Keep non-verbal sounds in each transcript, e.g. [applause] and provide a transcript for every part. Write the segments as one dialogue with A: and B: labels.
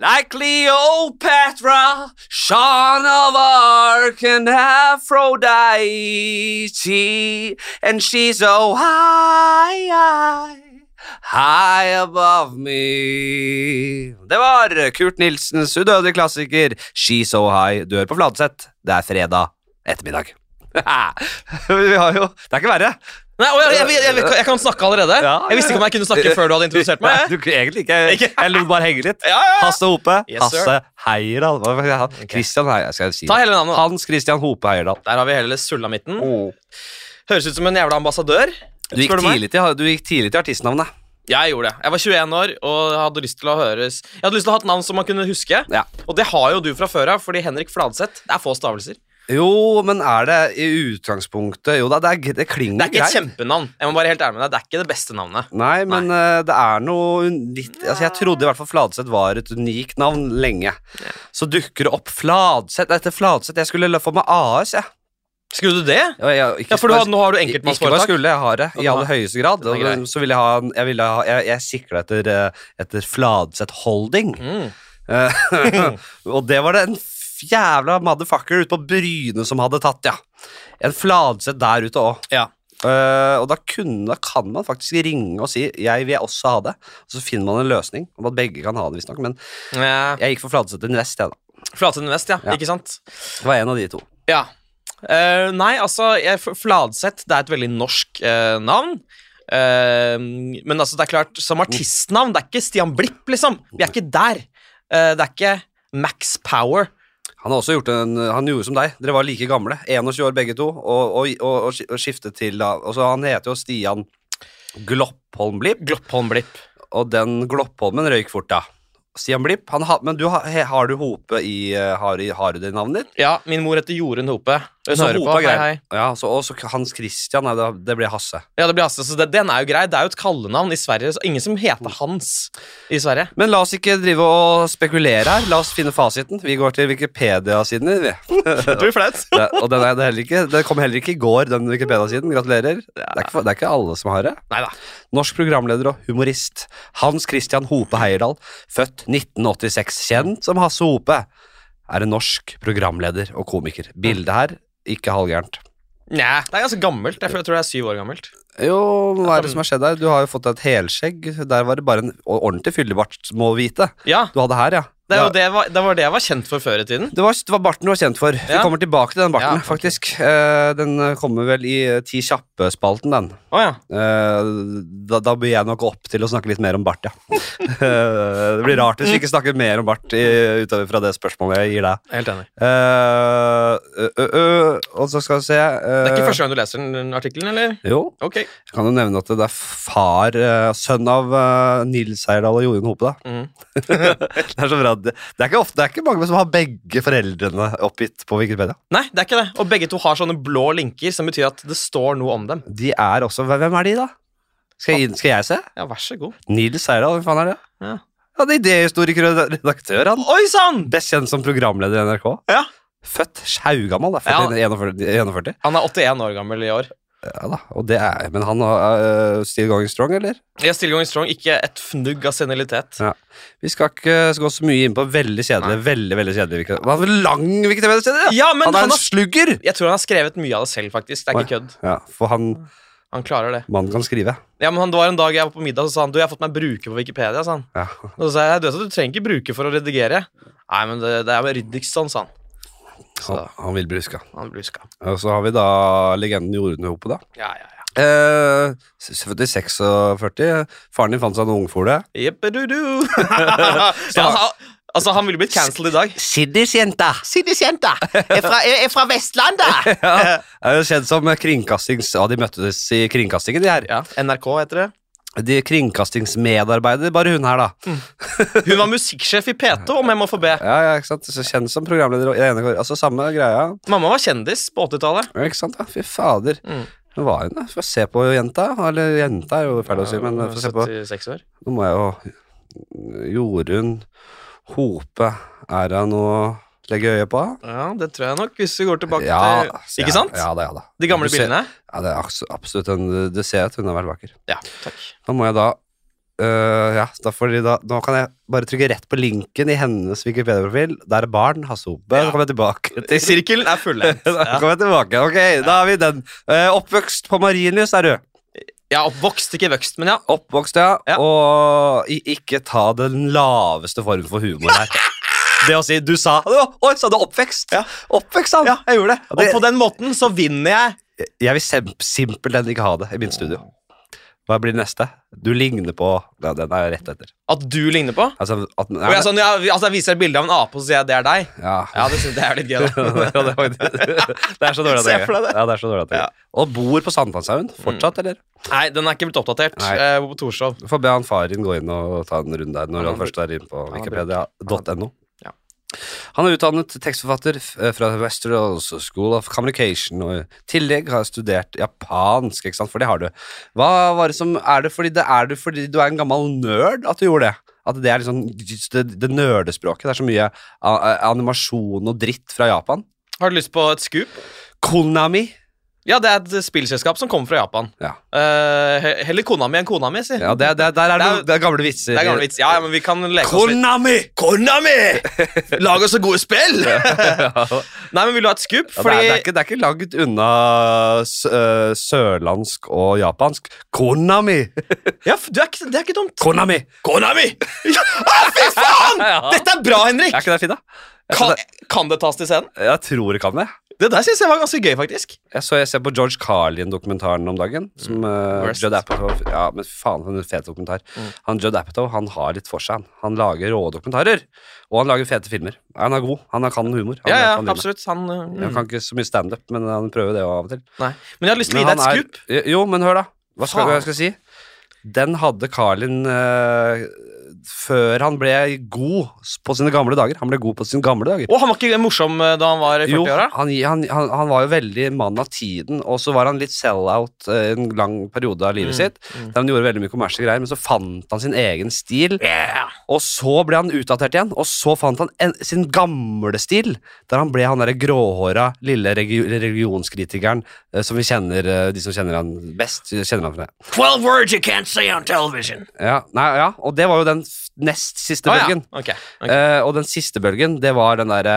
A: Like Cleopatra, Sean of Arc, and Aphrodite, and she's so high, high, high above me. Det var Kurt Nilsens udødelige klassiker She's So High dør på Fladseth. Det er fredag ettermiddag. [laughs] Vi har jo Det er ikke verre.
B: Nei, å, jeg, jeg, jeg, jeg, jeg kan snakke allerede.
A: Ja,
B: Jeg visste ikke om jeg kunne snakke før du hadde introdusert
A: Nei,
B: meg. jeg.
A: du, egentlig ikke.
B: Ikke?
A: Jeg lot bare henge litt.
B: Ja, ja, ja.
A: Hasse Hope.
B: Yes, sir.
A: Hasse Heierdal. Hva- hva- han- Christian Heierdal. Skal jeg si
B: Ta
A: det?
B: hele navnet. da.
A: [laughs] Hans Christian Hope Heierdal.
B: Der har vi hele sulamitten. Høres ut som en jævla ambassadør.
A: Du gikk,
B: spør du meg?
A: tidlig til, du gikk tidlig til artistnavnet.
B: Jeg gjorde det. Jeg var 21 år og hadde lyst til å høres Jeg hadde lyst til å ha et navn som man kunne huske.
A: Ja.
B: Og det har jo du fra før av, fordi Henrik Fladseth Det er få stavelser.
A: Jo, men er det i utgangspunktet Jo da, det, er, g- det klinger
B: Det er ikke et
A: greit.
B: kjempenavn. Jeg må bare helt ærlig med deg, det er ikke det beste navnet.
A: Nei, men eh, det er noe litt altså, Jeg trodde i hvert fall Fladseth var et unikt navn lenge. Så dukker det opp Fladseth etter Fladseth. Jeg skulle få meg AS, jeg.
B: Skulle du det?
A: jeg, jeg ikke,
B: Ja, for du har, nå har du
A: Ikke bare
B: enkeltmannsforetak.
A: skulle, jeg har det i
B: Ja,
A: aller høyeste grad.
B: den er grei.
A: Og Så ville jeg ha, en- jeg, ville ha, jeg, jeg sikla etter, eh, etter Fladseth Holding.
B: Mm.
A: Eh, [laughs] og det var det en f- jævla motherfucker ute på Bryne som hadde tatt, ja. En Fladseth der ute òg.
B: Ja.
A: og da, kunne, da kan man faktisk ringe og si 'jeg vil også ha det', og så finner man en løsning om at begge kan ha det, visstnok. Men
B: Ja.
A: jeg gikk for Fladseth Invest, jeg, da.
B: Flatseth Invest, ja.
A: Ja.
B: Ikke sant?
A: Det var en av de to.
B: Ja. Eh, nei, altså, jeg, F- Fladseth det er et veldig norsk eh, navn. Eh, men altså, det er klart, som artistnavn, det er ikke Stian Blipp, liksom. Vi er ikke der. Eh, det er ikke Max Power.
A: Han har også gjort en, han gjorde som deg. Dere var like gamle. 21 år begge to. Og, og, og, og sk- og skiftet til da. Og så han heter jo Stian Gloppholm Blipp,
B: Gloppholm Blipp.
A: og den Gloppholmen røyk fort, da. Stian Blipp, han har, men du har, he- har du Hope i eh, Har, i- har du det i navnet ditt?
B: Ja, min mor heter Jorunn Hope. Hun
A: Så
B: hører
A: Hope
B: på.
A: er
B: Hei,
A: grei.
B: hei.
A: Ja, så, og så Hans Christian, nei, det, det blir Hasse.
B: Ja, det blir Hasse, så det, den er jo grei. Det er jo et kallenavn i Sverige. Så ingen som heter Hans i Sverige.
A: Men la oss ikke drive og spekulere her. La oss finne fasiten. Vi går til Wikipedia-siden. vi.
B: [laughs] Det blir flaut.
A: Det, og den, er, det, er heller ikke, den kom heller ikke i går, den Wikipedia-siden. Gratulerer. Det er, ikke, det er ikke alle som har det.
B: Nei da.
A: Norsk programleder og humorist Hans Christian Hope Heierdal, født 1986, kjent som Hasse Hope, er en norsk programleder og komiker. Bildet her, ikke halvgærent.
B: Nei, det er ganske gammelt. Jeg tror jeg tror det er syv år gammelt.
A: Jo, hva er det som har skjedd her? Du har jo fått deg et helskjegg. Der var det bare en ordentlig fyllebart, må vite.
B: Ja,
A: Du hadde her, ja.
B: det, er jo det, var, det var det jeg var kjent for før i tiden.
A: Det var, det var barten du var kjent for. Vi
B: Ja.
A: kommer tilbake til den barten,
B: Ja, ok.
A: faktisk. Eh, Den kommer vel i eh, Ti kjappe-spalten, den.
B: Å ja.
A: Eh, da, da blir jeg nok opp til å snakke litt mer om bart, ja. [laughs] Eh, det blir rart hvis vi ikke snakker mer om bart i, utover fra det spørsmålet jeg gir deg.
B: Helt enig.
A: Eh, ø, ø, ø, og så skal vi se eh,
B: Det er ikke første gang du leser den- den artikkelen, eller?
A: Jo,
B: Ok.
A: jeg kan jo nevne at det er far eh, Sønn av eh, Nils Eierdal og Jorunn Hope, da. [laughs]
B: Mm.
A: Det er så bra. Det det er, ikke ofte, det er ikke mange som har begge foreldrene oppgitt på Wikipedia.
B: Nei, det er ikke det. Og begge to har sånne blå linker, som betyr at det står noe om dem.
A: De er også Hvem er de, da? Skal jeg, skal jeg se?
B: Ja, vær så god.
A: Nils Eierdal, hvem faen er det?
B: Ja.
A: Ja, det er Idéhistoriker og redaktør, han.
B: Oi sann!
A: Best kjent som programleder i NRK.
B: Ja.
A: Født sjaugammal, da.
B: Ja.
A: Født i 41, 41.
B: Han er 81 år gammel i år.
A: Ja da. Og det er, men han har øh, still going strong, eller?
B: Jeg stiller Going Strong ikke et fnugg av senilitet.
A: Ja. Vi skal ikke gå så mye inn på veldig kjedelig. Veldig, veldig kjedelig Wikipedia. Han har lang Wikipedia-side!
B: Ja, men
A: han er
B: han
A: en
B: har-
A: slugger!
B: Jeg tror han har skrevet mye av det selv, faktisk. Det er ikke kødd.
A: Ja, For han
B: Han klarer det.
A: mannen kan skrive.
B: Ja, men han, Det var en dag jeg var på middag, så sa han du, jeg har fått meg bruker på Wikipedia. sa han.
A: Ja.
B: Og så sa jeg, du vet at du trenger ikke bruker for å redigere. Nei, men det, det er med Riddikson, sa han.
A: Han, han vil bli huska.
B: Han ble huska.
A: Og så har vi da legenden Jorunn Hope, da.
B: Ja, ja, ja.
A: Eh, 46 og 40. Faren din fant seg en ungfole.
B: [laughs] Jippedudu. ja, altså, altså, han ville blitt cancelled i dag.
A: Siddisjenta!
B: Siddisjenta. Jeg er fra Vestlandet.
A: Ja, er jo kjent som kringkastings... Ja, de møttes i kringkastingen, de her.
B: [laughs] Ja, NRK heter det.
A: De kringkastingsmedarbeider, bare hun her, da.
B: Hun var musikksjef i P2, om jeg må få be.
A: Ja, ja, ikke sant? Så kjent som programleder og i det ene kor. Altså, samme greia.
B: Mamma var kjendis på 80-tallet.
A: Ja, ikke sant? Ja, fy fader.
B: Mm.
A: Nå var hun da. Få se på jenta. Eller jenta er jo feil å si, men få se på
B: 76 år.
A: Nå må jeg jo Jorunn Hope. Er det noe å legge øye på?
B: Ja, det tror jeg nok, hvis vi går tilbake til
A: sier
B: eh, Ikke
A: jeg.
B: sant?
A: Ja da, ja da.
B: De gamle
A: Du ser-
B: bildene.
A: Ja, det er abs- absolutt en Du ser at hun er veldig vakker.
B: Ja, takk.
A: Da må jeg da øh, ja, da får de da, nå kan jeg bare trykke rett på linken i hennes Wikipedia-profil. Der er barn, Hasse Hope.
B: [laughs] Ja.
A: Så kommer jeg tilbake til
B: Sirkelen er fullendt.
A: da
B: Ja.
A: kommer jeg tilbake. Ok, da har vi den. Eh, oppvokst på Marienlyst er du.
B: ja, oppvokst, ikke vøkst, men ja.
A: Oppvokst, ja.
B: Ja.
A: Og i- ikke ta den laveste form for humor her. Det å si du sa Å, Oi, sa du oppvekst?
B: Ja.
A: Oppvekst, sa han.
B: jeg gjorde det. Og
A: Det-
B: på den måten så vinner jeg.
A: Jeg vil sem simpelthen ikke ha det i mitt studio. Hva blir neste? Du ligner på ja, Den er rett etter.
B: At du ligner på?
A: Altså, at, nei,
B: Og jeg, sånn, ja, altså, jeg viser et bilde av en ape, og så sier jeg det er deg.
A: ja.
B: Ja, det, synes, det er litt
A: [laughs]
B: gøy,
A: Ja,
B: da.
A: det, er faktisk- det er så dårlig at
B: Se
A: jeg
B: for deg det.
A: Ja, det er så dårlig at jeg
B: Ja. Mm.
A: Og bor på Sandfannshaugen fortsatt, eller?
B: Nei, den er ikke blitt oppdatert
A: Nei.
B: eh, på Torshov.
A: Du får be han far din gå inn og ta en runde der når han
B: Han har
A: først er inne på
B: har
A: wikipedia.no.
B: Ja.
A: Han er utdannet tekstforfatter f- eh, fra Westerås School of Communication, og i tillegg har studert japansk, ikke sant, for det har du. Hva var det som, er det fordi, det, er det fordi du er en gammel nerd at du gjorde det? At det er liksom det, det nerdespråket, det er så mye a- a- animasjon og dritt fra Japan?
B: Har du lyst på et scoop?
A: Konami!
B: Ja, det er et spillselskap som kommer fra Japan.
A: Ja.
B: Eh, he- heller Konami enn Konami, si.
A: Ja, det, det, der er det,
B: Det er-
A: noe- det er gamle vitser.
B: Det er gamle vits. Ja, ja, men vi kan leke oss litt.
A: Konami!
B: [laughs] Konami!
A: [laughs]
B: Lag oss så gode spill! [laughs] Nei, men vil du ha et scoop?
A: Ja, det, er, det, er
B: Fordi
A: ikke, det er ikke langt unna s øh, sørlandsk og japansk.
B: [laughs]
A: Konami!
B: ja, f- du er ikke, Det er ikke dumt.
A: Konami!
B: Konami! Ja, Å, fy faen!
A: [laughs] Ja.
B: Dette er bra, Henrik!
A: Er ikke det fint, da? Jeg,
B: Kan,
A: synes
B: kan det tas til scenen?
A: det- jeg tror det kan det.
B: Det der syns jeg var ganske gøy, faktisk.
A: Jeg så jeg ser på George Carlin-dokumentaren om dagen.
B: Mm.
A: Som øh,
B: Worst.
A: Judd Apatow Ja, men faen, for en fet dokumentar.
B: Mm.
A: Han Judd Apatow han har litt for seg. han. Han lager rå dokumentarer. Og han lager fete filmer. Han er god. Han kan humor. Han vet
B: Ja, ja,
A: hva han driver med.
B: absolutt. Han, mm.
A: Han kan ikke så mye standup, men han prøver det av og til.
B: Nei. Men jeg har lyst til å
A: Men
B: gi deg et
A: han er-
B: scoop.
A: Jo, men hør da. Hva skal
B: Faen.
A: hva jeg skal si? Den hadde Carlin eh, før han ble god s- på sine gamle dager. Han ble god på sine gamle dager.
B: Å, han var ikke morsom eh, da han var i
A: Jo,
B: 40-åra?
A: han, han, han, han var jo veldig mann av tiden, og så var han litt sell-out eh, en lang periode av
B: Mm,
A: livet sitt. Der han gjorde veldig mye kommersielle greier, men så fant han sin egen stil. Og så ble han utdatert igjen, og så fant han en, sin gamle stil, der han ble han derre gråhåra lille regi- religionskritikeren eh, som vi kjenner, eh, de som kjenner han best, kjenner han for det.
C: 12 words you can't say on television.
A: Ja, nei, ja, og det var jo den f- nest siste
B: Å, ja.
A: bølgen.
B: Ok, ok.
A: Eh, og den siste bølgen, det var den derre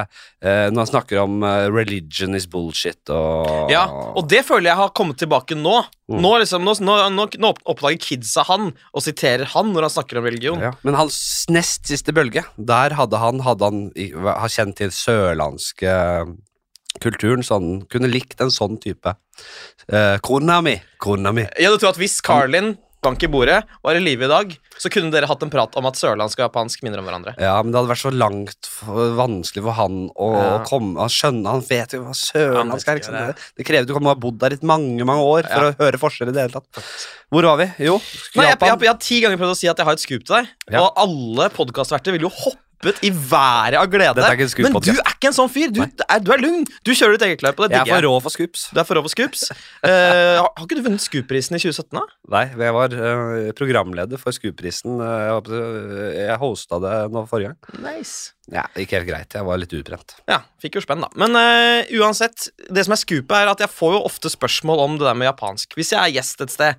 A: eh, Når han snakker om eh, 'religion is bullshit' og
B: Ja, og det føler jeg har kommet tilbake nå.
A: Oh.
B: Nå, liksom, nå, nå, nå, nå opp- oppdager kidsa han og siterer han når han snakker om religion.
A: Ja. Men hans nest siste bølge, der hadde han, hadde han i- har kjent til sørlandske eh, kulturen, så han kunne likt en sånn type. Eh, kona mi, kona mi.
B: Ja, du tror at Hvis Carlin bank i bordet var i live i dag, så kunne dere hatt en prat om at sørlandsk og japansk minner om hverandre.
A: Ja, men det hadde vært så langt f- vanskelig for han å
B: Ja.
A: komme Han skjønner, han vet jo hva sørlandsk er.
B: Han vet
A: Ikke
B: ikke
A: sant?
B: det.
A: Det, det krever du kan ha bodd der i mange, mange år for å høre forskjell i det hele tatt. Hvor var vi? Jo,
B: Nei, jeg, jeg,
A: Japan.
B: jeg, har ti ganger prøvd å si at jeg har et scoop til deg,
A: Ja.
B: og alle podkastverter ville jo hoppet i været av glede.
A: Dette er ikke en scoop
B: Men du
A: podcast.
B: er ikke en sånn fyr. Du er, du er lugn. Du kjører ditt eget løp, og det
A: Jeg er
B: digger
A: for
B: jeg.
A: rå for scoops.
B: Du er for over scoops. [laughs] Eh, har, har ikke du vunnet scoop-prisen i 2017, da?
A: Nei, jeg var eh, programleder for Skuprisen. eh, jeg håper- jeg hosta det nå forrige gang.
B: Nice.
A: Ja, det gikk helt greit. Jeg var litt utbrent.
B: Ja, fikk jo spenn, da. Men eh, uansett, det som er scoopet, er at jeg får jo ofte spørsmål om det der med japansk. Hvis jeg er gjest et sted,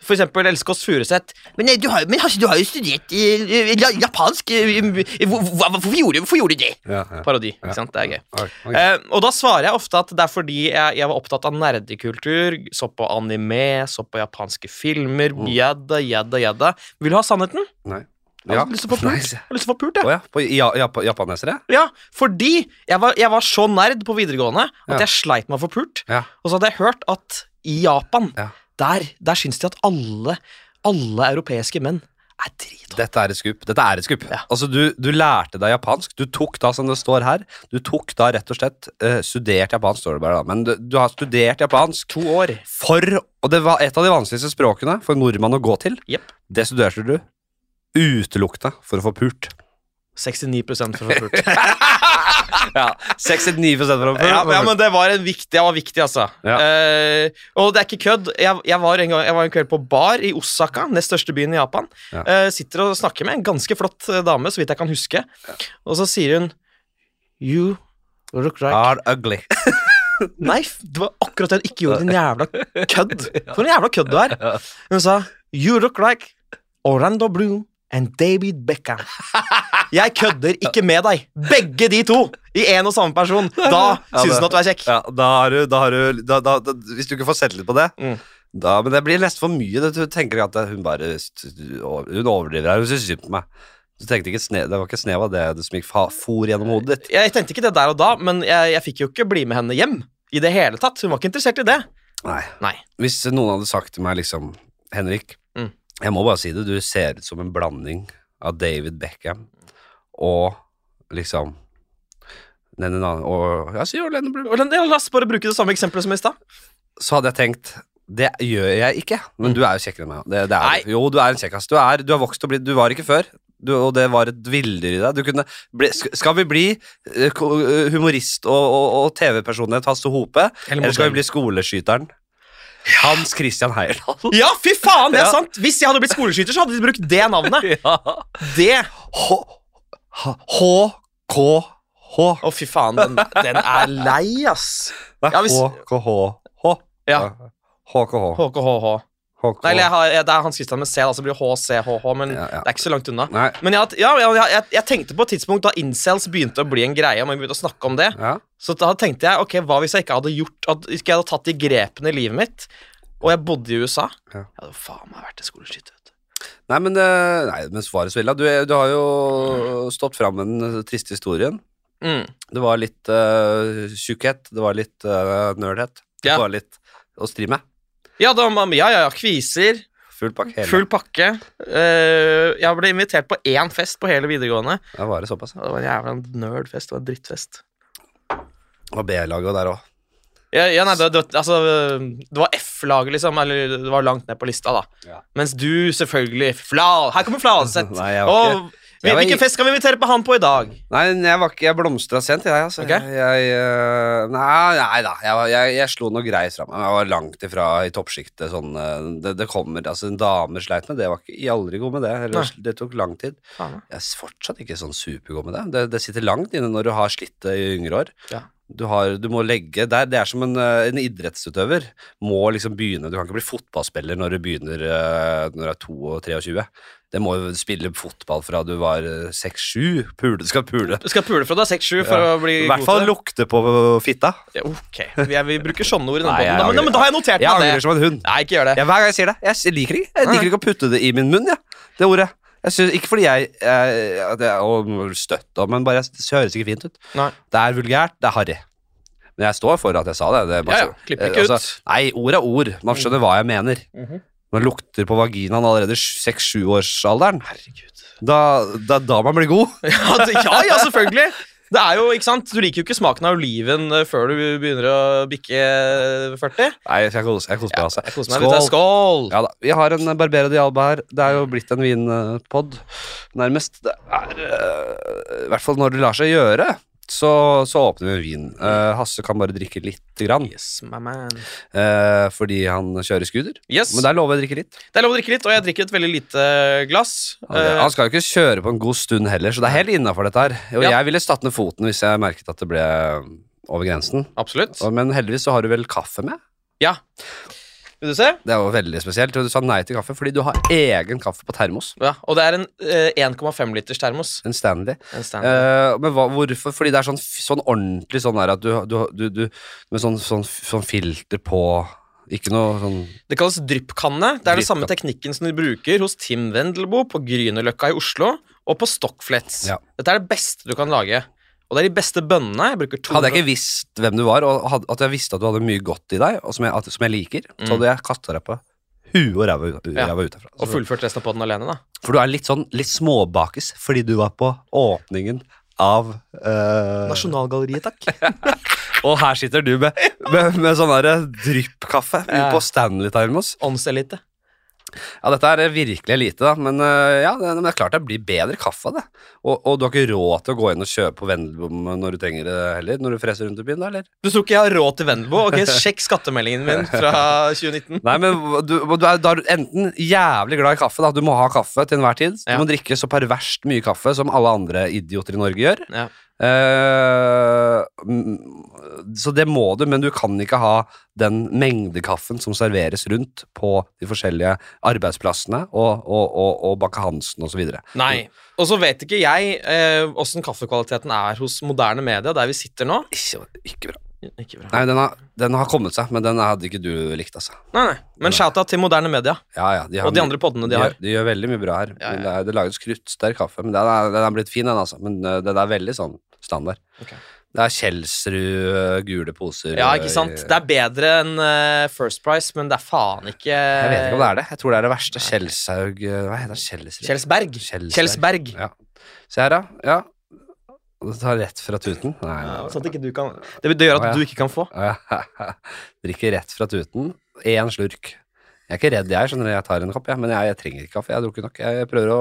B: for eksempel Else Kåss Furuseth
C: Men, eh, du, har, men altså, du har jo studert eh, eh, ja- japansk. eh, eh, hvor- hvor- Hvorfor gjorde, hvorfor gjorde du det?
A: Ja, ja.
B: Parodi,
A: Ja.
B: ikke sant? Det er gøy.
A: Ok, ok.
B: Eh, og da svarer jeg ofte at det er fordi jeg, jeg var opptatt av nerdekultur, så på anime, så på japanske filmer, jadda, jadda, jadda. Vil du ha sannheten?
A: Nei.
B: Jeg har lyst til å få
A: Nei,
B: pult.
A: se.
B: Jeg har lyst til å få pult, jeg.
A: Å ja, på ja, Jap- japanesere?
B: Ja, fordi jeg var, jeg var så nerd på videregående at
A: Ja.
B: jeg sleit meg for pult.
A: Ja.
B: Og så hadde jeg hørt at i Japan,
A: Ja.
B: der, der syns de at alle, alle europeiske menn er drithårde.
A: Dette er et skup. Dette er et skup.
B: Ja.
A: Altså, du, du lærte deg japansk. Du tok da, som det står her, du tok da rett og slett eh, studert japansk, står det bare da. Men du, du har studert japansk
B: To år.
A: for Og det var et av de vanskeligste språkene for en nordmann å gå til.
B: Jepp.
A: Det studerte du utelukkende for å få pult. [laughs]
B: 69 for å få pult.
A: Ja, 69 for å få
B: [laughs] Ja, men- ja,
A: pult.
B: men det var en viktig, jeg var viktig, altså.
A: Ja.
B: Eh, og det er ikke kødd. Jeg, jeg, var en gang, jeg var en kveld på bar i Osaka, nest største byen i Japan.
A: Ja.
B: Eh, sitter og snakker med en ganske flott eh, dame, så vidt jeg kan huske. Og så sier hun You look like
A: Are ugly.
B: Nei, f- det var
A: [laughs]
B: akkurat det hun ikke gjorde, din jævla kødd. For en jævla kødd du er. Hun sa You look like Orlando Bloom and David Beckham. Jeg kødder ikke med deg. Begge de to i én og samme person. Da
A: Ja, det-
B: syns hun at du er kjekk.
A: Ja, da har du, da har du da, da, da, Hvis du ikke får sett litt på det
B: Mm.
A: da, Men det blir nesten for mye det, Du tenker at hun bare Hun overdriver her, hun synes synd på meg Du tenkte ikke sne, Det var ikke snev av det du som gikk fa- for gjennom hodet ditt
B: Jeg tenkte ikke det der og da, men jeg, jeg fikk jo ikke bli med henne hjem. I det hele tatt, Hun var ikke interessert i det.
A: Nei.
B: Nei.
A: Hvis noen hadde sagt til meg liksom Henrik,
B: Mm.
A: jeg må bare si det, du ser ut som en blanding av David Beckham og liksom den en annen, og, ja, sier Orlando Bloom.
B: Og den- ja, La oss bare bruke det samme eksempelet som i stad.
A: Så hadde jeg tenkt det gjør jeg ikke, men du er jo kjekkere enn meg. Det, det
B: Mm. Nei.
A: er, du. jo, du er en kjekkass. Du, er, du har vokst og blitt Du var ikke før, du, og det var et villdyr i deg. Du kunne bli, sk- skal vi bli eh, ko- eh, humorist og, og, og TV-personlighet hans til hope, eller skal vi bli skoleskyteren? Hans Christian Heyerdahl.
B: Ja, fy faen, det er
A: Ja.
B: sant! Hvis jeg hadde blitt skoleskyter, så hadde de brukt det navnet.
A: [laughs] Ja.
B: Det
A: H-K-H.
B: Å, fy faen, den, den er lei, ass. Ja, hvis-
A: H-K-H-H.
B: Ja.
A: HKH.
B: HKHH. Nei, eller jeg har, jeg, det er Hans Christian med C, da, så det blir HCHH, men
A: Ja, ja.
B: det er ikke så langt unna.
A: Nei.
B: Men jeg, had- ja, jeg, jeg, jeg tenkte på et tidspunkt da incels begynte å bli en greie, og man begynte å snakke om det,
A: Ja.
B: så da tenkte jeg ok, hva hvis jeg ikke hadde gjort at, ikke jeg hadde tatt de grepene i livet mitt, og jeg bodde i USA?
A: Ja.
B: Jeg hadde faen meg vært en skoleskyter. vet du.
A: Nei, men, eh, nei, men svaret så ille. Du, er- du har jo stått fram med den eh, triste historien.
B: Mm.
A: Det var litt uh, tjukkhet, det var litt uh, nerdhet. Det
B: Ja.
A: var litt å stri med.
B: Ja, da, ja, ja, ja, kviser.
A: Full pakke. hele.
B: Full pakke. Eh, jeg ble invitert på én fest på hele videregående.
A: Det var det såpass.
B: Ja, Det var en jævla nerdfest. Det var en drittfest.
A: Og B-laget der òg.
B: Ja, ja, nei, det, det, altså, det var F-laget, liksom. Eller det var langt ned på lista, da.
A: Ja.
B: Mens du selvfølgelig fla, Her kommer Fladseth!
A: [laughs] Nei, jeg var
B: Og
A: jeg var
B: hvilken
A: i-
B: fest skal vi invitere på han på i dag?
A: Nei, men jeg, var ikke- jeg blomstra sent, jeg. Altså.
B: Ok.
A: jeg eh, nei, nei da, jeg, var- jeg, jeg slo noe greit fra meg. Jeg var langt ifra i toppsjiktet. Sånn, eh, det, det kommer, altså En dame sleit med det. var ikke, jeg er aldri god med det. Eller, det tok lang tid.
B: Faen, da.
A: Jeg er fortsatt ikke sånn supergod med det. det. Det sitter langt inne når du har slitt det i yngre år.
B: Ja.
A: Du, har, du må legge der, Det er som en, eh, en idrettsutøver. Må liksom begynne Du kan ikke bli fotballspiller når du begynner eh, Når du er 2 og 23. Det må jo spille fotball fra du var 6-7. Pule, du skal pule.
B: Du skal pule fra du er 6-7 for
A: Ja.
B: å
A: I
B: bli god
A: hvert
B: til
A: fall
B: det.
A: lukte på fitta.
B: Ja, ok, vi, er, vi bruker sånne ord i denne
A: Nei, jeg
B: podden, da. Men,
A: angrer.
B: men da har jeg notert
A: Jeg
B: meg
A: angrer
B: det.
A: som en hund.
B: Nei, ikke gjør det.
A: Jeg, hver gang jeg sier det. Jeg s- liker ikke Jeg liker ikke å putte det i min munn, ja. det ordet. Jeg synes, ikke fordi jeg, eh, at jeg og støtt, og- men bare det høres ikke fint ut.
B: Nei.
A: Det er vulgært, det er harry. Men jeg står for at jeg sa det. det er bare
B: Ja, ja.
A: så-
B: Klipp ikke
A: eh, altså,
B: ut. Mhm.
A: Nei, ord er ord. Man skjønner hva jeg mener. Man lukter på vaginaen allerede i 6-7-årsalderen.
B: Herregud. [laughs]
A: Da, da, da man blir god.
B: Ja, det- ja, ja, selvfølgelig. Det er jo, ikke sant? Du liker jo ikke smaken av oliven eh, før du begynner å bikke 40.
A: Nei, jeg koser, jeg koser meg, altså.
B: Jeg koser meg litt. jeg. Skål!
A: Ja da. Vi har en Barbera di Alba her. Det er jo blitt en vinpod, nærmest. Det er eh, I hvert fall når det lar seg gjøre, så, så åpner vi en vin. Eh, Hasse kan bare drikke lite grann,
B: Yes, my man.
A: eh, fordi han kjører scooter.
B: Yes.
A: Men det er lov å drikke litt.
B: Det er lov å drikke litt, og jeg drikker et veldig lite eh, glass.
A: Han, han skal jo ikke kjøre på en god stund heller, så det er helt innafor dette her. Og
B: Ja.
A: jeg ville statt ned foten hvis jeg merket at det ble over grensen.
B: Eh, absolutt.
A: Og- Men heldigvis så har du vel kaffe med?
B: Ja. Vil du se?
A: Det er jo veldig spesielt. Og du sa nei til kaffe fordi du har egen kaffe på termos.
B: Ja, og det er en eh, 1,5 liters termos.
A: En Stanley.
B: En stand.
A: Eh, men hva, hvorfor? Fordi det er sånn, f- sånn ordentlig sånn der at du, du, du, du Med sånn, sånn, sånn filter på Ikke noe sånn
B: det kalles dryppkanne. Det er den samme
A: Dryppkanne.
B: teknikken som de bruker hos Tim Wendelboe på Grünerløkka i Oslo, og på Stockflets.
A: Ja.
B: Dette er det beste du kan lage. Og det er de beste bønnene. Jeg bruker to
A: Hadde jeg ikke visst hvem du var, og had, at jeg visste at du hadde mye godt i deg, og som jeg, at, som jeg liker, så hadde jeg kasta deg på huet og ræva ut-
B: Mm. Ja.
A: ræva utafra.
B: og fullført resten av poden alene, da.
A: For du er litt sånn litt småbakis fordi du var på åpningen av eh,
B: Nasjonalgalleriet, [laughs] takk.
A: Og her sitter du med, med, med sånn der dryppkaffe
B: Ja.
A: på Stanley-termos.
B: Åndselite.
A: Ja, dette er eh, virkelig lite, da. Men, øh, ja, det, men det er klart det blir bedre kaffe av det. Og, og du har ikke råd til å gå inn og kjøpe på Vendelbom når du trenger det heller? Når du freser rundt i byen, da, eller?
B: Du tror ikke jeg har råd til Vendelboe? [laughs] Ok, sjekk skattemeldingen min fra 2019.
A: Nei, men hva- du, du er da er du enten jævlig glad i kaffe, da. Du må ha kaffe til enhver tid. Du
B: Ja.
A: må drikke så perverst mye kaffe som alle andre idioter i Norge gjør.
B: Ja.
A: Eh, mm, så det må du, men du kan ikke ha den mengdekaffen som serveres rundt på de forskjellige arbeidsplassene og, og, og, og Bakke Hansen osv.
B: Nei. Og så vet ikke jeg åssen kaffekvaliteten er hos moderne media, der vi sitter nå.
A: Ikke, ikke bra.
B: Ikke bra.
A: Nei, den har, den har kommet seg, men den hadde ikke du likt, altså.
B: Nei, nei. Men shout-out til moderne media
A: Ja, ja, har
B: og de
A: mye-
B: andre podene de
A: de,
B: har.
A: gjør, de gjør veldig mye bra her.
B: Ja,
A: Men det, er, det lages kruttsterk kaffe, men den er, den er blitt fin, den, altså. Men øh, den er veldig sånn standard.
B: Ok.
A: Det er Kjelsrud øh, gule poser
B: Ja, ikke
A: øh,
B: sant?
A: i-
B: Det er bedre enn eh, First Price, men det er faen ikke
A: Jeg vet ikke om det er det. Jeg tror det er det verste. Kjelshaug øh, Hva heter det? Kjelsrud?
B: Kjelsberg.
A: Kjelsberg.
B: Kjelsberg.
A: Ja. Se her, da. Ja. Det tar rett fra tuten. Nei,
B: Ja,
A: nei,
B: Sånn at ikke du kan Det gjør
A: Å, ja.
B: at du ikke kan få.
A: nei. [laughs] Drikker rett fra tuten. Én slurk. Jeg er ikke redd, jeg. skjønner du. Jeg tar en kopp, jeg. Men jeg, jeg trenger ikke kaffe. Jeg har drukket nok. Jeg prøver å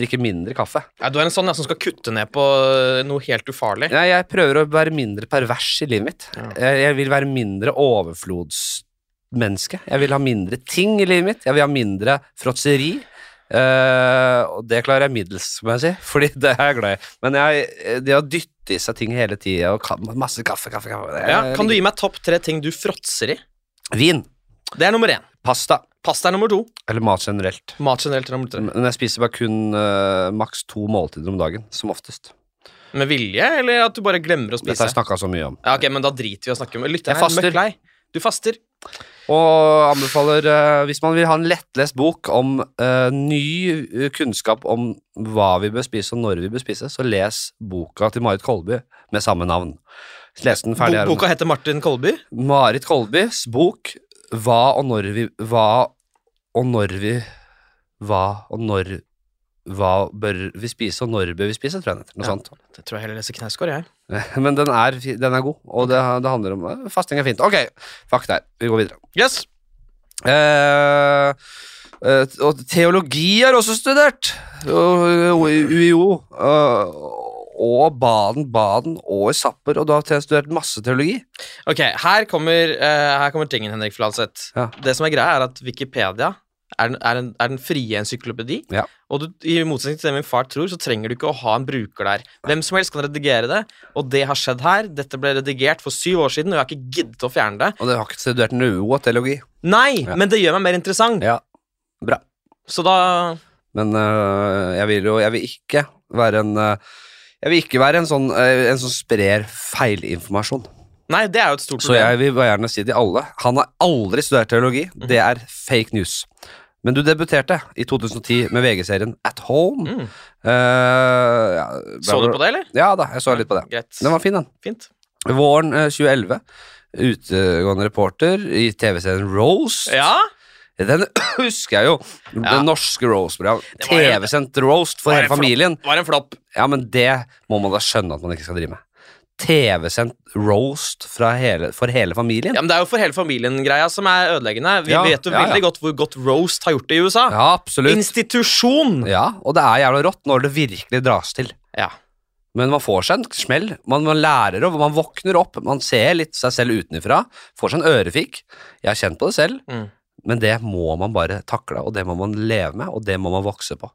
A: drikke mindre kaffe.
B: Ja, du er en sånn ja, som skal kutte ned på eh, noe helt ufarlig.
A: Nei, jeg prøver å være mindre pervers i livet mitt.
B: Ja.
A: Jeg, jeg vil være mindre overflodsmenneske. Jeg vil ha mindre ting i livet mitt. Jeg vil ha mindre fråtseri. Eh, og det klarer jeg middels, må jeg si, [laughs] fordi det er jeg glad i. Men jeg, det å dytte i seg ting hele tida og ka masse kaffe, kaffe, kaffe det er-
B: Ja, kan du gi meg topp tre ting du fråtser i?
A: Vin,
B: Det er nummer én.
A: pasta
B: Pasta er nummer to.
A: eller mat generelt.
B: Mat generelt er nummer tre.
A: Men jeg spiser bare kun eh, maks to måltider om dagen, som oftest.
B: Med vilje, eller at du bare glemmer å
A: Dette har
B: spise?
A: jeg snakka så mye om.
B: Ja, ok, men da driter vi i å snakke om Lytter,
A: Jeg faster.
B: Du faster.
A: Og anbefaler, eh, hvis man vil ha en lettlest bok om eh, ny eh, kunnskap om hva vi bør spise og når vi bør spise, så les boka til Marit Kolby med samme navn. Les den ferdig her.
B: Bo-
A: om-
B: Boka heter Martin Kolby.
A: Marit Kolbys bok Hva og når vi Hva og når vi Hva og når Hva bør vi spise, og når bør vi spise, tror jeg den heter. Noe
B: Ja.
A: sånt.
B: Det tror jeg heller leser Knausgård, jeg.
A: [laughs] Men den er, fi- den er god, og det, det handler om eh, Fasting er fint. Ok, fuck der. Vi går videre.
B: Yes.
A: Eh, eh, og teologi er også studert. Og- og i UiO. eh, og Baden-Baden og i Zapper, og da har jeg studert masse teologi.
B: Ok, her kommer, eh, her kommer tingen, Henrik Fladseth.
A: Ja.
B: Det som er greia, er at Wikipedia er den, er den, er den frie encyklopedi.
A: Ja.
B: Og du, i motsetning til det min far tror, så trenger du ikke å ha en bruker der. Hvem som helst kan redigere det, og det har skjedd her. Dette ble redigert for syv år siden, og jeg har ikke giddet å fjerne det.
A: Og jeg har ikke studert noe av teologi.
B: Nei,
A: Ja.
B: men det gjør meg mer interessant.
A: Ja, bra.
B: Så da
A: Men eh, jeg vil jo Jeg vil ikke være en eh, jeg vil ikke være en sånn, eh, en som sprer feilinformasjon.
B: Nei, det er jo et stort
A: Så
B: problem.
A: jeg vil bare gjerne si til alle han har aldri studert teologi.
B: Mhm.
A: Det er fake news. Men du debuterte i 2010 med VG-serien At Home.
B: Mm.
A: Eh, ja,
B: Så du på det, eller?
A: Ja da, jeg så litt på det.
B: Greit.
A: Den var fin, den.
B: Fint.
A: Våren eh, 2011. Utegående reporter i TV-serien Roast.
B: Ja,
A: Den [coughs] husker jeg jo.
B: Ja.
A: Den norske Roast-program.
B: Det var jo-
A: TV-sendt Roast for
B: var
A: hele
B: jo flott.
A: familien.
B: var en flopp.
A: Ja, men det må man da skjønne at man ikke skal drive med. TV-sendt Roast fra hele, for hele familien.
B: Ja, men Det er jo for hele familien-greia som er ødeleggende. Vi
A: Ja,
B: vet jo
A: ja, ja.
B: veldig godt hvor godt roast har gjort det i USA.
A: Ja, absolutt.
B: Institusjon!
A: Ja, og det er jævla rått når det virkelig dras til.
B: Ja.
A: Men man får seg en smell. Man, man lærer og man våkner opp. Man ser litt seg selv utenfra. Får seg en ørefik. Jeg har kjent på det selv,
B: Mm.
A: men det må man bare takle, og det må man leve med, og det må man vokse på.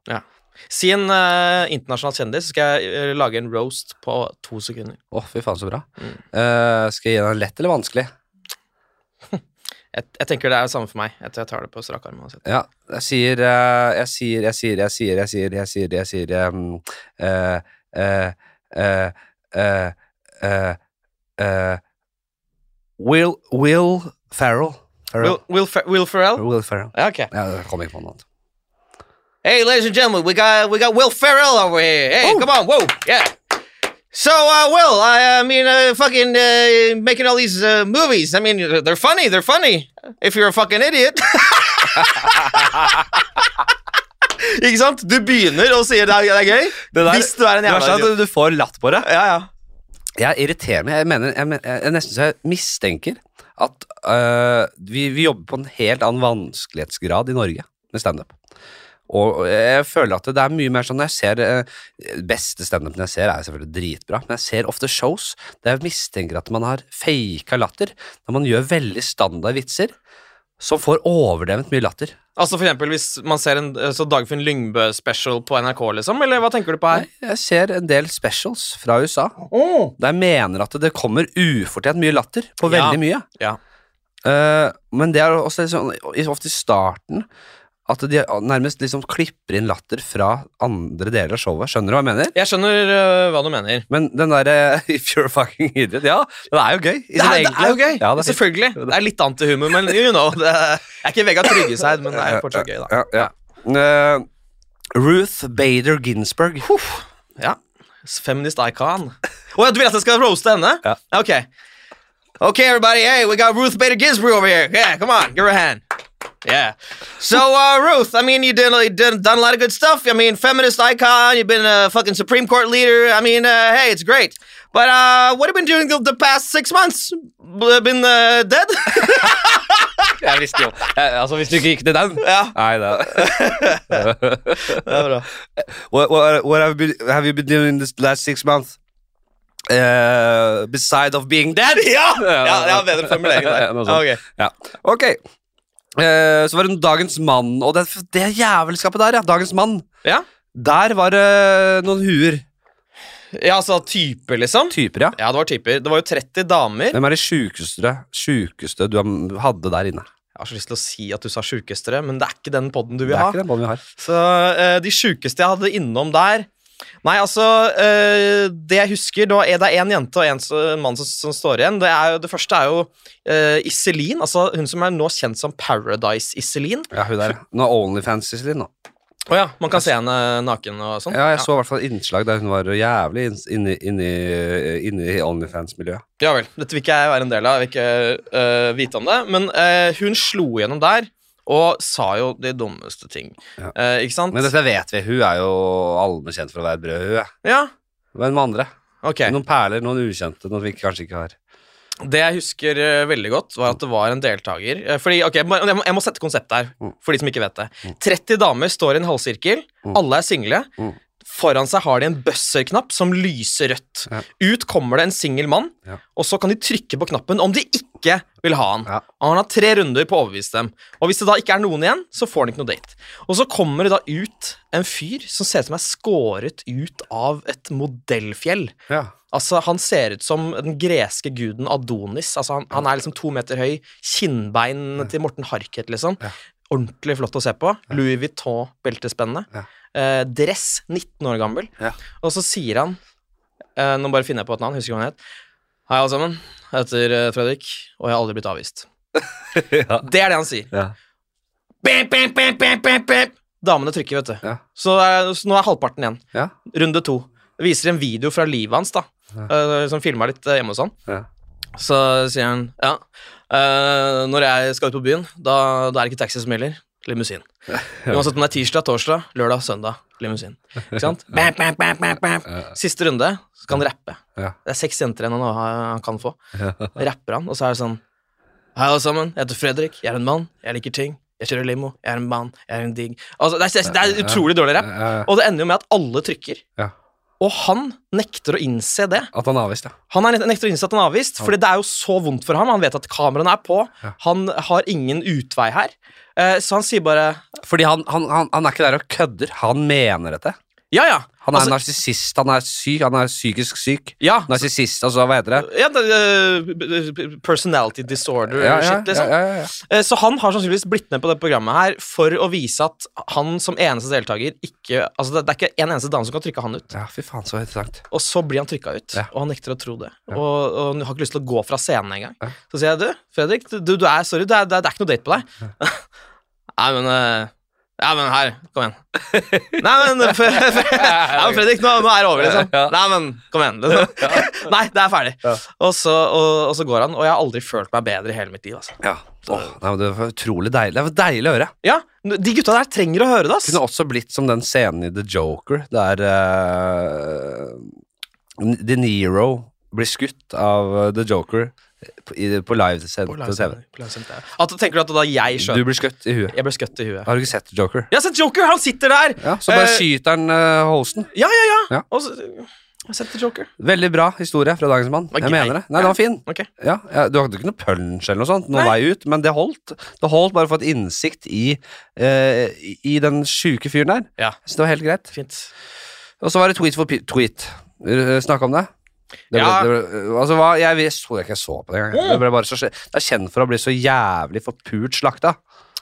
B: Si en eh, internasjonal kjendis, så skal jeg eh, lage en roast på to sekunder.
A: Å, fy faen, så bra.
B: Mm.
A: Eh, skal jeg gi deg en lett eller vanskelig?
B: Jeg, jeg tenker det er det samme for meg. Jeg, tror jeg tar det på strak arm. uansett.
A: Ja, jeg sier eh, Jeg sier, jeg sier, jeg sier, jeg sier, jeg sier, jeg sier em, eh, eh, eh, eh, eh, eh, Will Will Farrell.
B: Will,
A: Farrell.
B: Will, Fer Will Ferrell?
A: Will Ferrell.
B: Ja, ok.
A: Ja, jeg kom ikke på noe annet.
B: Hey, ladies and gentlemen, we got we got Will Ferrell over here. Hey,
A: Oh.
B: come on, whoa, yeah. So, uh, Will, I, I mean, uh, fucking uh, making all these uh, movies. I mean, they're funny. They're funny. If you're a fucking idiot. [laughs] Ikke sant? Du begynner og sier det er, det er gøy.
A: Det der-
B: hvis du er sånn en
A: Det
B: jævla
A: verste er
B: idiot.
A: at du får latt på det.
B: Ja, ja.
A: Jeg irriterer meg. Jeg mener, jeg, men- jeg, jeg nesten så jeg mistenker at øh, vi, vi jobber på en helt annen vanskelighetsgrad i Norge med standup. Og og jeg føler at det er mye mer sånn når jeg ser øh, Beste standupen jeg ser, er selvfølgelig dritbra, men jeg ser ofte shows der jeg mistenker at man har faka latter. Når man gjør veldig standard vitser, som får overdrevent mye latter.
B: Altså for eksempel hvis man ser en eh, så Dagfinn Lyngbø-special på NRK, liksom? Eller hva tenker du på her?
A: Jeg ser en del specials fra USA der jeg mener at det kommer ufortjent mye latter på
B: Ja.
A: veldig mye.
B: Ja.
A: Eh, men det er også litt sånn, i- ofte i starten at de nærmest liksom klipper inn latter fra andre deler av showet. Skjønner du hva jeg mener?
B: Jeg skjønner eh, hva du mener.
A: Men den derre [laughs] If you're fucking idiot Ja, den er jo gøy. i sin
B: Det er, det
A: egentlige-
B: er jo gøy!
A: Ja, det er fint.
B: Selvfølgelig. Det er litt antihumor, men you know. Det er, jeg er ikke Vegard Tryggeseid, men det er fortsatt gøy, da.
A: Ja, ja. Eh, Ruth Bader Ginsburg.
B: Ja. Feminist icon. Å ja, du vil at jeg skal roaste henne?
A: Ja.
B: Ok. Ok, everybody. Hey, we got Ruth Bader Ginsburg over here. Yeah, come on. Give her a hand. Yeah. So, uh, Ruth, I mean, you did, you did done a lot of good stuff. I mean, feminist icon. You've been a fucking Supreme Court leader. I mean, uh, hey, it's great. But uh, what have you been doing the, the past six months? B- Been uh, dead?
A: [laughs] Jeg visste jo eh, Altså, hvis du ikke gikk til den
B: ja.
A: Nei, det
B: Det er bra.
A: What, what, what have, you been, have you been doing this last six months? Uh, beside of being dead?
B: [laughs] Ja! ja, det var bedre formulering
A: Ja,
B: der.
A: [laughs] noe sånt.
B: Ok.
A: Ja. Ok. Eh, så var det Dagens Mann, og det, det jævelskapet der, ja. Dagens Mann.
B: Ja.
A: Der var det noen huer.
B: ja, altså typer, liksom.
A: Typer, ja.
B: Ja, det var typer. Det var jo 30 damer.
A: Hvem er de sjukeste, sjukeste du hadde der inne?
B: Jeg har så lyst til å si at du sa sjukestere, men det er ikke den podden du
A: Det
B: vil
A: er
B: ha.
A: ikke den bånden vi har.
B: Så eh, de sjukeste jeg hadde innom der Nei, altså eh, Det jeg husker, det, var, det er en jente og en, s- en mann som, som står igjen. Det, er jo, det første er jo uh, Iselin, altså hun som er nå kjent som Paradise-Iselin.
A: Ja, hun der. Nå er Onlyfans Iselin, nå.
B: Å ja, man kan se henne naken og sånn.
A: Ja, jeg så i hvert fall innslag der hun var jævlig inne inni, inni, inni Onlyfans-miljøet.
B: Ja vel. Dette vil ikke jeg være en del av. Jeg vil ikke øh, vite om det. Men øh, hun slo gjennom der og sa jo de dummeste ting.
A: Ja.
B: Eh, ikke sant?
A: Men dette vet vi. Hun er jo allmenn kjent for å være brød, hun. er.
B: Ja,
A: Hvem andre?
B: ok.
A: Noen perler, noen ukjente, noen vi kanskje ikke har.
B: Det jeg husker eh, veldig godt, var at det var en deltaker. eh, fordi, ok, jeg må- Jeg må, jeg må sette konseptet her,
A: Mm.
B: for de som ikke vet det. 30 damer står i en halvsirkel.
A: Mm.
B: Alle er single.
A: Mm.
B: Foran seg har de en buzzer-knapp som lyser rødt.
A: Ja.
B: Ut kommer det en singel mann,
A: Ja.
B: og så kan de trykke på knappen om de ikke vil ha han.
A: Ja.
B: Og han har tre runder på å overbevise dem. Og hvis det da ikke er noen igjen, så får han ikke noe date. Og så kommer det da ut en fyr som ser ut som er skåret ut av et modellfjell. [laughs]
A: Ja.
B: Altså, Han ser ut som den greske guden Adonis. Altså, Han, han er liksom to meter høy, kinnbein til Morten Harket, liksom.
A: Ja.
B: Ordentlig flott å se på. Louis Vuitton-beltespenne.
A: Ja.
B: Eh, dress, 19 år gammel.
A: Ja.
B: Og så sier han eh, Nå bare finner jeg på et navn, husker ikke hva han het. Hei, alle sammen. Jeg heter eh, Fredrik, og jeg har aldri blitt avvist.
A: ja.
B: Det er det han sier.
A: ja.
B: Bim, bim, bim, bim, bim, bim. Damene trykker, vet du.
A: Ja.
B: Så, eh, så nå er halvparten igjen.
A: Ja.
B: Runde to. Det viser en video fra livet hans, da. eh, som filma litt eh, hjemme hos han. [laughs]
A: Ja.
B: Så sier han ja, eh, når jeg skal ut på byen, da, da er det ikke taxi som gjelder. Limousin. [laughs] Uansett om det er tirsdag, torsdag, lørdag, søndag. Limousin. Ikke sant? Bam, bam, bam, bam, bam. Siste runde, så skal han rappe.
A: Ja.
B: Det er seks jenter igjen han, har- han kan få.
A: Ja.
B: Rapper han, og så er det sånn Hei, alle sammen. Jeg heter Fredrik. Jeg er en mann. Jeg liker ting. Jeg kjører limo. Jeg er en mann. Jeg er en digg. Altså, det, er, det er utrolig dårlig rapp.
A: Ja, ja.
B: Og det ender jo med at alle trykker.
A: Ja.
B: Og han nekter å innse det.
A: At han er avvist, ja.
B: Han er nekt- nekter å innse at han er avvist, Fordi det er jo så vondt for ham. Han vet at kameraene er på.
A: Ja.
B: Han har ingen utvei her. Eh, Så han sier bare
A: Fordi han, han, han, han er ikke der og kødder. Han mener dette.
B: ja, ja.
A: Han er
B: Altså-
A: narsissist, han er syk, han er psykisk syk.
B: ja.
A: Narsissist, altså hva heter det?
B: ja det, eh, personality disorder
A: Ja, ja,
B: shit, liksom.
A: ja, ja, ja.
B: Eh, Så han har sannsynligvis blitt med på det programmet her for å vise at han som eneste deltaker ikke Altså, det det er ikke en eneste dame som kan trykke han ut.
A: Ja, fy faen, så interessant.
B: Og så blir han trykka ut,
A: Ja.
B: og han nekter å tro det.
A: Ja.
B: Og, og han har ikke lyst til å gå fra scenen engang.
A: Ja.
B: Så sier jeg, du, Fredrik, du, du er, sorry, det er, det er- det er ikke noe date på deg. [laughs] Nei, men eh, Ja, men her, kom igjen. Nei, men, Fre- [laughs] Fre- Nei, men Fredrik, nå, nå er det over, liksom.
A: Ja.
B: Nei, men kom igjen.
A: [laughs]
B: Liksom. Nei, det er ferdig.
A: Ja.
B: Og, så, og, og så går han, og jeg har aldri følt meg bedre i hele mitt liv, altså.
A: Ja. Åh, nei, men det var utrolig deilig. Det var deilig å høre.
B: Ja, de gutta der trenger å høre det, ass.
A: Kunne også blitt som den scenen i The Joker, der eh, De Niro blir skutt av eh, The Joker På, i- på livesendt på TV.
B: At, tenker du at da jeg
A: Du
B: skjøt
A: blir skutt i huet.
B: Jeg ble skutt i huet.
A: Har du ikke sett Joker?
B: Jeg har sett Joker! Han sitter der!
A: Ja, Så bare
B: Eh,
A: skyter han eh, Holsten.
B: Ja, ja, ja!
A: Ja.
B: Og så, jeg har sett Joker.
A: Veldig bra historie fra dagens mann.
B: Ok.
A: Jeg mener det. Nei, den var fin.
B: Ok.
A: Ja, ja, Du hadde ikke noe punch eller noe sånt, noen
B: Nei.
A: vei ut, men det holdt. Det holdt bare å få et innsikt i, eh, i- i den sjuke fyren der.
B: Ja.
A: Så det var helt greit.
B: Fint.
A: Og så var det tweet for pi- tweet. Eh, Snakk om det. Det ble,
B: Ja.
A: det ble, altså, hva, jeg vis- tror jeg ikke jeg så på det engang. Det ble bare så, skje- det er kjent for å bli så jævlig forpult slakta.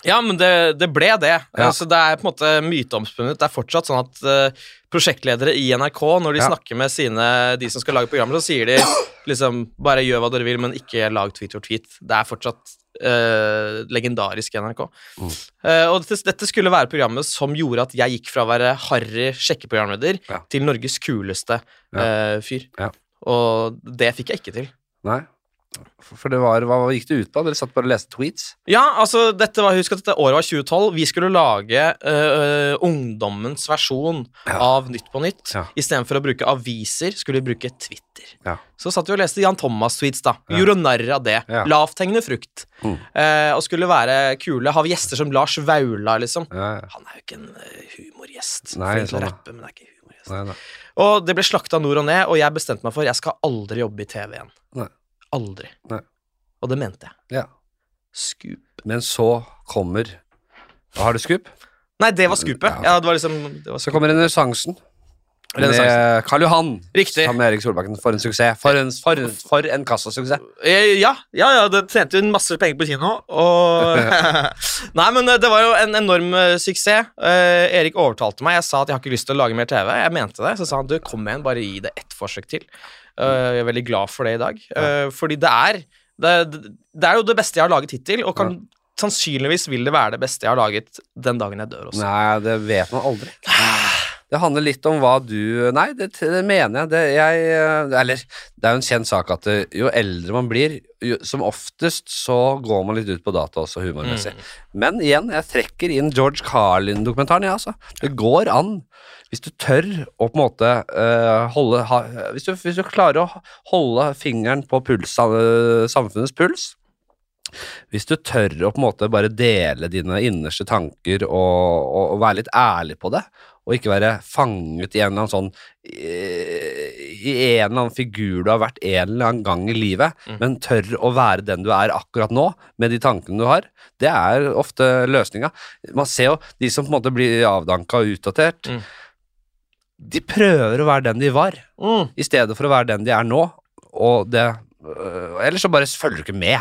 B: Ja, men det, det ble det.
A: Ja.
B: Altså, det er på en måte myteomspunnet. Det er fortsatt sånn at eh, prosjektledere i NRK, når de
A: Ja.
B: snakker med sine, de som skal lage programmer, så sier de liksom bare gjør hva dere vil, men ikke lag tweet for tweet. Det er fortsatt eh, legendarisk i NRK. Eh, og dette, dette skulle være programmet som gjorde at jeg gikk fra å være harry sjekkeprogramleder
A: Ja.
B: til Norges kuleste
A: Ja.
B: eh, fyr.
A: Ja.
B: Og det fikk jeg ikke til.
A: Nei. For for det var, hva gikk det ut på? Dere satt bare og leste tweets?
B: Ja, altså, dette var, husk at dette året var 2012. Vi skulle lage øh, ungdommens versjon av Nytt på Nytt.
A: Ja.
B: Istedenfor å bruke aviser, skulle vi bruke Twitter.
A: Ja.
B: Så satt vi og leste Jan Thomas-tweets, da. Gjorde narr av det.
A: Ja. Mm.
B: Lavthengende frukt. Eh, og skulle være kule. Har vi gjester som Lars Vaula, liksom?
A: Ja, ja.
B: Han er jo ikke en øh, humorgjest.
A: Nei,
B: Flink til å
A: sånn, ja.
B: rappe, men er ikke humorgjest.
A: Nei, nei.
B: Og det ble slakta nord og ned, og jeg bestemte meg for jeg skal aldri jobbe i TV igjen.
A: Nei.
B: Aldri.
A: Nei.
B: Og det mente jeg.
A: Ja.
B: Scoop.
A: Men så kommer Har du skup?
B: Nei, det var skupet.
A: Ja, ok.
B: Ja, det var liksom det var
A: Så
B: skup.
A: kommer renessansen.
B: Renessansen.
A: Med Karl Johan.
B: Riktig.
A: Sammen med Erik Solbakken. For en suksess. For en, for en, for en kassasuksess.
B: Eh, Ja, ja, ja, det tjente hun masse penger på kino, og Nei, men eh, det var jo en enorm eh, suksess. Eh, Erik overtalte meg. Jeg sa at jeg har ikke lyst til å lage mer TV. Jeg mente det. Så sa han du, kom igjen, bare gi det ett forsøk til. Eh, jeg er veldig glad for det i dag. Eh, fordi det er det, det er jo det beste jeg har laget hittil, og kan, sannsynligvis vil det være det beste jeg har laget den dagen jeg dør også.
A: Nei, det vet man aldri. Det handler litt om hva du Nei, det, det mener jeg. Det, jeg eh, Eller det er jo en kjent sak at eh, jo eldre man blir, jo, som oftest så går man litt ut på data også humormessig. Men igjen, jeg trekker inn George Carlin-dokumentaren, jeg, altså. Det går an. Hvis du tør å på en måte eh, holde ha, hvis, du, hvis du klarer å holde fingeren på puls, eh, samfunnets puls, hvis du tør å på en måte bare dele dine innerste tanker og, og, og være litt ærlig på det, og ikke være fanget i en eller annen sånn eh, I en eller annen figur du har vært en eller annen gang i livet, men tør å være den du er akkurat nå, med de tankene du har, det er ofte løsninga. Man ser jo de som på en måte blir avdanka og utdatert.
B: Mm.
A: De prøver å være den de var,
B: Mm.
A: i stedet for å være den de er nå. Og det øh, Ellers så bare følger du ikke med.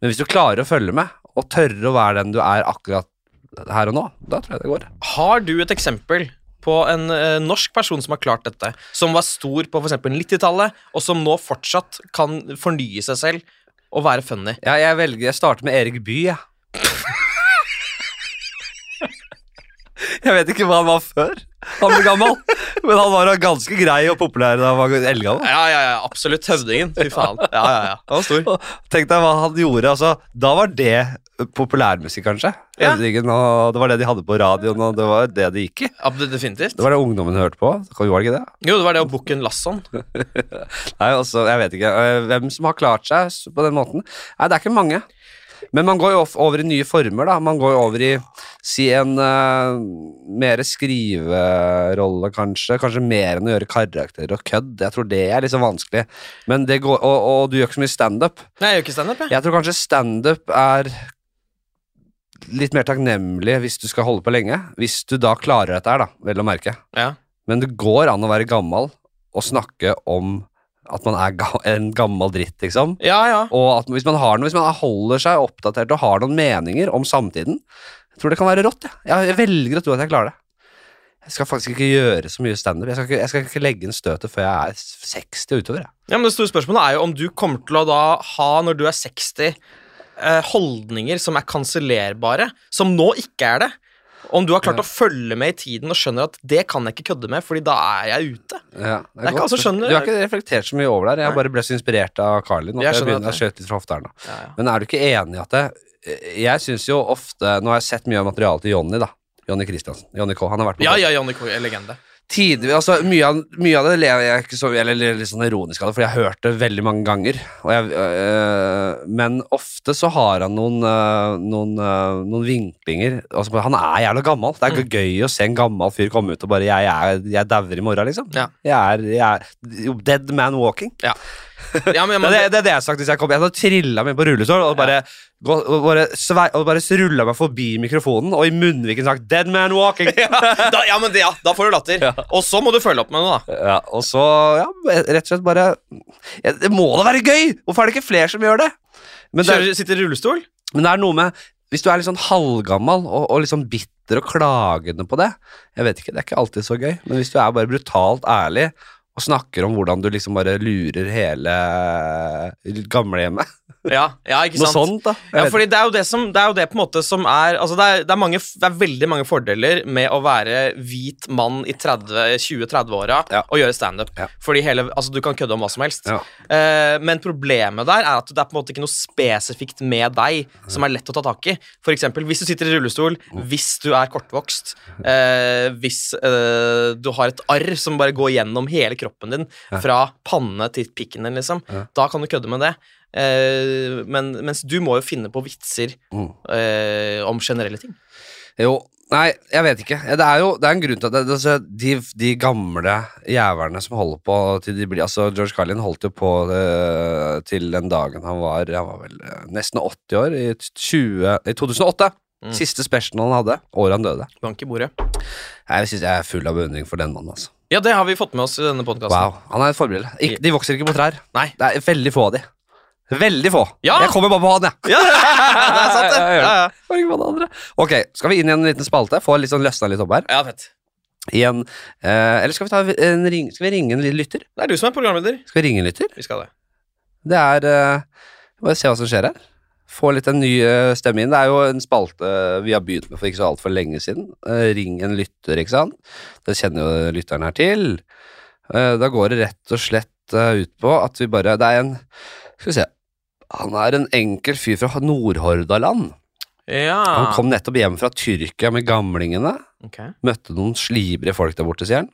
A: Men hvis du klarer å følge med, og tørre å være den du er akkurat her og nå, da tror jeg det går.
B: Har du et eksempel på en eh, norsk person som har klart dette, som var stor på f.eks. 90-tallet, og som nå fortsatt kan fornye seg selv og være funny?
A: Ja, jeg velger Jeg starter med Erik Bye, jeg. [laughs] Jeg vet ikke hva han var før han ble gammel, men han var ganske grei og populær da han var eldgammel.
B: Ja, ja, ja, absolutt. Høvdingen. Fy [laughs] faen. Ja, ja, ja. Han var stor.
A: Og Tenk deg hva han gjorde. Altså, da var det populærmusikk, kanskje.
B: Ja.
A: Høvdingen, og det var det de hadde på radioen, og det var det de gikk i.
B: Ja, det- definitivt.
A: Det var det ungdommen hørte på. Kan- Var det ikke det?
B: Jo, det var det og Bukken Lasson.
A: Nei, altså, jeg vet ikke øh, hvem som har klart seg s- på den måten. Nei, det er ikke mange. Men man går jo of- over i nye former, da. Man går jo over i si en øh, mer skriverolle, kanskje. Kanskje mer enn å gjøre karakterer og kødd. Jeg tror det er liksom vanskelig. Men det går, og, og du gjør ikke så mye standup.
B: Nei, jeg gjør ikke standup, jeg.
A: Jeg tror kanskje standup er litt mer takknemlig hvis du skal holde på lenge. Hvis du da klarer dette her, da, vel å merke.
B: Ja.
A: Men det går an å være gammel og snakke om at man er ga en gammel dritt, liksom.
B: Ja, ja.
A: Og at hvis man, har noe, hvis man holder seg oppdatert og har noen meninger om samtiden, jeg tror det kan være rått. Jeg, jeg, jeg velger å tro at jeg klarer det. Jeg skal faktisk ikke gjøre så mye standup. Jeg, skal ikke- jeg skal ikke legge inn støtet før jeg er 60 og utover. Jeg.
B: ja, men Det store spørsmålet er jo om du kommer til å da ha, når du er 60, eh, holdninger som er kansellerbare, som nå ikke er det. Om du har klart å følge med i tiden og skjønner at det kan jeg ikke kødde med, fordi da er jeg ute.
A: Ja, det
B: er ikke
A: godt.
B: altså skjønner-
A: Du har ikke reflektert så mye over det her. Jeg bare ble så inspirert av Carlin.
B: Jeg
A: at Jeg
B: skjønner
A: begynner å
B: at
A: skjøte litt fra hofta her nå.
B: Ja, ja.
A: Men er du ikke enig i at det, Jeg syns jo ofte Nå har jeg sett mye av materialet til Jonny, da. Jonny Christiansen. Jonny K. Han har vært på
B: Ja, ja, Johnny Coy, legende.
A: tider, altså, mye, av, mye av det lever jeg ikke så Eller eller litt sånn ironisk av det, for jeg har hørt det veldig mange ganger. Og jeg, øh, men ofte så har han noen, øh, noen, øh, noen vinklinger. Altså, han er jævla gammel. Det er ikke gøy å se en gammel fyr komme ut og bare 'Jeg, er- jeg dauer i morgen', liksom.
B: Ja.
A: Jeg er, jeg er jo dead man walking.
B: Ja,
A: [laughs]
B: men,
A: Det,
B: men,
A: er det, det er det jeg har sagt hvis jeg kom. Jeg hadde trilla meg inn på rullestol og bare, gå- og bare, svei- og bare rulla meg forbi mikrofonen og i munnviken sagt 'Dead man walking'.
B: da, ja, men det, ja, da får du latter. Og så må du følge opp med noe, da.
A: Ja, og så, ja, rett og slett bare ja, Det må da være gøy! Hvorfor er det ikke flere som gjør det? Men det,
B: Kjører,
A: er,
B: sitter i rullestol?
A: men det er noe med Hvis du er litt sånn halvgammal og, og litt sånn bitter og klagende på det Jeg vet ikke, det er ikke alltid så gøy, men hvis du er bare brutalt ærlig og snakker om hvordan du liksom bare lurer hele gamlehjemmet
B: Ja, ja ikke
A: Noe
B: sant?
A: sånt, da. Jeg
B: Ja,
A: vet
B: fordi det er jo det som Det er jo det på en måte som er Altså det er, det er, mange, det er veldig mange fordeler med å være hvit mann i 30 20-30-åra
A: Ja.
B: og gjøre standup.
A: Ja.
B: Fordi hele Altså, du kan kødde om hva som helst.
A: Ja.
B: Eh, men problemet der er at det er på en måte ikke noe spesifikt med deg som er lett å ta tak i. For eksempel, hvis du sitter i rullestol,
A: Mm.
B: hvis du er kortvokst, eh, hvis eh, du har et arr som bare går gjennom hele kroppen din, fra panne til pikken din, liksom, da kan du kødde med det. Eh, men, mens du må jo finne på vitser
A: Mm.
B: eh, om generelle ting.
A: Jo, nei, jeg vet ikke. Det er jo det er en grunn til at det, det, altså, de, de gamle jævlene som holder på til de blir Altså, George Carlin holdt jo på eh, til den dagen han var Han var vel eh, nesten 80 år, i, 20, i 2008.
B: Mm.
A: Siste specialen han hadde, året han døde.
B: Bank i bordet.
A: Jeg syns jeg er full av beundring for den mannen, altså.
B: Ja, det har vi fått med oss i denne podkasten.
A: Wow, Han er et forbilde. Ik- De vokser ikke på trær.
B: Nei.
A: Det er veldig få av de. Veldig få.
B: Ja!
A: Jeg kommer bare på han, jeg.
B: [laughs]
A: [laughs]
B: Ja, det er sant, det.
A: Ja, jeg gjør det.
B: Ja, ja.
A: Kommer ikke på den andre. Ok, skal vi inn i en liten spalte? Få litt sånn løsna litt opp her.
B: ja, fett.
A: igjen. Eh, eller skal vi, ta en ring, skal vi ringe en liten lytter?
B: Det er du som er programleder.
A: Skal vi ringe en lytter?
B: Vi skal det.
A: Det er eh, Bare se hva som skjer her. Få litt en ny eh, stemme inn. Det er jo en spalte vi har begynt med for ikke så altfor lenge siden. Eh, ring en lytter, ikke sant? Det kjenner jo lytteren her til. Eh, da går det rett og slett eh, ut på at vi bare Det er en Skal vi se. Han er en enkel fyr fra Nordhordaland.
B: Ja.
A: Han kom nettopp hjem fra Tyrkia med gamlingene.
B: Ok.
A: Møtte noen slibrige folk der borte, sier han.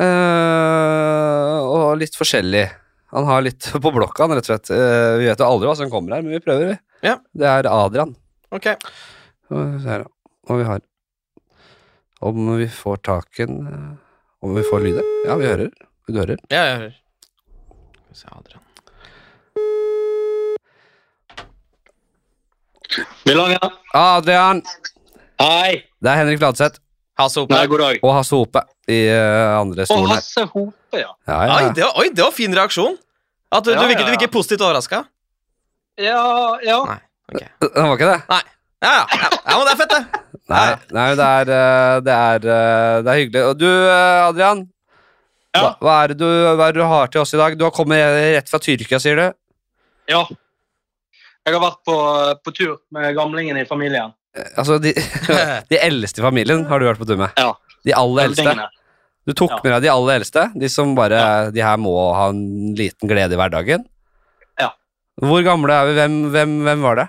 A: Eh, og litt forskjellig. Han har litt [laughs] på blokka, han, rett og slett. Eh, vi vet jo aldri hva som kommer her, men vi prøver, vi.
B: Ja.
A: Det er Adrian.
B: Ok.
A: Og så her, Og vi har Om vi får taken eh, Om vi får lyder. Ja, vi hører. Du hører.
B: Ja, jeg hører. Skal vi se, Adrian.
D: Milanga.
A: Adrian!
D: Hei.
A: Det er Henrik Fladseth
B: Hasse Hope.
D: Nei, god dag.
A: og Hasse Hope i eh, andre
D: Å,
A: stolen her.
D: Hasse Hope, ja.
A: Ja, ja,
B: Oi,
A: ja.
B: det var, oi, det var fin reaksjon. At du,
D: Ja,
B: du, virket,
D: ja,
B: du
D: ja.
B: virket positivt overraska.
D: Ja, ja.
B: Nei. ok.
A: [laughs] Han var ikke det?
B: Ja, ja, ja. ja, men det er fett,
A: [laughs]
B: det.
A: Nei, nei men det er, eh, det, er, eh, det er hyggelig. Og du, eh, Adrian, hva,
D: Ja.
A: hva, er det du, hva er det du har til oss i dag? Du har kommet rett fra Tyrkia, sier du?
D: ja. Jeg har vært på, på tur med gamlingen i familien.
A: Eh, Altså, de, de eldste i familien har du vært på tur med.
D: Ja.
A: De aller eldste.
D: Gamlingene.
A: Du tok
D: Ja.
A: med deg de aller eldste. De som bare De her må ha en liten glede i hverdagen.
D: Ja.
A: Hvor gamle er vi? Hvem, hvem, hvem var det?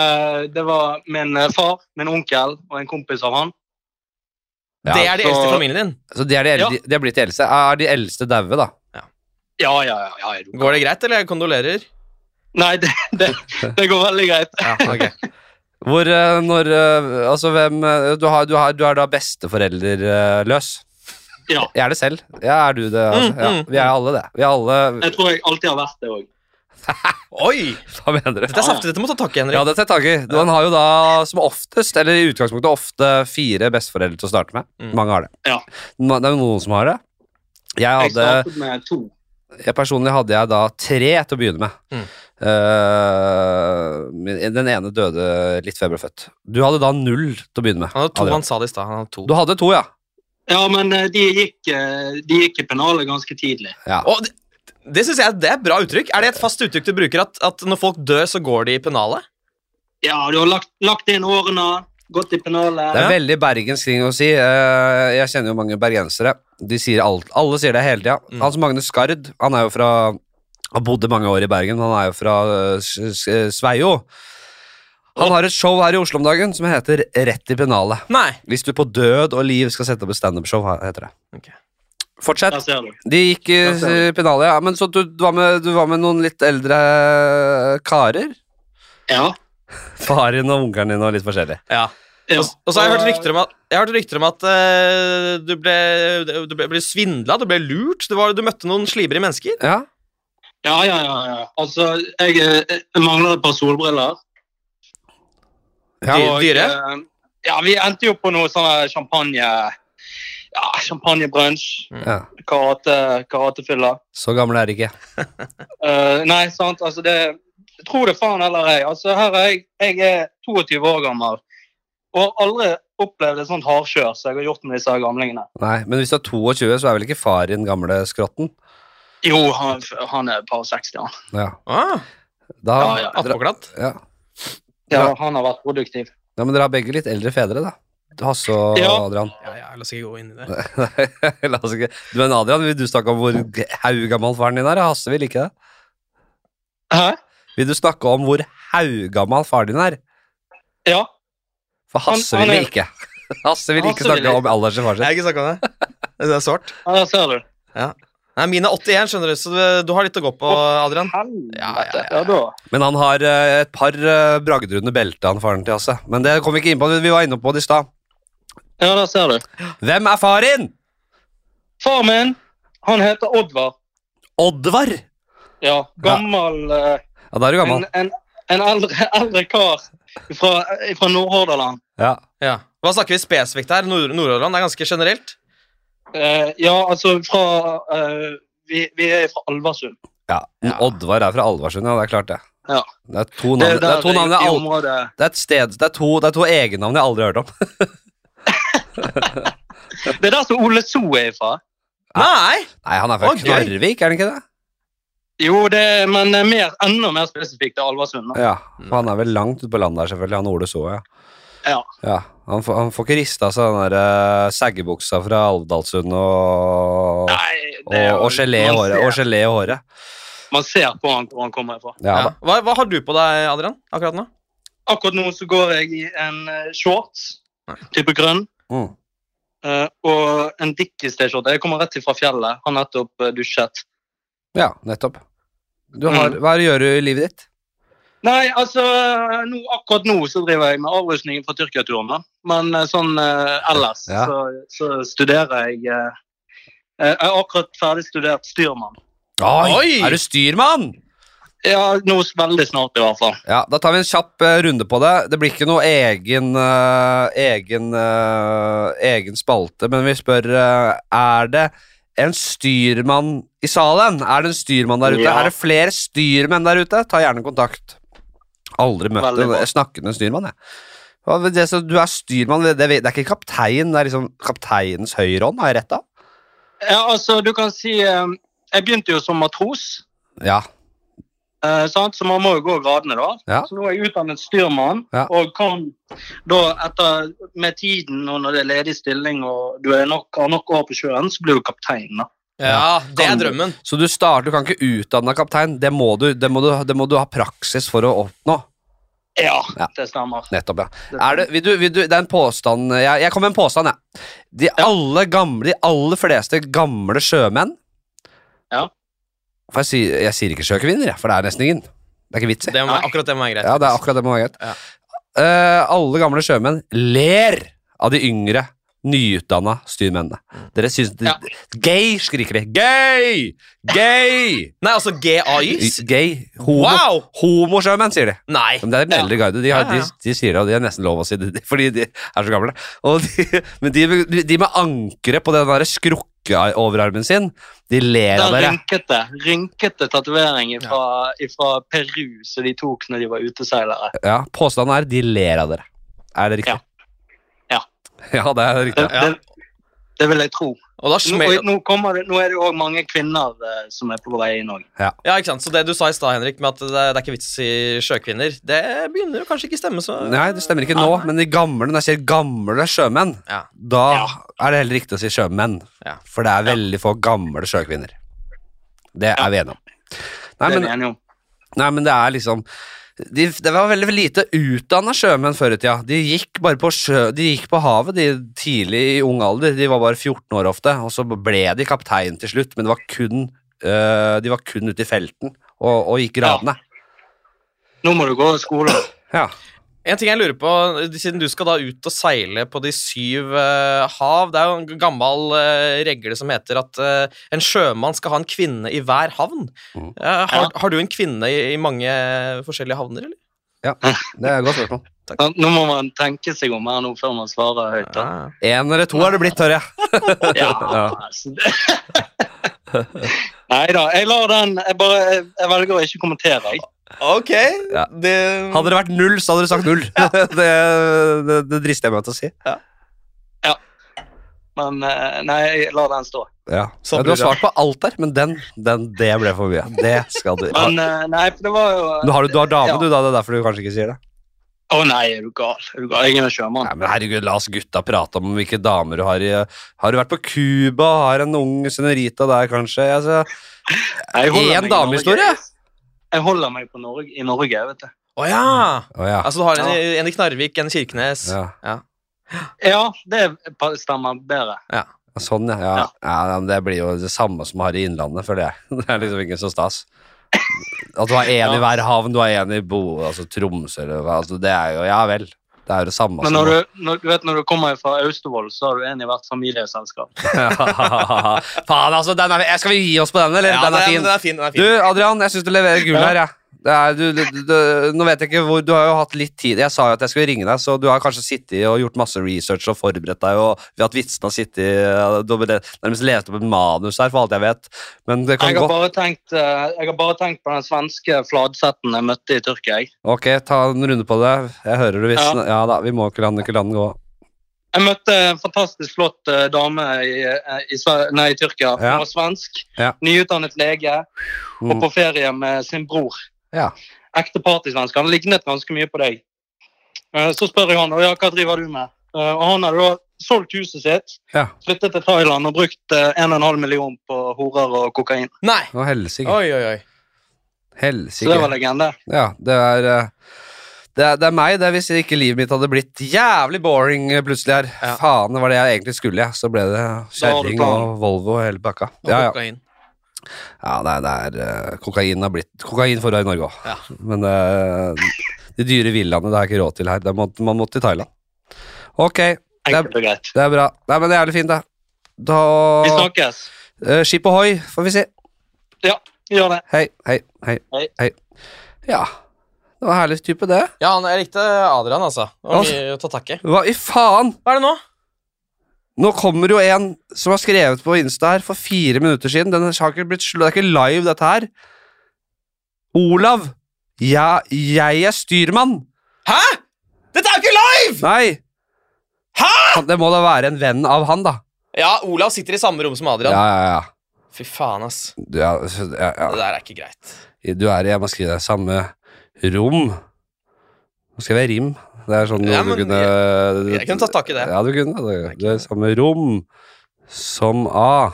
D: Eh, det var min eh, far, min onkel og en kompis av han.
A: Ja,
B: Det er de eldste i
D: så-
B: familien din.
A: Så de er, de,
D: Ja.
A: eldre, de, de er blitt de eldste. Er de eldste daue, da?
D: Ja, ja, ja. ja jeg-
B: Går det greit, eller? Kondolerer.
D: Nei, det, det, det går veldig greit.
B: Ja,
A: [laughs]
B: ok.
A: Hvor, eh, når eh, Altså, hvem eh, Du, har, du, har, du er da besteforeldreløs?
D: Ja.
A: Jeg er det selv. Ja, er du det? Altså?
B: Mm,
A: Ja,
B: mm,
A: vi er alle det. Vi er alle [laughs]
D: Jeg tror jeg alltid har vært det òg.
B: Oi!
A: Hva mener du?
B: Dette er saftig. Dette må ta tak i, Henrik.
A: Ja, dette er taket. Man har jo da som oftest, eller i utgangspunktet ofte, fire besteforeldre til å starte med.
B: Mm.
A: Mange har det.
D: Ja.
A: Ma- Det er jo noen som har det. Jeg
D: Jeg
A: hadde
D: startet med to.
A: jeg Personlig hadde jeg da tre til å begynne med.
B: Mm.
A: Eh, min- den ene døde litt før jeg ble født. Du hadde da null til å begynne med.
B: Han hadde to,
A: Adrian.
B: han sa det i stad. Han hadde to.
A: Du hadde to, ja.
D: Ja, men eh, de gikk, eh, de gikk i pennalet ganske tidlig.
B: Å, det det synes jeg det er et bra uttrykk. Er det et fast uttrykk du bruker? At, at når folk dør, så går de i pennalet?
D: Ja, du har lagt, lagt inn årene, gått i pennalet.
A: Det er
B: Ja.
A: veldig bergensk ting å si. Eh, Jeg kjenner jo mange bergensere. De sier alt, alle sier det hele tida.
B: Mm.
A: Hans Magne Skard, han er jo fra Han bodde mange år i Bergen, han er jo fra eh, S- S- Sveio. eh, Han har et show her i Oslo om dagen som heter Rett i pennalet.
B: Nei.
A: Hvis du på død og liv skal sette opp et standup-show, heter det.
B: Ok.
A: Fortsett.
D: Der ser du.
A: De gikk i
D: Ja, stemmer.
A: i pennalet, ja. Men så du, du, var med, du var med noen litt eldre eh, karer?
D: Ja.
A: Faren og onkelen din og litt forskjellig.
B: Ja.
D: ja. Eh,
B: Og, og så har jeg hørt rykter om at, jeg har hørt rykter om at eh, du ble, du ble, ble svindla, du ble lurt. Du, var, du møtte noen slibrige mennesker.
A: Ja,
D: Ja, ja, ja. ja. Altså, jeg, eh, jeg mangler et par solbriller.
A: Ja,
B: Dy- dyre.
D: eh, Ja, vi endte jo på noe sånn champagne... Ja, champagnebrunsj.
A: ja.
D: Karate, karatefylla.
A: Så gammel er de ikke.
D: Eh, nei, sant, altså det Tro det faen eller ei. Altså, her er jeg, jeg er 22 år gammel og har aldri opplevd et sånt hardkjør som jeg har gjort med disse her gamlingene.
A: Nei, Men hvis du er 22, så er vel ikke far i den gamle skrotten?
D: Jo, han, han er et par 60, han.
A: Ja.
B: Ah,
A: Da,
D: Ja, ja.
A: Dere,
B: Attpåklatt.
A: ja.
D: Ja,
A: Ja.
D: han har vært produktiv.
A: ja, men dere har begge litt eldre fedre, da. Hasse og
D: Ja.
A: Adrian. [laughs]
B: Ja, ja, la oss ikke gå inn i det.
A: Nei, La oss ikke Du, Men Adrian, vil du snakke om hvor g- haugammal faren din er? Hasse vil ikke det.
D: Hæ?
A: Vil du snakke om hvor haugammal faren din er?
D: Ja.
A: For Hasse
D: Han- han
A: vil
D: er-
A: det ikke. [laughs] Hasse vil ikke
D: Hasse vil
A: snakke
D: ikke.
A: om alderen til faren sin.
B: Jeg har ikke snakka om det. Det er sårt.
D: ja, der ser du.
B: Nei, Mine er 81, skjønner du, så du- du har litt å gå på, Adrian.
D: Helvete.
B: Ja,
D: Ja,
B: ja, ja, ja.
D: da.
A: Men han har eh, et par eh, bragder under beltet, han faren til Hasse. Men det kom vi ikke inn på, vi var inne på det i stad.
D: Ja, der ser du.
A: Hvem er far din?
D: Far min, han heter Oddvar.
A: Oddvar!
D: Ja, gammel eh,
A: Ja, da er du gammel.
D: En, en, en [laughs] eldre, eldre kar fra, fra Nordhordaland.
A: Ja.
B: Ja. Hva snakker vi spesifikt her? Nord- Nordhordland det er ganske generelt.
D: Eh, ja, altså fra eh, vi, vi er fra Alversund.
A: ja. Oddvar er fra Alversund, ja, det er klart det.
D: Ja.
A: Det er to navn, det er to navn
D: i,
A: jeg
D: i
A: aldri
D: området.
A: Det er et sted Det er to, det er to egennavn jeg aldri har hørt om.
D: Det er der som Ole So er fra.
B: Nei!
A: [laughs] Nei, han er fra
B: Å, gøy.
A: Knarvik, er han ikke det?
D: Jo, det, men eh, mer, enda mer spesifikt er Alversund. da.
A: Ja, for han er vel langt ute på landet der, selvfølgelig. Han Ole så, ja.
D: Ja.
A: ja han, får, han får ikke rista seg den der eh, saggebuksa fra Alvdalsund og,
D: Nei,
A: og,
D: det er jo-
A: og gelé i
D: man
A: håret.
D: ser-
A: Og gelé i håret.
D: Man ser på han hvor han kommer fra.
A: Ja,
B: Ja.
A: da.
B: Hva, hva har du på deg, Adrian, akkurat nå?
D: Akkurat nå så går jeg i en eh, shorts, type grønn,
A: Mm.
D: eh, og en Dickies-T-skjorte. Jeg kommer rett fra fjellet. Han har nettopp eh, dusjet.
A: ja nettopp. Du har,
D: Mm.
A: hva er det du gjør i livet ditt?
D: Nei, altså nå, Akkurat nå så driver jeg med avrustningen fra Tyrkia-turen. da. Men eh, sånn eh, ellers
A: Ja.
D: så, så studerer jeg eh, Jeg har akkurat ferdig studert styrmann.
B: Oi!
A: Er du styrmann?
D: Ja, nå s- veldig snart i hvert fall.
A: Ja, Da tar vi en kjapp eh, runde på det. Det blir ikke noe egen eh, egen, eh, egen spalte, men vi spør eh, Er det en styrmann i salen? Er det en styrmann der ute?
D: Ja.
A: Er det flere styrmenn der ute? Ta gjerne kontakt. Aldri møtt
D: Veldig
A: en
D: bra.
A: snakkende styrmann, jeg. Hva vil Det, så du er styrmann, det, det, det er ikke kaptein, det er liksom kapteinens høyre hånd, har jeg rett da?
D: Ja, altså, du kan si eh, Jeg begynte jo som matros,
A: Ja.
D: eh, sant? så man må jo gå gradene, da.
A: Ja.
D: Så nå er jeg utdannet styrmann,
A: Ja.
D: og kan da etter Med tiden og når det er ledig stilling og du er nok, har nok år på sjøen, så blir du kaptein, da.
B: Ja, det er drømmen.
A: Så du starter, du kan ikke utdanne deg kaptein, det må, du, det, må du, det må du ha praksis for å oppnå.
D: Ja,
A: Ja.
D: det stemmer.
A: Nettopp, ja. Er det, vil du, vil du, det er en påstand eh, Jeg, jeg kommer med en påstand, jeg. De, alle gamle, de aller fleste gamle sjømenn
D: Ja.
A: For jeg, sier- jeg sier ikke sjøkvinner, jeg, for det er nesten ingen. Det er ikke vits i.
B: Det må, akkurat det må være greit.
A: Ja, det er akkurat det må være greit.
B: Ja.
A: Eh, alle gamle sjømenn ler av de yngre, nyutdanna styrmennene. Dere syns de,
D: Ja.
A: Gay, skriker de. Gay! Gay!
B: Nei, altså GAY.
A: Gay. Homo.
B: Wow!
A: Homosjømenn, sier de.
B: Nei.
A: Men det er den eldre guide. De, har,
B: Ja, ja, ja.
A: De, de sier det, og de er nesten lov å si det, [laughs] fordi de er så gamle. Og de, men de, de med ankeret på den der skrukkeoverarmen sin, de ler av
D: Den
A: dere.
D: rynkete, rynkete tatovering fra Peru som de tok når de var uteseilere.
A: Ja, Påstanden er de ler av dere. Er det riktig?
D: Ja.
A: Ja, [laughs] det er
D: Det,
A: riktig.
B: Ja.
D: det, det vil jeg tro.
B: Og da
D: Nå, og
B: smeller
D: nå, kommer det, nå er det jo òg mange kvinner eh, som er på vei inn òg.
B: Ja, ikke sant? Så det du sa i stad, Henrik, med at det, det er ikke vits i sjøkvinner, det begynner jo kanskje ikke stemme så
A: Nei, det stemmer ikke nå, men de gamle, når jeg sier gamle sjømenn,
B: Ja.
A: da er det heller riktig å si sjømenn.
B: Ja.
A: For det er veldig få gamle sjøkvinner. Det er vi enige om. Nei,
D: Det er
A: men
D: vi enige om.
A: Nei, men det er liksom de, Det var veldig lite utdanna sjømenn før i tida. De gikk bare på sjø De gikk på havet de tidlig i ung alder. De var bare 14 år ofte, og så ble de kaptein til slutt, men det var kun øh, de var kun ute i felten og, og gikk
D: Ja.
A: gradene.
D: Nå må du gå i skole.
A: Ja.
B: En ting jeg lurer på, siden du skal da ut og seile på de syv eh, hav Det er jo en gammel eh, regle som heter at eh, en sjømann skal ha en kvinne i hver havn.
A: Mhm.
B: Eh, har,
D: Ja.
B: har du en kvinne i, i mange eh, forskjellige havner, eller?
A: Det er et godt spørsmål.
D: Sant? Nå må man tenke seg om her nå før man svarer høyt. Da.
B: Ja.
A: Én eller to har det blitt, Tørre.
D: Ja,
A: [laughs]
D: altså, det- [laughs] Nei da, jeg lar den Jeg, bare, jeg, jeg velger å ikke kommentere. Jeg.
B: Ok,
A: Ja.
B: det
A: Hadde det vært null, så hadde du
D: [laughs]
A: sagt null. [laughs] det, det, det drister jeg meg til å si.
D: Men eh, nei, jeg lar den stå.
A: Ja.
B: Så
A: Ja, du
D: Sånn
A: har
B: blir det.
A: svart på alt der, men den, den, det ble for mye. Det skal du ha.
D: Men eh, nei, for det var jo
A: Du har, du har dame,
D: Ja.
A: du, da. Det er derfor du kanskje ikke sier det.
D: Å nei, er du gal? Er du gal? Jeg er en sjømann.
A: Nei, men herregud, La oss gutta prate om hvilke damer du har i Har du vært på Cuba? Har en ung senorita der, kanskje? Altså,
D: Jeg holder
A: en
D: meg i Norge.
A: damehistorie?
D: Jeg holder meg på Norge, i Norge, vet du.
B: Å ja!
A: å ja.
B: Altså, du har en, i- en i Knarvik, en i Kirkenes.
A: Mm. ja.
D: Ja, det pa- stemmer bedre.
A: Sånn, ja. ja.
D: Ja.
A: ja men det blir jo det samme som har i Innlandet, føler jeg. [laughs] Det er liksom ikke så stas. At du har én i
D: Ja.
A: hver havn, du har én i Bo, altså Tromsø eller hva. Altså, det er jo Ja vel. Det er jo det samme som
D: Men når du, når, du vet, når du kommer fra Austevoll, så har du en i hvert familieselskap.
A: [laughs] Faen, altså. Den er, skal vi gi oss på den, eller?
B: Ja,
A: den er
B: det-
A: fin.
B: Den er fin, den er fin.
A: Du, Adrian, jeg syns du leverer gull her, jeg. Det er, du, du, du, nå vet jeg ikke hvor, Du har jo hatt litt tid. Jeg sa jo at jeg skulle ringe deg, så du har kanskje sittet og gjort masse research og forberedt deg, og vi har hatt vitsene og sittet ja, du har eh, nærmest lest opp et manus her, for alt jeg vet. Men det kan
D: Jeg har,
A: godt
D: bare tenkt, eh, jeg har bare tenkt på den svenske fladsetten jeg møtte i Tyrkia. Jeg,
A: Ok, ta en runde på det. Jeg hører du hvis Ja,
D: Ja.
A: da, vi må ikke la den ikke la den gå.
D: jeg møtte en fantastisk flott eh, dame i, eh, i, Sve- nei, i Tyrkia.
A: Ja.
D: Hun var svensk,
A: Ja.
D: nyutdannet lege og
A: Mm.
D: på ferie med sin bror.
A: Ja.
D: Ekte partysvensk. Han lignet ganske mye på deg. Eh, Så spør jeg han «Å ja, hva driver du med. Eh, Og han hadde da solgt huset sitt,
A: Ja.
D: flyttet til Thailand og brukt eh, 1,5 million på horer og kokain.
B: Nei!
A: Å, helsike.
B: Oi, oi, oi.
D: Så det
A: Helsike.
D: var legende.
A: Ja, det er eh, det er, det er meg det er hvis ikke livet mitt hadde blitt jævlig boring eh, plutselig her.
B: Ja.
A: Faen, det var det jeg egentlig skulle, jeg. Så ble det
D: Da har du
A: kjerring
D: planen.
A: og Volvo og hele pakka.
B: Og
A: Ja, ja.
B: kokain.
A: ja nei, det er eh, Kokain har blitt Kokain får du i Norge òg.
B: Ja.
A: Men eh, de dyre villaene det har jeg ikke råd til her. Det må, man må til Thailand. Ok, det er,
D: Enkelt og greit.
A: det er bra. Nei, men det er jævlig fint, det. Da
D: Vi snakkes.
A: Eh, Skip ohoi, får vi si.
D: Vi gjør det.
A: Hei, hei, hei,
D: Hei.
A: hei. Ja, det var en herlig type, det.
B: Ja, han- jeg likte Adrian, altså. Det var mye å ta tak i.
A: Hva i faen?
B: Hva er det nå?
A: Nå kommer jo en som har skrevet på Insta her for fire minutter siden. Den har ikke blitt slå, det er ikke live, dette her. Olav, ja, jeg er styrmann.
B: Hæ?! Dette er jo ikke live!
A: Nei. Han- Det må da være en venn av han, da.
B: Ja, Olav sitter i samme rom som
A: Ja,
B: Adrian.
A: ja, ja.
B: Fy faen, ass.
A: Du er, altså, ja,
B: Det der er ikke greit.
A: ja. Du er i, jeg må skrive det, samme rom. Nå skrev jeg rim. Det er sånn
B: Ja,
A: noe du
B: men
A: kunne
B: Jeg kunne tatt tak i det.
A: Ja, du kunne det. Det er samme rom som A.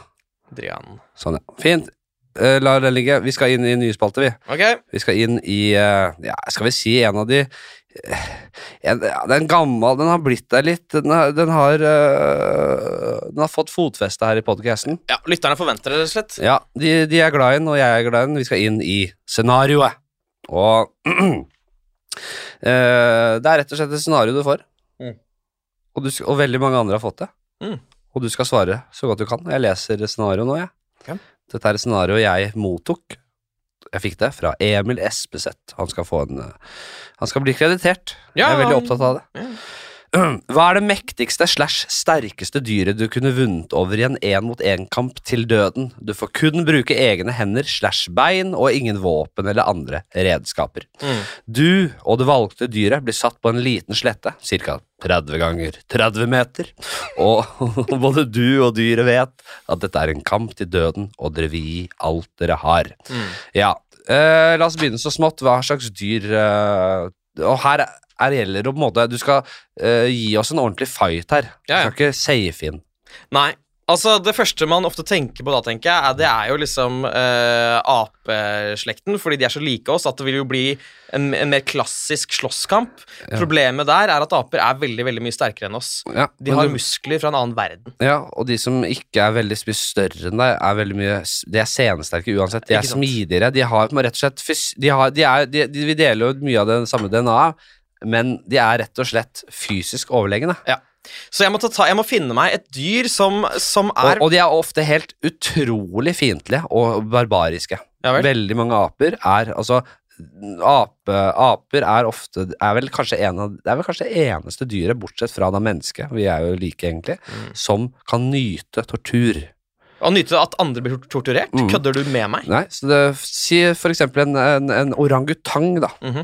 B: Adrian.
A: Sånn, ja. Fint. Eh, La den ligge. Vi skal inn i nye spalter, vi.
B: Ok,
A: Vi skal inn i eh, Ja, skal vi si en av de eh, en, ja, Den gammel, den har blitt der litt. Den har, den har, eh, den har fått fotfeste her i podkasten.
B: ja, Lytterne forventer det, rett og slett.
A: Ja, de, de er glad i den, og jeg er glad i den. Vi skal inn i scenarioet. Og [clears throat] eh, Det er rett og slett et scenario du får.
B: Mm.
A: Og, du, sk- og veldig mange andre har fått det.
B: Mm.
A: Og du skal svare så godt du kan. Jeg leser scenarioet nå, jeg.
B: Ok.
A: Dette er et scenario jeg mottok. Jeg fikk det fra Emil Espeseth. Han skal få en eh, Han skal bli kreditert.
B: Ja,
A: jeg er veldig
B: han-
A: opptatt av det. [clears throat] Hva er det mektigste slash sterkeste dyret du kunne vunnet over i en én-mot-én-kamp til døden? Du får kun bruke egne hender slash bein og ingen våpen eller andre redskaper.
B: Mm.
A: Du og det valgte dyret blir satt på en liten slette, ca. 30 ganger 30 meter, og [laughs] både du og dyret vet at dette er en kamp til døden, og dere vil gi alt dere har.
B: Mm.
A: Ja, eh, la oss begynne så smått. Hva slags dyr eh, Og her er det gjelder det å på en måte Du skal eh, gi oss en ordentlig fight her.
B: Ja, ja.
A: Du skal ikke safe inn.
B: Nei. Altså, Det første man ofte tenker på da, tenker jeg, er, det er jo liksom eh, apeslekten, fordi de er så like oss at det vil jo bli en, en mer klassisk slåsskamp. Problemet der er at aper er veldig veldig mye sterkere enn oss.
A: Ja,
B: De
A: men
B: har
A: du-
B: muskler fra en annen verden.
A: ja, og de som ikke er veldig mye større enn deg, er veldig mye De er senesterke uansett. De er
B: Ikke sant.
A: smidigere. De har på en måte rett og slett fys- de har, de er, de, de, Vi deler jo mye av det samme DNA-et, men de er rett og slett fysisk overlegne.
B: Så jeg må, ta, ta- jeg må finne meg et dyr som, som er
A: Og, og de er ofte helt utrolig fiendtlige og barbariske.
B: Ja vel.
A: Veldig mange aper er altså Ape, aper er ofte er vel kanskje en av, Det er vel kanskje det eneste dyret, bortsett fra da mennesket, vi er jo like egentlig,
B: Mm.
A: som kan nyte tortur.
B: Å nyte at andre blir torturert?
A: Mm.
B: Kødder du med meg?
A: Nei, så det, Si for eksempel en, en, en orangutang, da.
B: Mhm.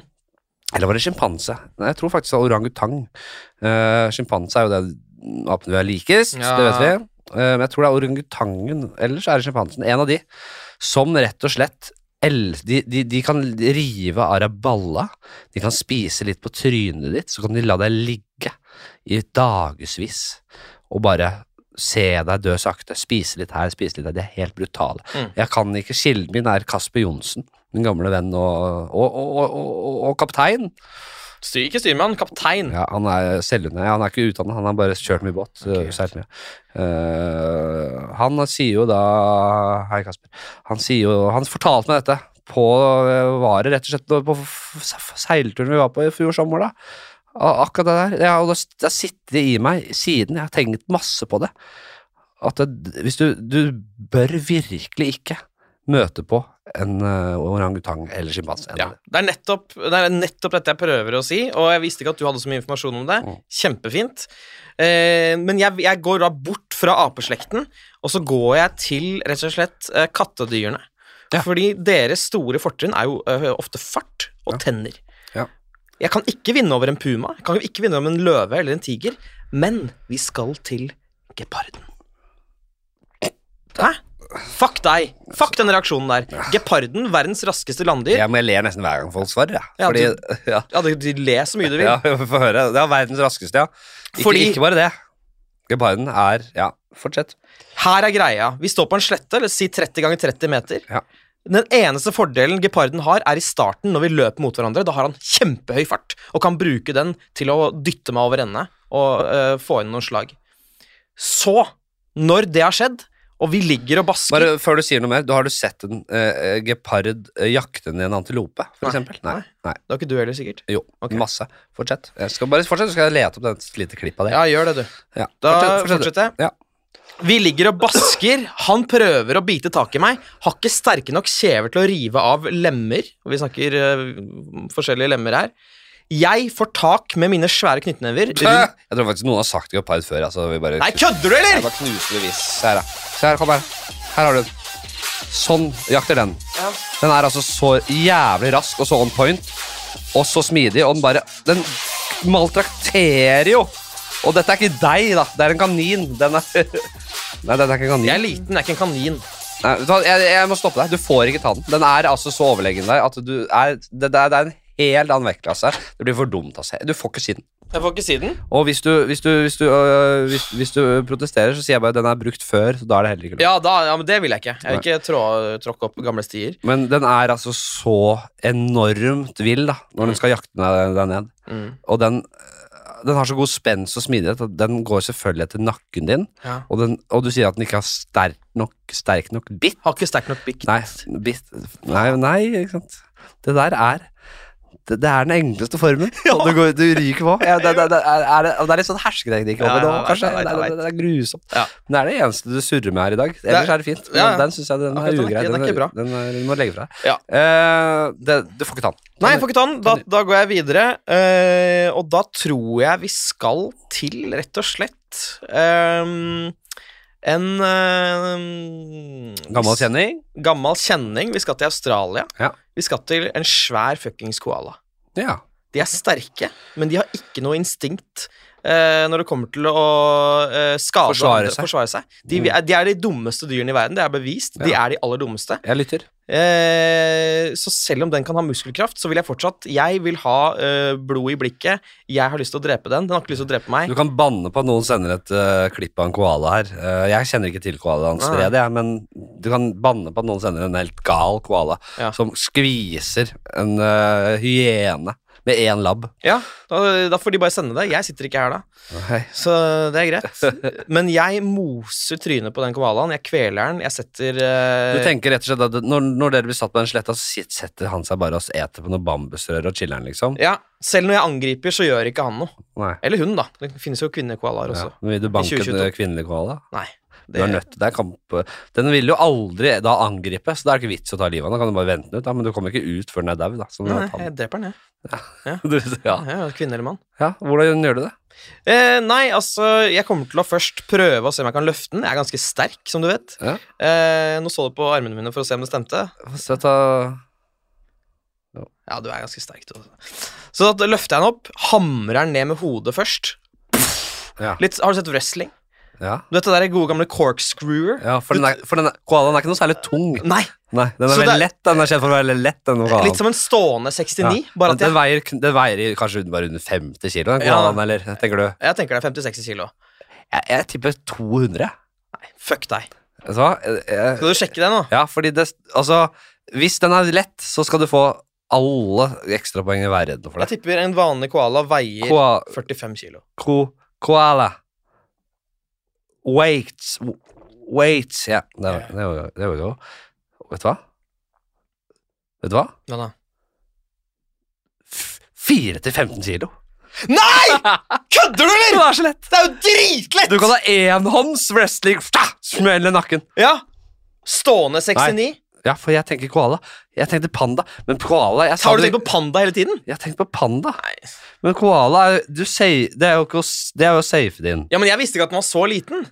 A: Eller var det sjimpanse? Nei, Jeg tror faktisk det var orangutang. Uh, sjimpanse er jo det apene vi er likest,
B: Ja.
A: det vet vi. Eh, men jeg tror det er orangutangen, ellers er det sjimpansen. En av de som rett og slett el de, de, de kan rive av deg balla, de kan spise litt på trynet ditt, så kan de la deg ligge i dagevis og bare se deg dø sakte. Spise litt her, spise litt der. De er helt brutale.
B: Mm.
A: Jeg kan ikke Kilden min er Kasper Johnsen, min gamle venn og, og, og, og, og, og kaptein.
B: Styr, ikke styrmann, kaptein.
A: [laughs] Ja, han er selvunne. Han er ikke utdannet, han har bare kjørt mye båt. øh, seilt mye. Eh, han sier jo da Hei, Kasper. Han sier jo Han fortalte meg dette på øh, var det rett og slett på f- f- seilturen vi var på i fjor sommer, da. A- Akkurat det der. Ja, og det det har sittet i meg siden. Jeg har tenkt masse på det. At det, hvis du Du bør virkelig ikke møte på en øh, orangutang eller sjimpanse.
B: Ja, det, er nettopp, det er nettopp dette jeg prøver å si, og jeg visste ikke at du hadde så mye informasjon om det.
A: Mm.
B: Kjempefint. Eh, men jeg, jeg går da bort fra apeslekten, og så går jeg til rett og slett eh, kattedyrene.
A: Ja.
B: Fordi deres store fortrinn er jo eh, ofte fart og tenner.
A: Ja.
B: Jeg kan ikke vinne over en puma, jeg kan ikke vinne over en løve eller en tiger, men vi skal til geparden. Hæ? Fuck deg! Fuck den reaksjonen der. Geparden, verdens raskeste landdyr.
A: Jeg, men jeg ler nesten hver gang folk svarer, jeg.
B: Ja,
A: Fordi, ja.
B: Ja, du, du ler så mye du vil.
A: Ja, få høre. Det er verdens raskeste, ja. Ikke,
B: Fordi-
A: ikke bare det. Joe Biden er Ja, fortsett.
B: Her er greia. Vi står på en slette, eller si 30 ganger 30 meter.
A: Ja.
B: Den eneste fordelen geparden har, er i starten, når vi løper mot hverandre. Da har han kjempehøy fart, og kan bruke den til å dytte meg over ende og eh, få inn noen slag. Så, når det har skjedd, og vi ligger og basker
A: Bare før du sier noe mer, du har du sett en eh, gepard eh, jakte ned en antilope, for
B: Nei.
A: eksempel? Nei.
B: Nei.
A: Nei.
B: Det var ikke du heller, sikkert.
A: Jo,
B: Ok.
A: masse. Fortsett. Jeg skal bare fortsette, så skal jeg lete opp det lite klippet av det.
B: Ja, gjør det, du.
A: Ja.
B: Da
A: Fortsett, fortsett.
B: fortsetter jeg.
A: Ja.
B: Vi ligger og basker. Han prøver å bite tak i meg. Har ikke sterke nok kjever til å rive av lemmer. Og Vi snakker eh, forskjellige lemmer her. Jeg får tak med mine svære knyttnever. rundt-
A: Jeg tror faktisk noen har sagt gepard før. Altså, vi bare
B: Nei, kødder du,
A: Jeg
B: eller?!
A: bare knuser bevis. Se her, da. Se her, kom her. Her har du den. Sånn jakter den. Den er altså så jævlig rask og så on point og så smidig, og den bare Den maltrakterer jo! Og dette er ikke deg, da. Det er en kanin. Den er [laughs] Nei, dette er ikke en kanin.
B: Jeg er liten, jeg er ikke en kanin.
A: Nei, vet du hva, jeg, jeg må stoppe deg. Du får ikke ta den. Den er altså så overlegen deg at du er Det, det er, det er en helt annen vektklasse. her. Det blir for dumt, altså. Du får ikke si den.
B: Jeg får ikke si den.
A: Og hvis du, hvis du, hvis du, øh, hvis, hvis du protesterer, så sier jeg bare den er brukt før, så da er det heller ikke lov.
B: Ja, da, ja, men det vil jeg ikke. Jeg vil ikke trå, tråkke opp gamle stier.
A: Men den er altså så enormt vill da, når den skal jakte deg deg ned.
B: Mm.
A: Og den, eh, den har så god spenst og smidighet at den går selvfølgelig etter nakken din.
B: Ja.
A: Og, den, og du sier at den ikke har sterk nok, sterk nok bitt.
B: Har ikke sterk nok bikt.
A: Nei, bitt. Nei, nei, ikke sant. Det der er det, det er den enkleste [laughs] formen. Og du, går, du ryker på. Ja, det, det, det, er, er, det- og det er litt sånn hersketeknikk over
B: Ja,
A: det
B: ja,
A: òg,
B: jeg
A: kanskje.
B: vet, jeg
A: Det,
B: vet.
A: det, det er grusomt.
B: Ja.
A: Men det er det eneste du surrer med her i dag. Ellers
B: Det-
A: er det fint.
B: ja, ja.
A: Men Den syns jeg den
B: Akkurat
A: er
B: den er
A: ugrei.
B: ikke- den er
A: Den,
B: ikke bra.
A: er- den er- du må legge fra deg.
B: Ja.
A: Eh, det- du får ikke ta den.
B: Nei, jeg får ikke ta den. Da, da går jeg videre. eh, og da tror jeg vi skal til, rett og slett ehm, En ehm,
A: Gammel kjenning.
B: gammel kjenning. Vi skal til Australia.
A: Ja.
B: Vi skal til en svær fuckings koala.
A: Ja.
B: De er sterke, men de har ikke noe instinkt. eh, når det kommer til å eh, skade
A: Forsvare
B: andre-
A: seg. Mm.
B: forsvare seg. De, vi- de er de dummeste dyrene i verden. Det er bevist. De er de aller dummeste.
A: Jeg lytter.
B: Eh, så selv om den kan ha muskelkraft, så vil jeg fortsatt Jeg vil ha eh, blod i blikket. Jeg har lyst til å drepe den. Den har ikke lyst til å drepe meg.
A: Du kan banne på at noen sender et eh, klipp av en koala her. Eh, jeg kjenner ikke til koalaens
B: Nei.
A: rede, jeg, men du kan banne på at noen sender en helt gal koala
B: Ja.
A: som skviser en eh, hyene med én labb.
B: Ja, da, da får de bare sende det. Jeg sitter ikke her da.
A: Nei.
B: Så det er greit.
A: [laughs]
B: Men jeg moser trynet på den koalaen. Jeg kveler den. Jeg setter
A: Du
B: eh,
A: tenker rett og slett at det- når, når dere blir satt på den sletta, så sit- setter han seg bare og eter på noen bambusrør og chiller'n, liksom?
B: Ja, Selv når jeg angriper, så gjør ikke han noe.
A: Nei.
B: Eller hun, da. Det finnes jo kvinnekoalaer
A: Ja.
B: også.
A: Men vil du banke en
B: altså.
A: eh,
B: 2022.
A: kvinnelig koala?
B: Nei.
A: Du er
B: Det,
A: nødt til det. er Kamp. Den vil jo aldri da angripe, så det er ikke vits å ta livet av den. Da kan du bare vente den ut, da. Men du kommer ikke ut før den er dau, da. Som
B: nei,
A: at han- [laughs]
B: jeg dreper den, jeg.
A: Du- ja.
B: Ja, kvinne eller mann.
A: ja. Hvordan gjør du det?
B: Eh, nei, altså, jeg kommer til å først prøve å se om jeg kan løfte den. Jeg er ganske sterk, som du vet.
A: Ja.
B: Eh, nå så du på armene mine for å se om det stemte.
A: Så ta
B: Ja, du er ganske sterk. Du. også. Så da løfter jeg den opp, hamrer den ned med hodet først.
A: Ja.
B: Litt, har du sett wrestling?
A: Ja.
B: Du vet det der gode gamle corkscrewer?
A: ja for, den er, for den er, koalaen er ikke noe særlig tung.
B: Nei,
A: Nei, den er
B: Så det
A: veldig
B: er-
A: lett. Den er kjent for å være veldig lett, den koalaen.
B: litt som en stående 69,
A: Ja.
B: bare at
A: den,
B: jeg,
A: veier, den veier kanskje under- bare under 50 kilo, den
B: Ja.
A: koalaen, eller? Tenker du?
B: jeg tenker det er 50-60 kilo.
A: Jeg, jeg tipper 200.
B: Nei, fuck deg.
A: Vet du hva? Jeg- jeg-
B: Skal du sjekke det nå?
A: Ja, fordi det Altså, hvis den er lett, så skal du få alle ekstrapoengene i verden for
B: Jeg
A: det.
B: tipper en vanlig koala veier
A: Koa,
B: 45 kilo.
A: ko, koala. Wait. Wait. Ja, det var- det var det var jo Vet du hva? Vet du hva?
B: Hva da?
A: F- 4 til 15 kilo.
B: Nei! Kødder du, eller?!
A: Det er så lett!
B: Det er jo dritlett!
A: Du kan ha enhånds wrestling, fta, smelle nakken.
B: Ja. Stående 69.
A: Ja, for jeg tenker koala. Jeg tenkte panda, men koala jeg sa
B: Har du
A: det-
B: tenkt på panda hele tiden?
A: Jeg tenkte på panda.
B: Nei.
A: Men koala er, du, sier- det er jo ikke å s- det er jo å safe det inn.
B: Ja, men jeg visste ikke at den var så liten.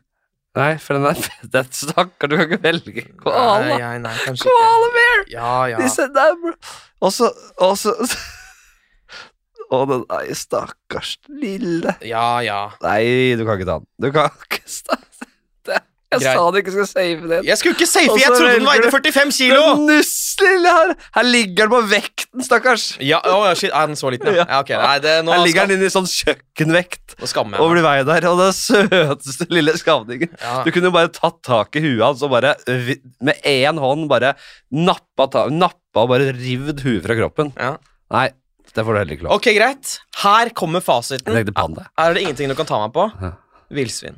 A: Nei, for den er [laughs] den Stakkar, du kan ikke velge
B: Nei,
A: koala.
B: nei, nei, kanskje
A: Koala bear!
B: ikke. Ja, ja.
A: Disse der, bro. Og så Og så Å, den er stakkars lille.
B: Ja, ja.
A: Nei, du kan ikke ta den. Du kan ikke ta den. Det- Jeg
B: Greit.
A: sa du ikke skulle save den.
B: Jeg skulle ikke safe,
A: Og
B: jeg
A: så
B: trodde den
A: velger
B: veide
A: du-
B: 45
A: Den
B: kilo!
A: nusslille her. Her ligger den på vekten, stakkars.
B: Ja, å, shit, er den så liten,
A: Ja.
B: ja. ja ok, nei, det, nå,
A: Her ligger
B: skam,
A: den inne i sånn kjøkkenvekt
B: nå skammer jeg
A: over
B: meg.
A: i vei der. Og den søteste lille skavningen.
B: Ja.
A: Du kunne bare tatt tak i huet hans og bare vi- med én hånd bare nappa, ta, nappa og bare rivd huet fra kroppen.
B: Ja.
A: Nei, det får du heller ikke lov
B: Ok, greit. Her kommer
A: Jeg
B: fasiten.
A: tenkte panda.
B: Er det ingenting du kan ta meg på?
A: Ja.
B: Villsvin.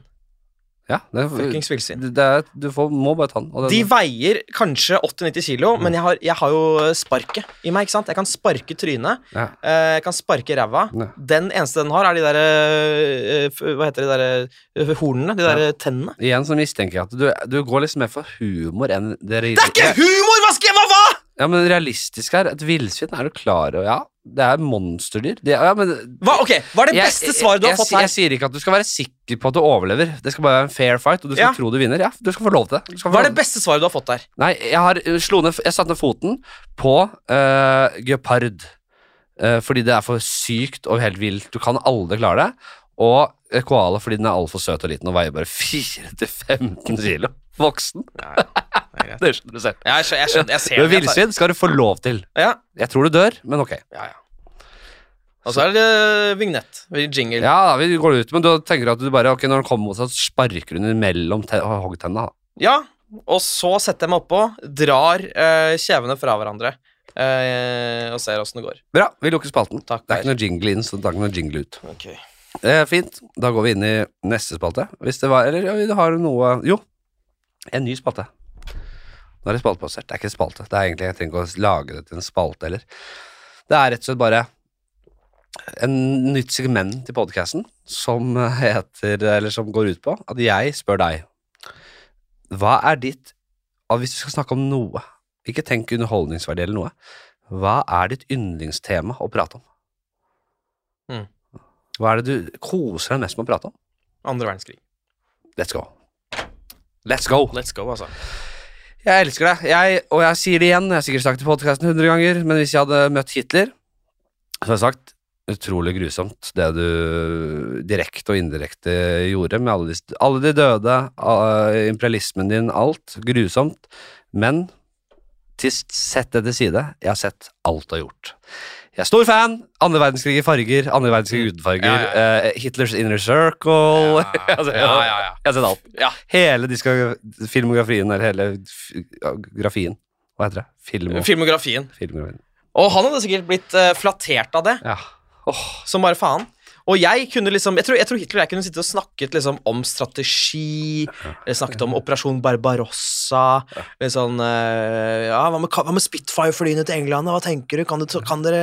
A: Ja, det,
B: Fuckings villsvin.
A: det er, du får, må bare ta den. og
B: De
A: den-
B: veier kanskje 80-90 kilo, men jeg har, jeg har jo sparket i meg. ikke sant? Jeg kan sparke trynet,
A: Ja.
B: eh, jeg kan sparke ræva.
A: Ja.
B: Den eneste den har, er de der eh, f- Hva heter de der eh, hornene? De der eh, tennene.
A: sånn- Igjen så mistenker jeg at du, du går liksom mer for humor enn det
B: Det er ikke
A: realistiske.
B: humor! Hva skal jeg hva? hva?
A: Ja, men realistisk her. Et villsvin er du klar over. Ja, det er monsterdyr. Det, ja, men
B: Hva, ok, hva er det
A: Jeg-
B: beste svaret du har
A: jeg-
B: fått
A: jeg,
B: her?
A: jeg sier ikke at du skal være sikker på at du overlever. Det skal bare være en fair fight, og du skal
B: Ja.
A: tro du vinner. Ja, du skal få lov til det. Du skal få
B: Hva er
A: lov-
B: det beste svaret du har fått der?
A: Nei, jeg har jeg slo ned Jeg satte ned foten på eh, gepard. Eh, fordi det er for sykt og helt vilt. Du kan aldri klare det. Og eh, koala fordi den er altfor søt og liten og veier bare [laughs] 4-15 kilo. Voksen.
B: greit.
A: det skjønner du selv.
B: Jeg, skjø- jeg, skjønner, jeg ser
A: Du er
B: det. jeg tar-
A: villsvin, skal du få lov til.
B: Ja,
A: Jeg tror du dør, men ok.
B: ja, ja. Og så er det eh, vignett. Jingle.
A: Ja,
B: Ja.
A: vi går ut, men da tenker du at du bare Ok, når den kommer mot deg, så sparker hun mellom te- hoggtenna. da.
B: Og så setter jeg meg oppå, drar eh, kjevene fra hverandre eh, og ser åssen det går.
A: Bra, vi lukker spalten.
B: Takk,
A: Det er
B: Per.
A: ikke noe jingle inn, så det er ikke noe jingle ut.
B: Ok.
A: Eh, fint. Da går vi inn i neste spalte. Hvis det var Eller ja, vi har noe Jo, en ny spalte. Nå er det spaltebasert. Det er ikke en spalte. Det er egentlig, Jeg trenger ikke å lage det til en spalte heller. Det er rett og slett bare en nytt segment i podkasten som heter Eller som går ut på at jeg spør deg Hva er ditt og Hvis du skal snakke om noe, ikke tenk underholdningsverdi eller noe, hva er ditt yndlingstema å prate om?
B: Mm.
A: Hva er det du koser deg mest med å prate om?
B: Andre verdenskrig.
A: Let's go. Let's go.
B: Let's go, altså.
A: Jeg elsker deg, jeg, og jeg sier det igjen. Jeg har sikkert sagt det i podkasten 100 ganger, men hvis jeg hadde møtt Hitler, så hadde jeg sagt utrolig grusomt, det du direkte og indirekte gjorde med alle de, alle de døde, eh, imperialismen din, alt. Grusomt. Men til sett det til side. Jeg har sett alt du har gjort. Jeg er stor fan. Andre verdenskrig i farger, andre verdenskrig uten farger,
B: Ja,
A: eh, Hitlers Inner Circle [laughs] altså, jeg,
B: ja, ja, ja.
A: jeg har sett alt.
B: Ja.
A: Hele disko- filmografien, eller hele f- grafien. Hva heter det? Film og
B: Filmografien.
A: filmografien.
B: Og han hadde sikkert blitt eh, flattert av det.
A: Ja.
B: som bare faen. Og jeg kunne liksom, jeg tror, jeg tror Hitler og jeg kunne sitte og snakket liksom om strategi, eller snakket om Operasjon Barbarossa litt sånn, eh, ja, Hva med, hva med Spitfire-flyene til England? da? Hva tenker du? Kan, du kan, dere,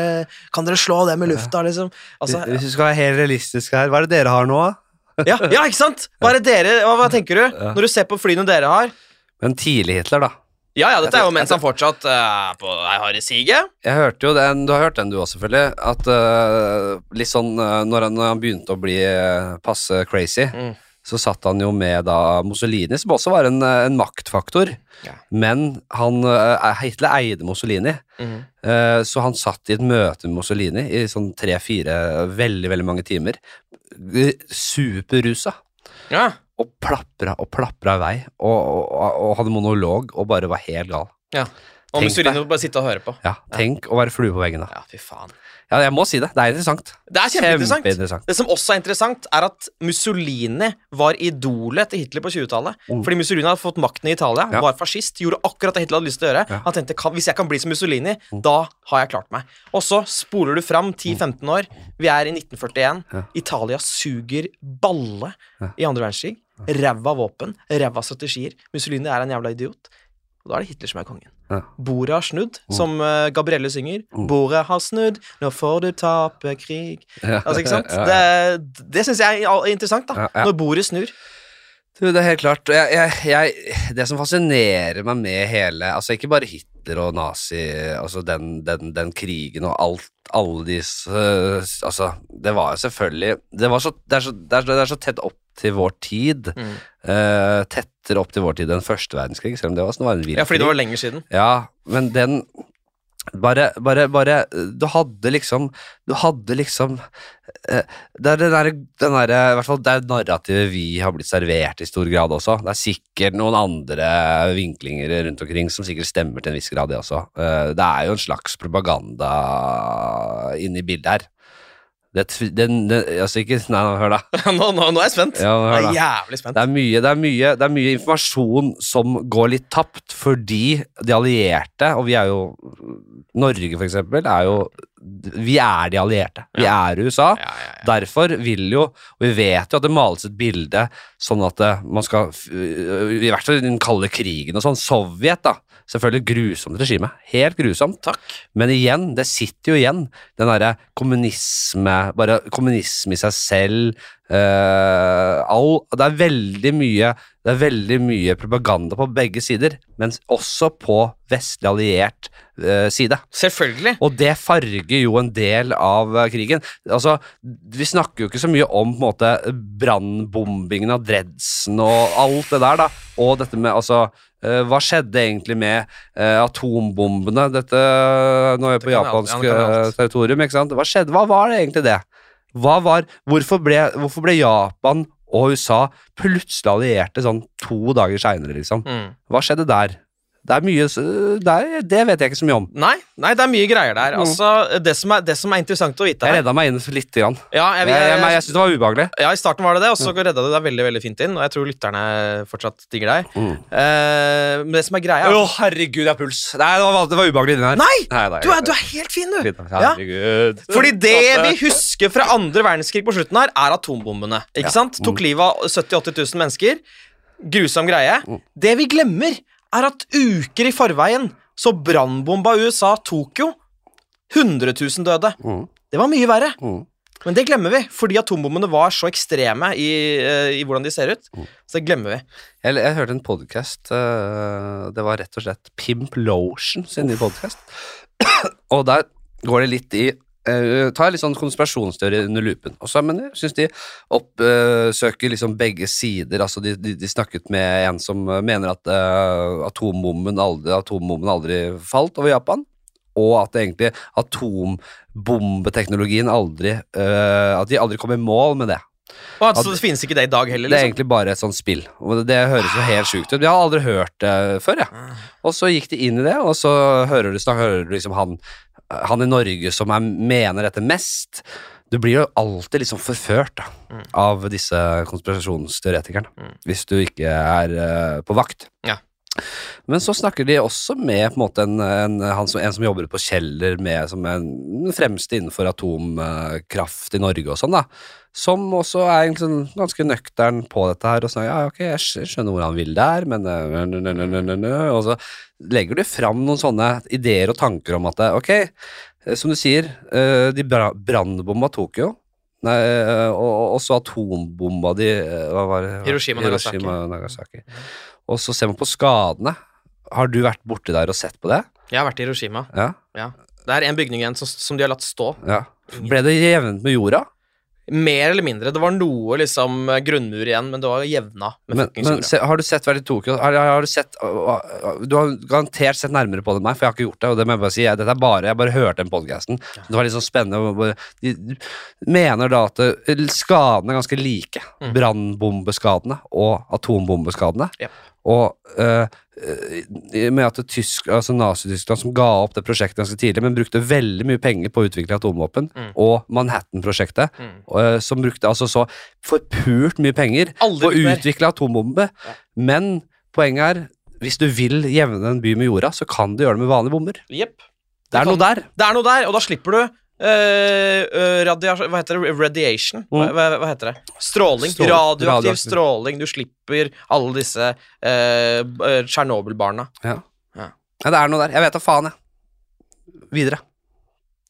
B: kan dere slå dem i lufta? liksom? Altså,
A: Hvis vi skal være helt realistiske her, hva er det dere har nå? da?
B: ja, ja, ikke sant? Hva, er det dere, hva, hva tenker du når du ser på flyene dere har?
A: Men tidlig Hitler, da.
B: Ja, ja, dette er jo mens han fortsatt eh, på ei harde sige.
A: Jeg hørte jo den, Du har hørt den du også, selvfølgelig. At øh, litt sånn øh, når han, han begynte å bli øh, passe crazy,
B: Mm.
A: så satt han jo med da Mussolini, som også var en, øh, en maktfaktor.
B: Ja.
A: Men han, øh, Hitler eide Mussolini, eh, så han satt i et møte med Mussolini i sånn tre-fire veldig, veldig mange timer. Superrusa.
B: Ja.
A: og plapra og plapra i vei, og, og, og hadde monolog og bare var helt gal.
B: ja. Og
A: Tenk
B: Mussolini
A: deg.
B: må bare sitte og høre på.
A: Ja, Tenk å være flue på veggen, da.
B: Ja, fy faen.
A: Ja, jeg må si det. Det er interessant.
B: Det er kjempeinteressant.
A: Kjempeinteressant.
B: Det som også er interessant, er at Mussolini var idolet til Hitler på 20-tallet.
A: Mm.
B: Fordi Mussolini hadde fått makten i Italia,
A: Ja.
B: var fascist, gjorde akkurat det Hitler hadde lyst til å gjøre.
A: Ja. Oh.
B: Han tenkte kan, hvis jeg kan bli som Mussolini, da har jeg klart meg. Og så spoler du fram 10-15 år. Vi er i 1941.
A: Ja.
B: Italia suger balle
A: Ja.
B: i andre verdenskrig. Ræva våpen, ræva strategier. Mussolini er en jævla idiot. Og da er det Hitler som er kongen.
A: Ja.
B: Bordet har snudd, som eh, Gabrielle synger.
A: Mm.
B: Bordet har snudd, nå får du tape krig.
A: Ja.
B: Altså, ikke sant?
A: [laughs] Ja, ja.
B: Det, det syns jeg er interessant, da.
A: Ja, ja.
B: Når bordet snur.
A: Du, det er helt klart. Jeg, jeg, jeg, det som fascinerer meg med hele Altså, ikke bare Hitler og nazi, altså den, den, den krigen og alt alle de s- øh, Altså, det var jo selvfølgelig Det, var så, det, er, så, det, er, så, det er så tett opp til vår tid.
B: Mm.
A: eh, tettere opp til vår tid enn første verdenskrig, selv om det også var en vild
B: Ja, fordi det
A: krig.
B: var lenger siden. [laughs]
A: Ja, men den bare, bare, bare Du hadde liksom Du hadde liksom eh, Det er den derre den der, I hvert fall det er narrativet vi har blitt servert i stor grad også. Det er sikkert noen andre vinklinger rundt omkring som sikkert stemmer til en viss grad, det også. Eh, Det er jo en slags propaganda inni bildet her. Det, tv- den, den, altså ikke Nei, nå, hør da.
B: nå, nå, nå er jeg spent.
A: Ja,
B: jeg
A: hør da.
B: er jævlig spent.
A: Det er, mye, det, er mye, det er mye informasjon som går litt tapt, fordi de allierte, og vi er jo Norge, for eksempel, er jo Vi er de allierte. Vi er USA.
B: Ja, ja, ja.
A: Derfor vil jo Og vi vet jo at det males et bilde sånn at eh, man skal f- I hvert fall i den kalde krigen og sånn. Sovjet, da. Selvfølgelig grusomt regime. Helt grusomt.
B: Takk.
A: Men igjen, det sitter jo igjen. Den derre kommunisme Bare kommunisme i seg selv. eh, all, det er veldig mye Det er veldig mye propaganda på begge sider, men også på vestlig alliert eh, side.
B: Selvfølgelig.
A: Og det farger jo en del av eh, krigen. Altså, Vi snakker jo ikke så mye om på en måte brannbombingen av Dredsen og alt det der, da. Og dette med altså eh, Hva skjedde egentlig med eh, atombombene? Dette eh, Nå er vi
B: kan
A: på
B: jeg alt- ja,
A: japansk
B: det kan jeg
A: eh,
B: alt.
A: territorium, ikke sant. Hva skjedde? Hva var det egentlig det? Hva var, hvorfor, ble, hvorfor ble Japan og USA plutselig allierte sånn to dager seinere, liksom?
B: Mm.
A: Hva skjedde der? Det er mye s- det, er, det vet jeg ikke så mye om.
B: Nei, nei, det er mye greier der.
A: Mm.
B: Altså, det som er, det som er interessant å vite
A: Jeg
B: her
A: redda meg inn litt. Grann.
B: ja, jeg,
A: Jeg,
B: jeg,
A: jeg, jeg, Mm. synes det var ubehagelig.
B: ja, I starten var det det, og så redda du deg veldig veldig fint inn. Og jeg tror lytterne fortsatt digger deg.
A: Mm.
B: Eh, men det som er greia
A: herregud, jeg har puls. Nei, det var, det var ubehagelig inni her.
B: Nei!
A: Nei, nei,
B: Du er, du er helt fin, du!
A: Litt, Herregud.
B: Fordi det vi husker fra andre verdenskrig på slutten her, er atombombene. Ikke sant? Tok
A: Mm.
B: livet av 70 000-80 000 mennesker. Grusom greie.
A: Mm.
B: Det vi glemmer, er at uker i forveien så brannbomba USA Tokyo. 100 000 døde.
A: Mm.
B: Det var mye verre.
A: Mm.
B: Men det glemmer vi, fordi atombombene var så ekstreme i, eh, i hvordan de ser ut.
A: Mm.
B: Så det glemmer vi.
A: Jeg, jeg hørte en podkast. det var rett og slett Pimp Lotion sin nye podkast. og der går det litt i eh, Tar litt sånn konspirasjonsteori under lupen. Også, men jeg syns de oppsøker liksom begge sider. Altså, de, de, de snakket med en som eh, mener at eh, atombomben aldri, atombomben aldri falt over Japan. og at det egentlig atombombeteknologien aldri eh, At de aldri kom i mål med det.
B: Og altså, det finnes ikke det i dag heller,
A: Det er
B: liksom.
A: egentlig bare et sånt spill. Og det, det høres jo helt sjukt ut. Jeg har aldri hørt det før,
B: liksom.
A: jeg. Og så gikk de inn i det, og så hører du, snak- hører du liksom han, han i Norge som er, mener dette mest. Du blir jo alltid liksom forført da,
B: Mm.
A: av disse konspirasjonsteoretikerne, hvis du ikke er eh, på vakt.
B: Ja.
A: Men så snakker de også med på en måte en, en, han som, en som jobber på Kjeller, med, som er den fremste innenfor atomkraft i Norge og sånn, da. Som også er egentlig sånn ganske nøktern på dette her. Og sånn, ja, ok, jeg skj- skjønner hvor han vil der, men eh, nø, nø, nø, nø, nø, nø. Og så legger du fram noen sånne ideer og tanker om at eh, ok, eh, som du sier, eh, de bra- brannbomba Tokyo. Nei, eh, og, og- og så atombomba de eh, hva var det?
B: Hiroshima og Nagasaki. Mm.
A: Hiroshima og Nagasaki. Og så ser man på skadene. Har du vært borti der og sett på det?
B: Jeg har vært i Hiroshima.
A: Ja.
B: Ja. Det er en bygning igjen som, som de har latt stå.
A: ja. Ble det jevnet med jorda?
B: Mer eller mindre. Det var noe liksom grunnmur igjen, men det var jevna med
A: Men,
B: fuckings
A: men
B: jorda.
A: se, har du sett vært i Tokyo? Har, har har du sett Du har garantert sett nærmere på det enn meg, for jeg har ikke gjort det. Og det må jeg bare si, jeg, dette er bare, jeg bare hørte den podcasten. Det var litt sånn spennende. og Bare, de de mener da at eh, skadene er ganske like.
B: Mm.
A: Brannbombeskadene og atombombeskadene.
B: Ja.
A: Og eh, eh, med at det tysk, altså Nazi-Tyskland som ga opp det prosjektet ganske tidlig, men brukte veldig mye penger på å utvikle atomvåpen,
B: Mm.
A: og Manhattan-prosjektet,
B: Mm.
A: eh, som brukte altså så forpult mye penger
B: Aldri
A: på å
B: brukt mer.
A: utvikle atombombe. Men poenget er, hvis du vil jevne en by med jorda, så kan du gjøre det med vanlige bomber.
B: Jepp.
A: Det er
B: kan-
A: noe der.
B: Det er noe der, og da slipper du eh, eh, radia- Hva heter det? Radiation? Hva,
A: Mm.
B: hva, hva heter det? Stråling.
A: Strål-
B: Radioaktiv
A: radioaktiv.
B: stråling. Du slipper alle disse eh, b- eh, Tsjernobyl-barna.
A: Ja, det er noe der. Jeg vet da faen, jeg. Videre.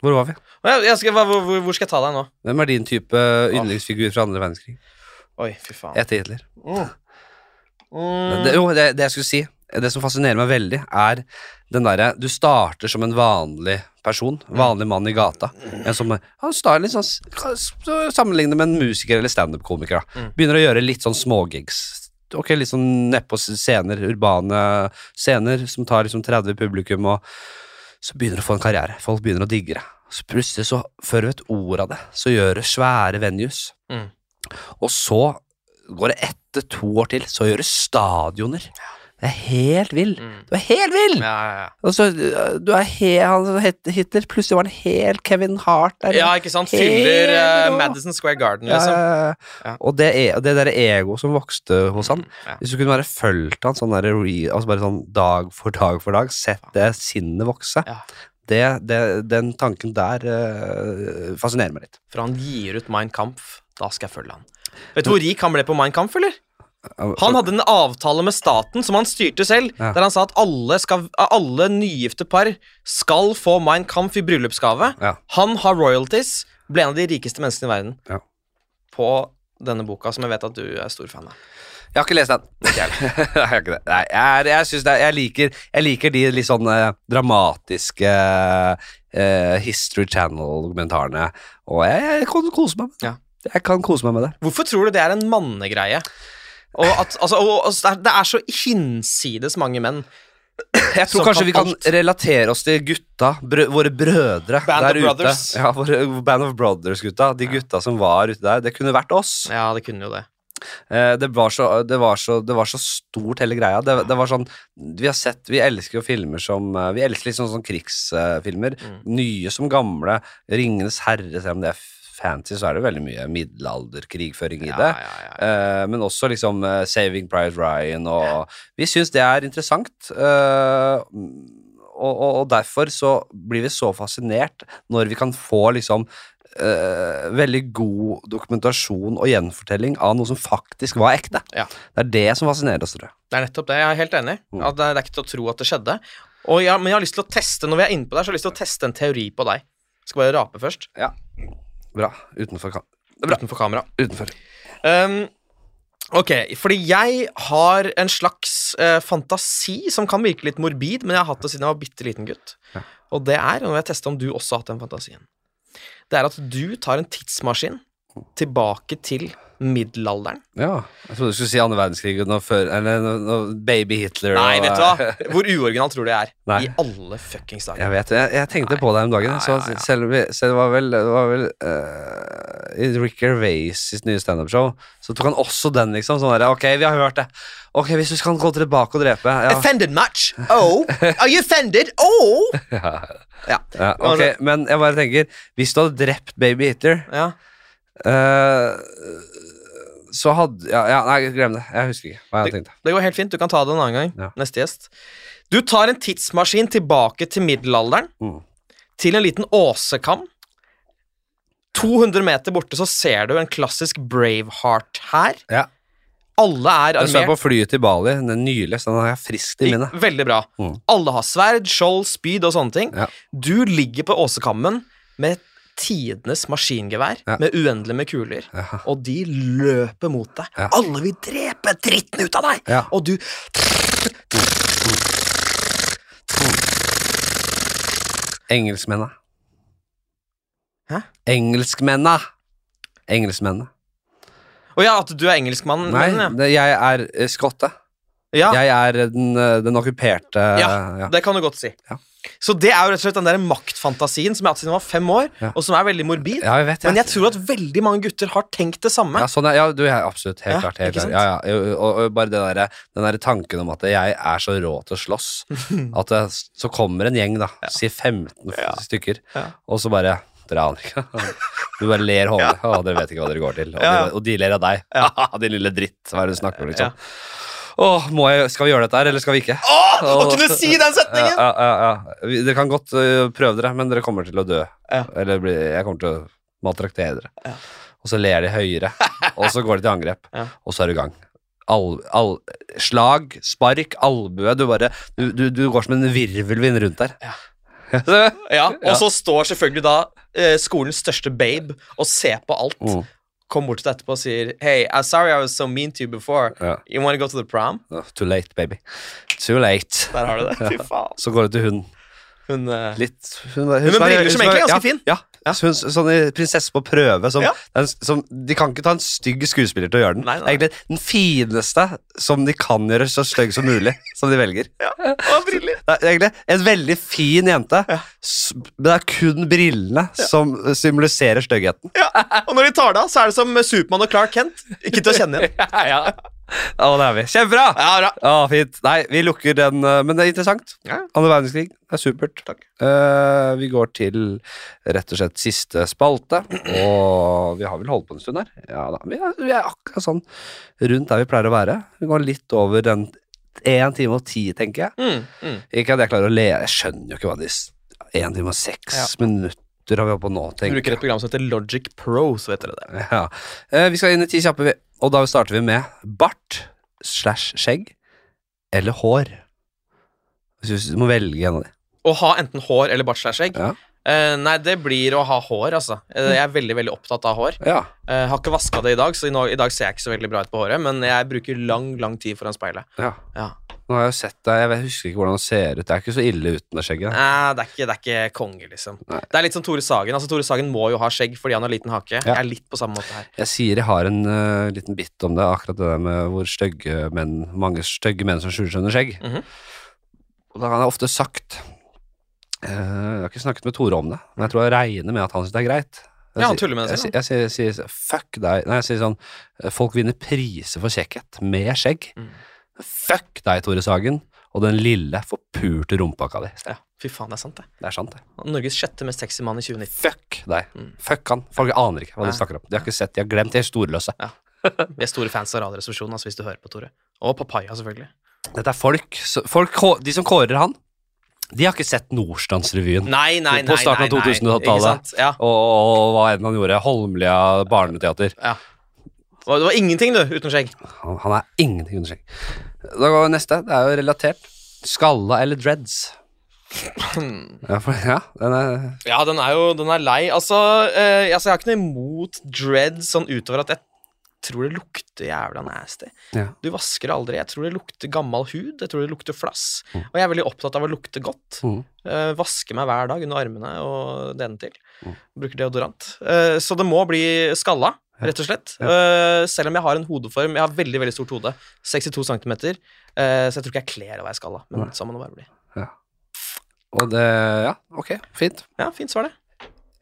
A: Hvor var vi?
B: Og Jeg, jeg skal, hva, hvor, hvor- hvor skal jeg ta deg nå?
A: Hvem er din type
B: Ah.
A: yndlingsfigur fra andre verdenskrig?
B: Oi, fy faen.
A: Etter Hitler.
B: Mm.
A: Det, jo, det, det jeg skulle si, det som fascinerer meg veldig, er den derre Du starter som en vanlig person, vanlig mann i gata. En som han starter litt sånn s- Sammenlignet med en musiker eller standup-komiker. da.
B: Mm.
A: Begynner å gjøre litt sånn smågigs. Ok, Litt sånn nedpå scener, urbane scener som tar liksom 30 publikum, og så begynner du å få en karriere. Folk begynner å digge det. Så plutselig, så, før du vet ordet av det, så gjør det svære venues.
B: Mm.
A: Og så går det etter to år til, så gjør det stadioner. Det er helt vill.
B: Mm.
A: Du er helt vill!
B: Ja, ja, ja.
A: Altså, du er he, han som het Hitler, plutselig var han helt Kevin Hart der.
B: ja, ikke sant? Fyller eh,
A: Helt rå.
B: Madison Square Garden,
A: Ja,
B: liksom.
A: ja, ja.
B: Ja. Mm,
A: Og det, e- det derre egoet som vokste hos han
B: Ja.
A: Hvis du kunne bare fulgt han sånn der, re- altså bare sånn dag for dag for dag, sett det sinnet vokse
B: Ja.
A: det, det, Den tanken der eh, fascinerer meg litt.
B: For han gir ut Mein Kampf. Da skal jeg følge han. Vet du hvor rik han ble på Mein Kampf, eller? Han hadde en avtale med staten som han styrte selv,
A: Ja.
B: der han sa at alle, skal, alle nygifte par skal få Mein Kampf i bryllupsgave.
A: Ja.
B: Han har royalties, ble en av de rikeste menneskene i verden
A: Ja.
B: på denne boka, som jeg vet at du er stor fan av.
A: Jeg har ikke lest den. [laughs] jeg har ikke det. Nei, jeg, er- jeg, synes det, er- jeg, liker, jeg liker de litt sånn eh, dramatiske eh, History Channel-dokumentarene, og jeg, jeg kan kose meg med det.
B: Ja.
A: Jeg kan kose meg med det.
B: Hvorfor tror du det er en mannegreie? Og at, altså, og, og, det er- det er så hinsides mange menn.
A: Jeg tror
B: Som
A: kanskje
B: kan
A: vi kan
B: alt.
A: relatere oss til gutta, brø våre brødre
B: Band
A: der
B: of
A: ute.
B: Brothers.
A: Ja, våre Band of Brothers-gutta. De gutta som var ute der. Det kunne vært oss.
B: Ja, det kunne jo det.
A: Eh, Det var så, det var så, det var så stort hele greia. Det, det var sånn, Vi har sett, vi elsker jo filmer som eh, Vi elsker litt sånn, sånn krigsfilmer. Nye som gamle. 'Ringenes herre', selv om det er f- fancy, så er det veldig mye middelalderkrigføring i
B: Ja,
A: det.
B: ja, ja, ja.
A: Eh, men også liksom eh, 'Saving Pride Ryan' og Vi syns det er interessant. eh, og, og, og derfor så blir vi så fascinert når vi kan få liksom eh, veldig god dokumentasjon og gjenfortelling av noe som faktisk var ekte.
B: Ja.
A: Det er det som fascinerer oss, tror jeg.
B: Det er nettopp det. Jeg er helt enig.
A: Mm.
B: At det, det er ikke til å tro at det skjedde. Og jeg, men jeg har lyst til å teste når vi er inne på det, her, så har jeg lyst til å teste en teori på deg. Skal bare rape først.
A: Bra. Utenfor. ka-
B: Utenfor kamera.
A: Utenfor.
B: Um, ok, fordi jeg har en slags eh, fantasi som kan virke litt morbid, men jeg har hatt det siden jeg var bitte liten gutt. Og det er, og nå vil jeg teste om du
A: Mm.
B: også har hatt den fantasien, det er at du tar en tidsmaskin tilbake til middelalderen.
A: Ja. Jeg trodde du skulle si andre verdenskrig og noe før Eller noe, noe baby Hitler
B: Nei,
A: og,
B: vet du hva? Hvor uoriginalt tror du jeg er?
A: Nei.
B: I alle fuckings dager.
A: Jeg vet det. Jeg, jeg tenkte på deg om dagen.
B: Nei,
A: Så
B: ja, ja.
A: selv, om vi- selv det var vel, det var vel eh, I Rick Gervais' sitt nye standup-show så tok han også den, liksom. Sånn der, Ok, vi har hørt det. Ok, hvis du skal gå tilbake og drepe ja.
B: Offended much? Oh, are you offended? Oh!
A: ja.
B: [laughs] Ja.
A: ja. Ok, men jeg bare tenker Hvis du hadde drept baby Hitler
B: ja.
A: eh, så hadde ja, ja, nei, glem det. Jeg husker ikke hva jeg tenkte.
B: Det går helt fint. Du kan ta det en annen gang.
A: Ja.
B: Neste gjest. Du tar en tidsmaskin tilbake til middelalderen.
A: Mm.
B: Til en liten åsekam. 200 meter borte så ser du en klassisk Braveheart her.
A: Ja.
B: Alle er
A: Jeg så jeg
B: armert.
A: på flyet til Bali den er nylig, så den har jeg friskt i minnet.
B: Veldig bra.
A: Mm.
B: Alle har sverd, skjold, spyd og sånne ting.
A: Ja.
B: Du ligger på åsekammen med tidenes maskingevær
A: Ja.
B: med uendelig med kuler,
A: Ja.
B: og de løper mot deg.
A: Ja.
B: Alle vil drepe dritten ut av deg!
A: Ja.
B: Og du
A: Engelskmennene.
B: Hæ?
A: Engelskmennene. Engelskmennene.
B: Å ja, at du er engelskmann?
A: Nei,
B: men, Mm, ja.
A: det, jeg er eh, skotte.
B: Ja,
A: Jeg er den, eh, den okkuperte
B: Ja.
A: ja.
B: det kan du godt si.
A: Ja.
B: Så det er jo rett og slett den der maktfantasien som jeg har hatt siden jeg var fem år,
A: Ja.
B: og som er veldig morbid.
A: Ja, jeg vet
B: Men
A: det.
B: jeg tror at veldig mange gutter har tenkt det samme.
A: Ja, sånn er, ja, du, jeg er absolutt helt
B: Ja,
A: klart. Helt
B: ikke
A: klart.
B: sant?
A: Ja, ja. Jo, Og, og bare det derre- den derre tanken om at jeg er så rå til å
B: [laughs]
A: slåss, at det, så kommer en gjeng, da, si 15 f- stykker,
B: Ja.
A: og så bare drar han ikke. [laughs] Du bare ler hånda. Å, dere vet ikke hva dere går til. Og,
B: Ja, ja.
A: de, og [laughs] de ler av deg. Din lille dritt. Hva er det du snakker om,
B: Ja.
A: liksom? Åh, må jeg, skal vi gjøre dette her, eller skal vi ikke?
B: Å, nå kunne du si
A: Ja,
B: den setningen!
A: ja, ja, ja. Vi- Dere kan godt øh, prøve dere, men dere kommer til å dø.
B: Ja.
A: Eller bli, jeg kommer til å maltraktere dere. Og så ler de høyere, og så går de til angrep,
B: Ja.
A: og så er du i gang. Al, al, slag, spark, albue. Du bare du, du, du går som en virvelvind rundt der. [laughs]
B: Ja, og så står selvfølgelig da eh, skolens største babe og ser på alt.
A: Mm.
B: Kommer bort til deg etterpå og sier Hey, I'm sorry I was so mean to you before.
A: Ja.
B: You wanna go to the prom?
A: Oh, Too late, baby. Too late.
B: Der har du det. Fy faen.
A: Så går du til hunden.
B: Hun eh,
A: Litt Hun, var- hun,
B: med
A: var-
B: briller som
A: hun var-
B: egentlig er ganske
A: ja,
B: fin.
A: Ja. Så hun, sånn i prinsesse på prøve. Som,
B: Ja.
A: den, som, de kan ikke ta en stygg skuespiller til å gjøre den.
B: Nei, nei.
A: Egentlig Den fineste som de kan gjøre så stygg som mulig, [laughs] som de velger.
B: å, briller.
A: Det er egentlig en veldig fin jente, s- men det er kun brillene som symboliserer styggheten.
B: Ja. Og når de tar det av, så er det som Supermann og Clark Kent. Ikke til å kjenne [laughs] igjen.
A: Ja, ja. Å, det er vi. Kjempebra!
B: Ja, bra.
A: Å, fint. Nei, vi lukker den, eh, men det er interessant.
B: Ja.
A: Andre verdenskrig. Det er supert. Eh, vi går til rett og slett siste spalte, og vi har vel holdt på en stund her. Ja da. Vi er, vi er akkurat sånn rundt der vi pleier å være. Vi går litt over den én time og ti, tenker jeg.
B: Mm, mm.
A: Ikke at jeg klarer å le. Jeg skjønner jo ikke hva de Én time og seks minutter har vi holdt på nå,
B: Vi
A: tenker
B: bruker et program som heter Logic Pro, så vet dere det.
A: ja. Eh, Vi skal inn i ti kjappe, vi. og da starter vi med bart slash skjegg eller hår. Hvis du må velge en av de.
B: Å ha enten hår eller bachelorskjegg?
A: Ja.
B: Eh, nei, det blir å ha hår, altså. Eh, jeg er veldig veldig opptatt av hår.
A: Ja.
B: Eh, har ikke vaska det i dag, så i, nå- i dag ser jeg ikke så veldig bra ut på håret. Men jeg bruker lang lang tid foran speilet.
A: ja.
B: Ja.
A: Nå har jeg jo sett deg, jeg vet- husker ikke hvordan det ser ut. Det er ikke så ille uten det skjegget.
B: Nei, det, er ikke, det er ikke konge, liksom.
A: Nei.
B: Det er litt som Tore Sagen. Altså, Tore Sagen må jo ha skjegg fordi han har liten hake. Jeg er litt på samme måte her.
A: Jeg sier jeg har en eh, liten bit om det, akkurat det der med hvor stygge menn Mange stygge menn som skjuler seg under skjegg.
B: Mhm.
A: Og da har jeg ofte sagt eh, Jeg har ikke snakket med Tore om det, men jeg tror jeg regner med at han syns det er greit. Jeg
B: Ja, sånn. han
A: sier-
B: tuller med det selv,
A: Jeg, sier- jeg, sier- sier fuck deg Nei, jeg sier sånn eh, Folk vinner priser for kjekkhet med skjegg.
B: Mm.
A: Fuck deg, Tore Sagen, og den lille forpulte rumpakka di.
B: Ja, fy faen, det er sant, det.
A: Det er sant, det.
B: Norges sjette mest sexy mann i 2019.
A: Fuck deg.
B: Mm.
A: Fuck han. Folk aner ikke hva
B: Nei.
A: de snakker om. De har ikke sett, de har glemt. De er storløse.
B: Vi er store fans av Radioresepsjonen, altså, hvis du hører på, Tore. Og Papaya, selvfølgelig.
A: Dette er folk, så- folk kå- De som kårer han, de har ikke sett Nordstrandsrevyen.
B: Nei, nei, nei.
A: På starten av
B: nei, nei.
A: 2000-tallet.
B: Ikke sant? Ja.
A: Og, og hva enn han gjorde. Holmlia barneteater.
B: ja. Og Det var ingenting, du, uten skjegg.
A: Han, han er ingenting under skjegg. Da går vi neste. Det er jo relatert. Skalla eller
B: [laughs]
A: dreads? Ja, for, ja den er
B: Ja, den er jo den er lei. Altså, eh, altså, jeg har ikke noe imot dread sånn utover at jeg tror det lukter jævla nasty.
A: Ja.
B: Du vasker det aldri. Jeg tror det lukter gammel hud. Jeg tror det lukter flass. Og jeg er veldig opptatt av å lukte godt.
A: Mm.
B: Eh, vasker meg Mm. hver dag under armene og det ene til. Bruker deodorant. Eh, så det må bli skalla. rett og slett. Eh, selv om jeg har en hodeform. Jeg har veldig veldig stort hode. 62 cm. så jeg tror ikke jeg kler av hva jeg skal, da. Men sånn må det bare bli.
A: Og det Ja, ok, fint.
B: Ja, fint svar, det.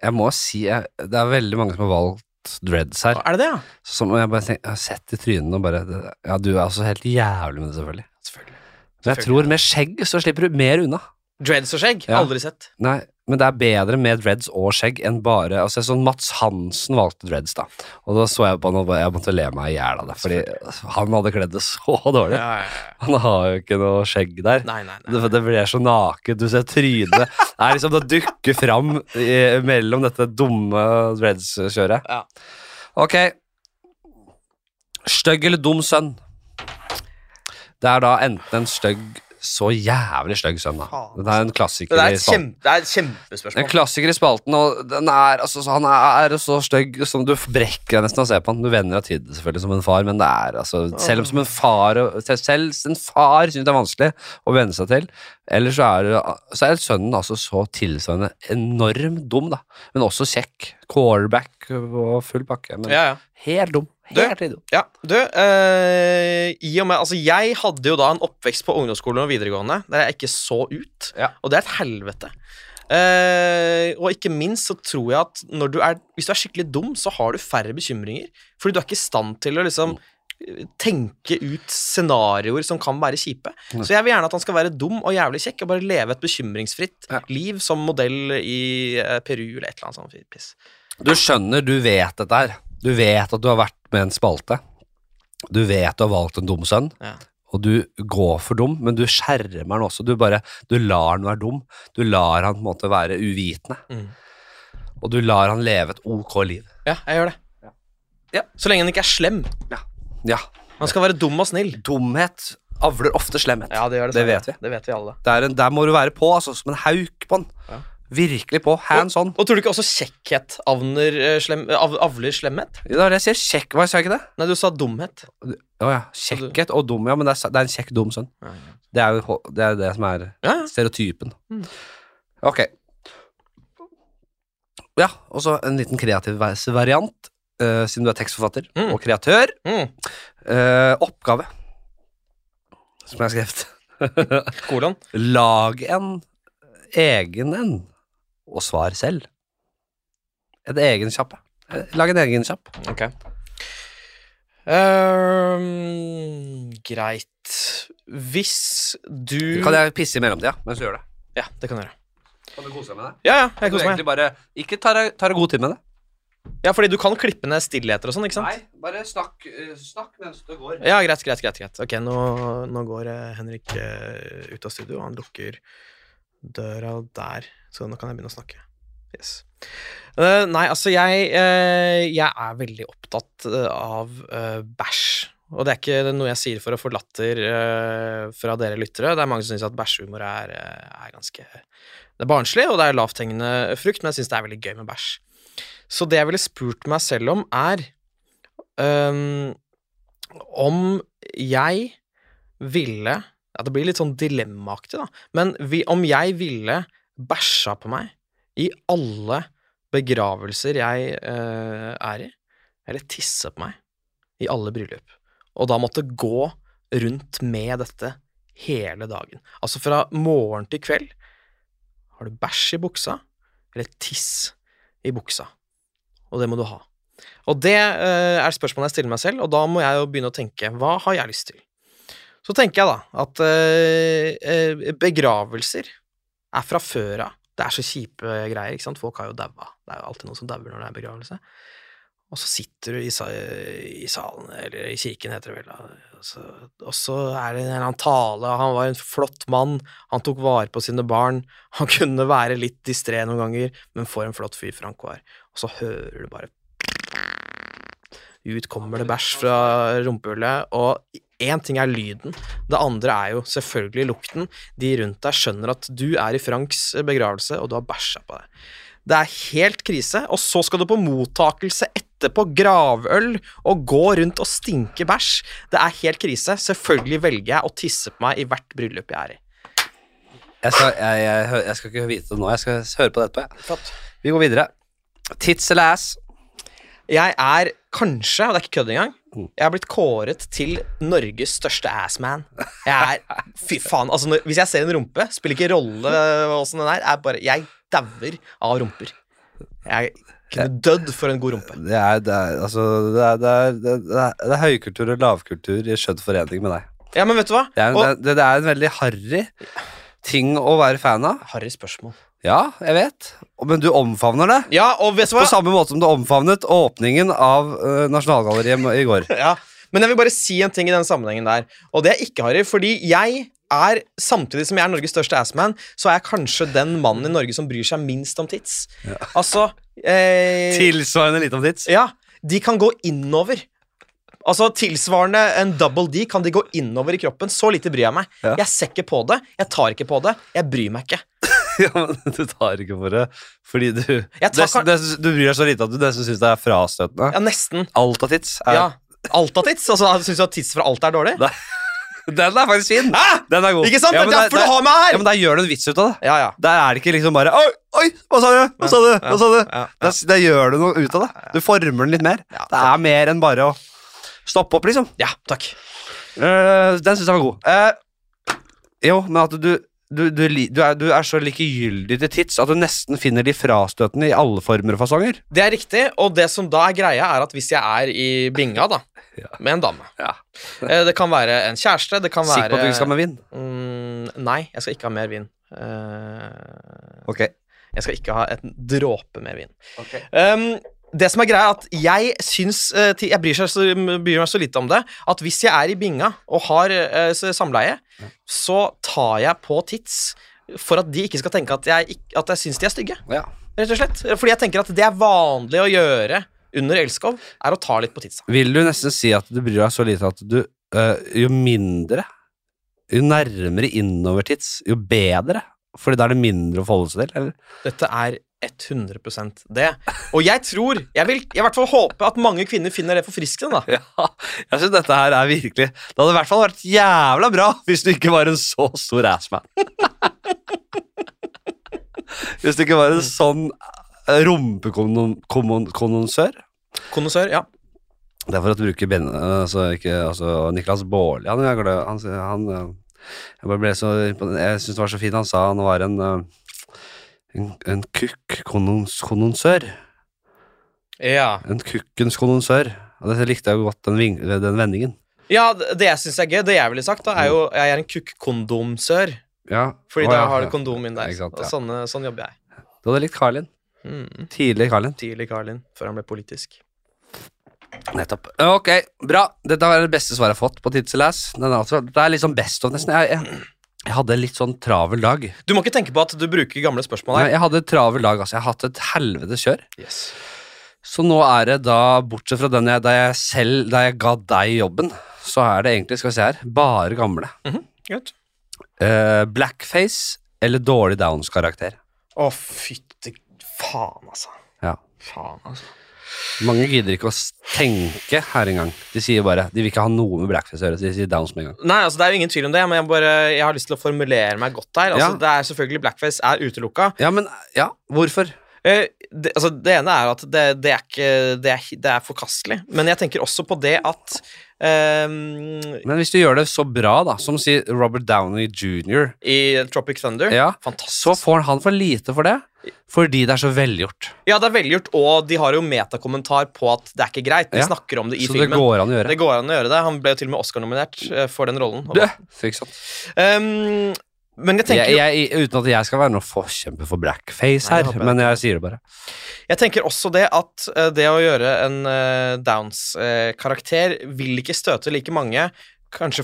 A: Jeg må si jeg, det er veldig mange som har valgt dreads her.
B: Er det det, ja?
A: Som jeg bare tenker, jeg har sett i trynene og bare det- Ja, du er altså helt jævlig med det, selvfølgelig.
B: Selvfølgelig.
A: Men jeg tror med skjegg så slipper du mer unna.
B: Dreads og skjegg?
A: Ja.
B: Aldri sett.
A: Nei, men det er bedre med dreads og skjegg enn bare Altså, sånn Mats Hansen valgte dreads, da. Og da så jeg på han og bare- jeg måtte le meg i hjel av det, fordi han hadde kledd det så dårlig.
B: Ja, ja, ja.
A: Han har jo ikke noe skjegg der.
B: Nei, nei, nei.
A: Det, det blir så naket, du ser trynet Det er liksom det dukker fram i, mellom dette dumme dreads-kjøret.
B: Ja.
A: Ok. Stygg eller dum sønn? Det er da enten en stygg Så jævlig stygg sønn, da.
B: Faen, altså.
A: Det er en klassiker
B: Det er
A: i
B: et,
A: spalten.
B: kjempe, det er et
A: En
B: kjempespørsmål.
A: klassiker i spalten, og den er, altså, så han er så stygg som du brekker deg nesten av å se på han. Du vender deg til det selvfølgelig som en far, men det er altså Selv som en far og- selv- Selv en far syns det er vanskelig å venne seg til. Eller så er, det- så er sønnen altså så tilsvarende enormt dum, da. Men også kjekk. Quarterback og full pakke. Men
B: Ja, ja.
A: helt dum.
B: Du?
A: Helt idiotisk.
B: Ja, du, eh, i og med, altså Jeg hadde jo da en oppvekst på ungdomsskolen og videregående der jeg ikke så ut.
A: Ja.
B: Og det er et helvete. Eh, og ikke minst så tror jeg at når du er, hvis du er skikkelig dum, så har du færre bekymringer. Fordi du er ikke i stand til å liksom eh, tenke ut scenarioer som kan være kjipe.
A: Mm.
B: Så jeg vil gjerne at han skal være dum og jævlig kjekk og bare leve et bekymringsfritt
A: Ja.
B: liv som modell i eh, Peru eller et eller annet sånt piss.
A: Du skjønner, du vet dette her. Du vet at du har vært med en spalte. Du vet du har valgt en dum sønn.
B: Ja.
A: Og du går for dum, men du skjermer den også. Du bare, du lar den være dum. Du lar han på en måte være uvitende.
B: Mm.
A: Og du lar han leve et ok liv.
B: Ja, jeg gjør det. Ja. Så lenge han ikke er slem.
A: Ja,
B: Han skal være dum og snill.
A: dumhet avler ofte slemhet.
B: Ja, det gjør det.
A: Det
B: Sara.
A: vet vi.
B: Det vet vi alle.
A: Det er en, der må du være på, altså, som en hauk på den.
B: Ja.
A: Virkelig på. Hands on.
B: Og tror du ikke også kjekkhet avner, eh, slem, av, avler slemhet?
A: Det er det jeg sier. Kjekk, hva sa jeg ikke det?
B: Nei, du sa dumhet.
A: Å ja. Kjekkhet og dum, ja, men det er, det er en kjekk, dum sønn.
B: Ja, ja.
A: Det er jo hå- det, er det som er
B: Ja, ja.
A: stereotypen.
B: Mm.
A: Ok. Ja, og så en liten kreativ vers- variant, eh, siden du er tekstforfatter
B: Mm.
A: og kreatør.
B: Mm.
A: Eh, oppgave, som jeg har skrevet.
B: Kolon.
A: Lag en egen en, og svar selv. En egen kjapp. ja. Eh, Lag en egen kjapp.
B: Ok. Ehm, greit. Hvis du
A: Kan jeg pisse i mellomtida mens du gjør det?
B: Ja, det kan du gjøre.
A: Kan du kose deg med det?
B: Ja, ja, jeg
A: Du
B: koser meg.
A: egentlig bare, ikke ta deg ta deg god tid med det.
B: Ja, fordi du kan klippe ned stillheter og sånn, ikke sant?
A: bare snakk, eh, snakk mens du går.
B: Ja, greit, greit, greit. greit. Ok, nå, nå går eh, Henrik eh, ut av studio, og han lukker døra der, så nå kan jeg begynne å snakke. Yes. Eh, nei, altså, jeg, eh, jeg er veldig opptatt eh, av eh, bæsj. Og det er ikke noe jeg sier for å få latter eh, fra dere lyttere. Det er mange som syns at bæsjhumor er, eh, er ganske Det er barnslig, og det er lavthengende frukt, men jeg syns det er veldig gøy med bæsj. Så det jeg ville spurt meg selv om, er ehm, om jeg ville ja, Det blir litt sånn dilemmaaktig, da. Men vi, om jeg ville bæsja på meg i alle begravelser jeg eh, er i, eller tisse på meg i alle bryllup, og da måtte gå rundt med dette hele dagen Altså fra morgen til kveld har du bæsj i buksa, eller tiss i buksa. Og det må du ha. Og det eh, er spørsmålet jeg stiller meg selv, og da må jeg jo begynne å tenke hva har jeg lyst til? Så tenker jeg da at eh, eh, begravelser er fra før av. Det er så kjipe greier, ikke sant. Folk har jo daua. Det er jo alltid noen som dauer når det er begravelse. Og så sitter du i, sa i salen, eller i kirken heter det vel, da. Og så, og så er det en eller annen tale, han var en flott mann, han tok vare på sine barn, [laughs] han kunne være litt distré noen ganger, men for en flott fyr Frank var. Og så hører du bare ut kommer det bæsj fra rumpehullet, og én ting er lyden, det andre er jo selvfølgelig lukten. De rundt deg skjønner at du er i Franks begravelse, og du har bæsja på deg. Det er helt krise, og så skal du på mottakelse etterpå, gravøl, og gå rundt og stinke bæsj. Det er helt krise. Selvfølgelig velger jeg å tisse på meg i hvert bryllup jeg er i.
A: Jeg skal, jeg, jeg, hø- jeg skal ikke vite det nå, jeg skal høre på det etterpå. jeg. Vi går videre. Tits eller ass?
B: Jeg er kanskje, og det er ikke kødd engang,
A: Mm.
B: jeg har blitt kåret til Norges største assman. Jeg er Fy faen. Altså, når, hvis jeg ser en rumpe, spiller ikke rolle åssen den er, er bare Jeg dauer av rumper. Jeg kunne dødd for en god rumpe.
A: Det er, det er, altså, det er, det er, det er, det er høykultur og lavkultur i skjønn forening med deg.
B: Ja, men vet du hva?
A: Det er,
B: Og-
A: det, det er en veldig harry ting å være fan av.
B: Harry spørsmål.
A: Ja, jeg vet. Men du omfavner det.
B: Ja, og vet du
A: På
B: hva?
A: samme måte som du omfavnet åpningen av eh, Nasjonalgalleriet i går.
B: [laughs] Ja. Men jeg vil bare si en ting i den sammenhengen der, og det er ikke Harry, fordi jeg er, samtidig som jeg er Norges største assman, så er jeg kanskje den mannen i Norge som bryr seg minst om tits. [laughs] Altså eh,
A: Tilsvarende lite om tits.
B: Ja, de kan gå innover. Altså Tilsvarende en double D kan de gå innover i kroppen. Så lite bryr jeg meg.
A: Ja.
B: Jeg ser ikke på det, jeg tar ikke på det, jeg bryr meg ikke.
A: [laughs] Ja, men du tar ikke for det fordi du
B: tar
A: nesten,
B: kar-
A: nesten, Du bryr deg så lite at du nesten syns det er frastøtende.
B: Ja, Nesten.
A: Alt av tits. Er,
B: Ja. Alt av tits. Altså, Syns du at tits fra alt er dårlig?
A: Nei. Den er faktisk fin!
B: Hæ?
A: Den er god.
B: Ikke sant?
A: Ja,
B: det
A: men
B: er
A: der-
B: derfor du har meg
A: der- ja,
B: her!
A: men der gjør du en vits ut av det.
B: Ja, ja.
A: Der er det ikke liksom bare Oi, oi, hva sa du? Hva sa du? Hva sa du?
B: ja, ja.
A: Der, der gjør du noe ut av det. Du former den litt mer.
B: Ja,
A: Det er mer enn bare å stoppe opp, liksom.
B: Ja, takk.
A: Eh, den syns jeg var god. Eh, jo, men at du du, du, li- du, er, du er så likegyldig til tits at du nesten finner de frastøtende i alle former og fasonger.
B: Det er riktig, og det som da er greia, er at hvis jeg er i binga, da,
A: [laughs] Ja.
B: med en dame
A: Ja.
B: Eh, Det kan være en kjæreste, det kan være
A: Sikker på at du ikke skal med vind?
B: mm, Nei, jeg skal ikke ha mer vin. Eh,
A: Ok.
B: jeg skal ikke ha en dråpe mer vin. Um, det som er greia er at Jeg syns eh, ti- Jeg bryr, seg så, bryr meg så lite om det at hvis jeg er i binga og har eh, s- samleie, så tar jeg på tits for at de ikke skal tenke at jeg, ikk- at jeg syns de er stygge.
A: Ja.
B: Rett og slett. Fordi jeg tenker at det er vanlig å gjøre under elskov, er å ta litt på tidsa.
A: Vil du nesten si at du bryr deg så lite at du eh, Jo mindre, jo nærmere innover tits, jo bedre? Fordi da er det mindre å forholde seg til? Eller?
B: Dette er 100 det. Og jeg tror Jeg vil jeg i hvert fall håpe at mange kvinner finner det forfriskende, da.
A: Ja, jeg synes dette her er virkelig Det hadde i hvert fall vært jævla bra hvis du ikke var en så stor assman. hvis du ikke var en sånn eh, rumpekondensør.
B: Kondosør, ja.
A: Det er for at du bruker ben... Altså, ikke, altså Niklas Baarli han, jeg glad- han, sier- han eh, Jeg bare ble så imponert. Jeg syns det var så fint han sa han var en eh, en, en kukk-kondensør.
B: Ja,
A: En kukkens kondensør. Og det likte jeg jo godt, den, ving, den vendingen.
B: ja det det jeg syns er gøy, det jeg ville sagt, da, er jo jeg er en kukk-kondomsør.
A: Ja.
B: Fordi
A: Mm. Å,
B: da
A: ja,
B: har
A: ja.
B: du kondom inn der.
A: Ikke sant,
B: Og
A: ja.
B: sånne, sånn jobber jeg.
A: Du hadde likt Carlin.
B: Mm.
A: Tidlig Carlin.
B: Tidlig Karlin, før han ble politisk.
A: Nettopp. Ok, bra. Dette var det beste svaret jeg har fått på Tidselas. Det er liksom best of, nesten. Jeg, jeg, jeg hadde en litt sånn travel dag.
B: Du må ikke tenke på at du bruker gamle spørsmål
A: Nei,
B: her.
A: jeg hadde en travel dag, altså. Jeg har hatt et helvetes kjør.
B: Yes.
A: Så nå er det da, bortsett fra den jeg, da jeg selv Da jeg ga deg jobben, så er det egentlig, skal vi se her, bare gamle.
B: Greit.
A: Eh, blackface eller dårlig Downs-karakter.
B: Å, fytti faen, altså.
A: Ja.
B: Faen, altså.
A: Mange gidder ikke å s- tenke her engang. De sier bare De vil ikke ha noe med blackface å gjøre. så De sier Downs med en gang.
B: Nei, altså Det er jo ingen tvil om det, men jeg, bare, jeg har lyst til å formulere meg godt der. Altså,
A: Ja.
B: det er selvfølgelig Blackface er utelukka.
A: Ja, men Ja, hvorfor?
B: Eh, det, altså, det ene er at det, det, er ikke, det, er, det er forkastelig, men jeg tenker også på det at ehm,
A: Men hvis du gjør det så bra, da, som sier Robert Downey jr.,
B: I Tropic Thunder
A: Ja. så
B: Fantastisk.
A: får han for lite for det fordi det er så velgjort.
B: Ja, det er velgjort, og de har jo metakommentar på at det er ikke greit. De
A: Ja.
B: snakker om det i
A: Så det
B: filmen.
A: går an å gjøre.
B: det går an å gjøre det. Han ble jo til og med Oscar-nominert eh, for den rollen.
A: Du, sånn. ikke sant?
B: Ehm, men jeg tenker
A: Jeg,
B: jo
A: jeg, uten at jeg skal være noen forkjemper for blackface
B: Nei, det
A: her,
B: håper jeg
A: men jeg sier det bare.
B: Jeg tenker også det at eh, det å gjøre en eh, Downs-karakter vil ikke støte like mange, kanskje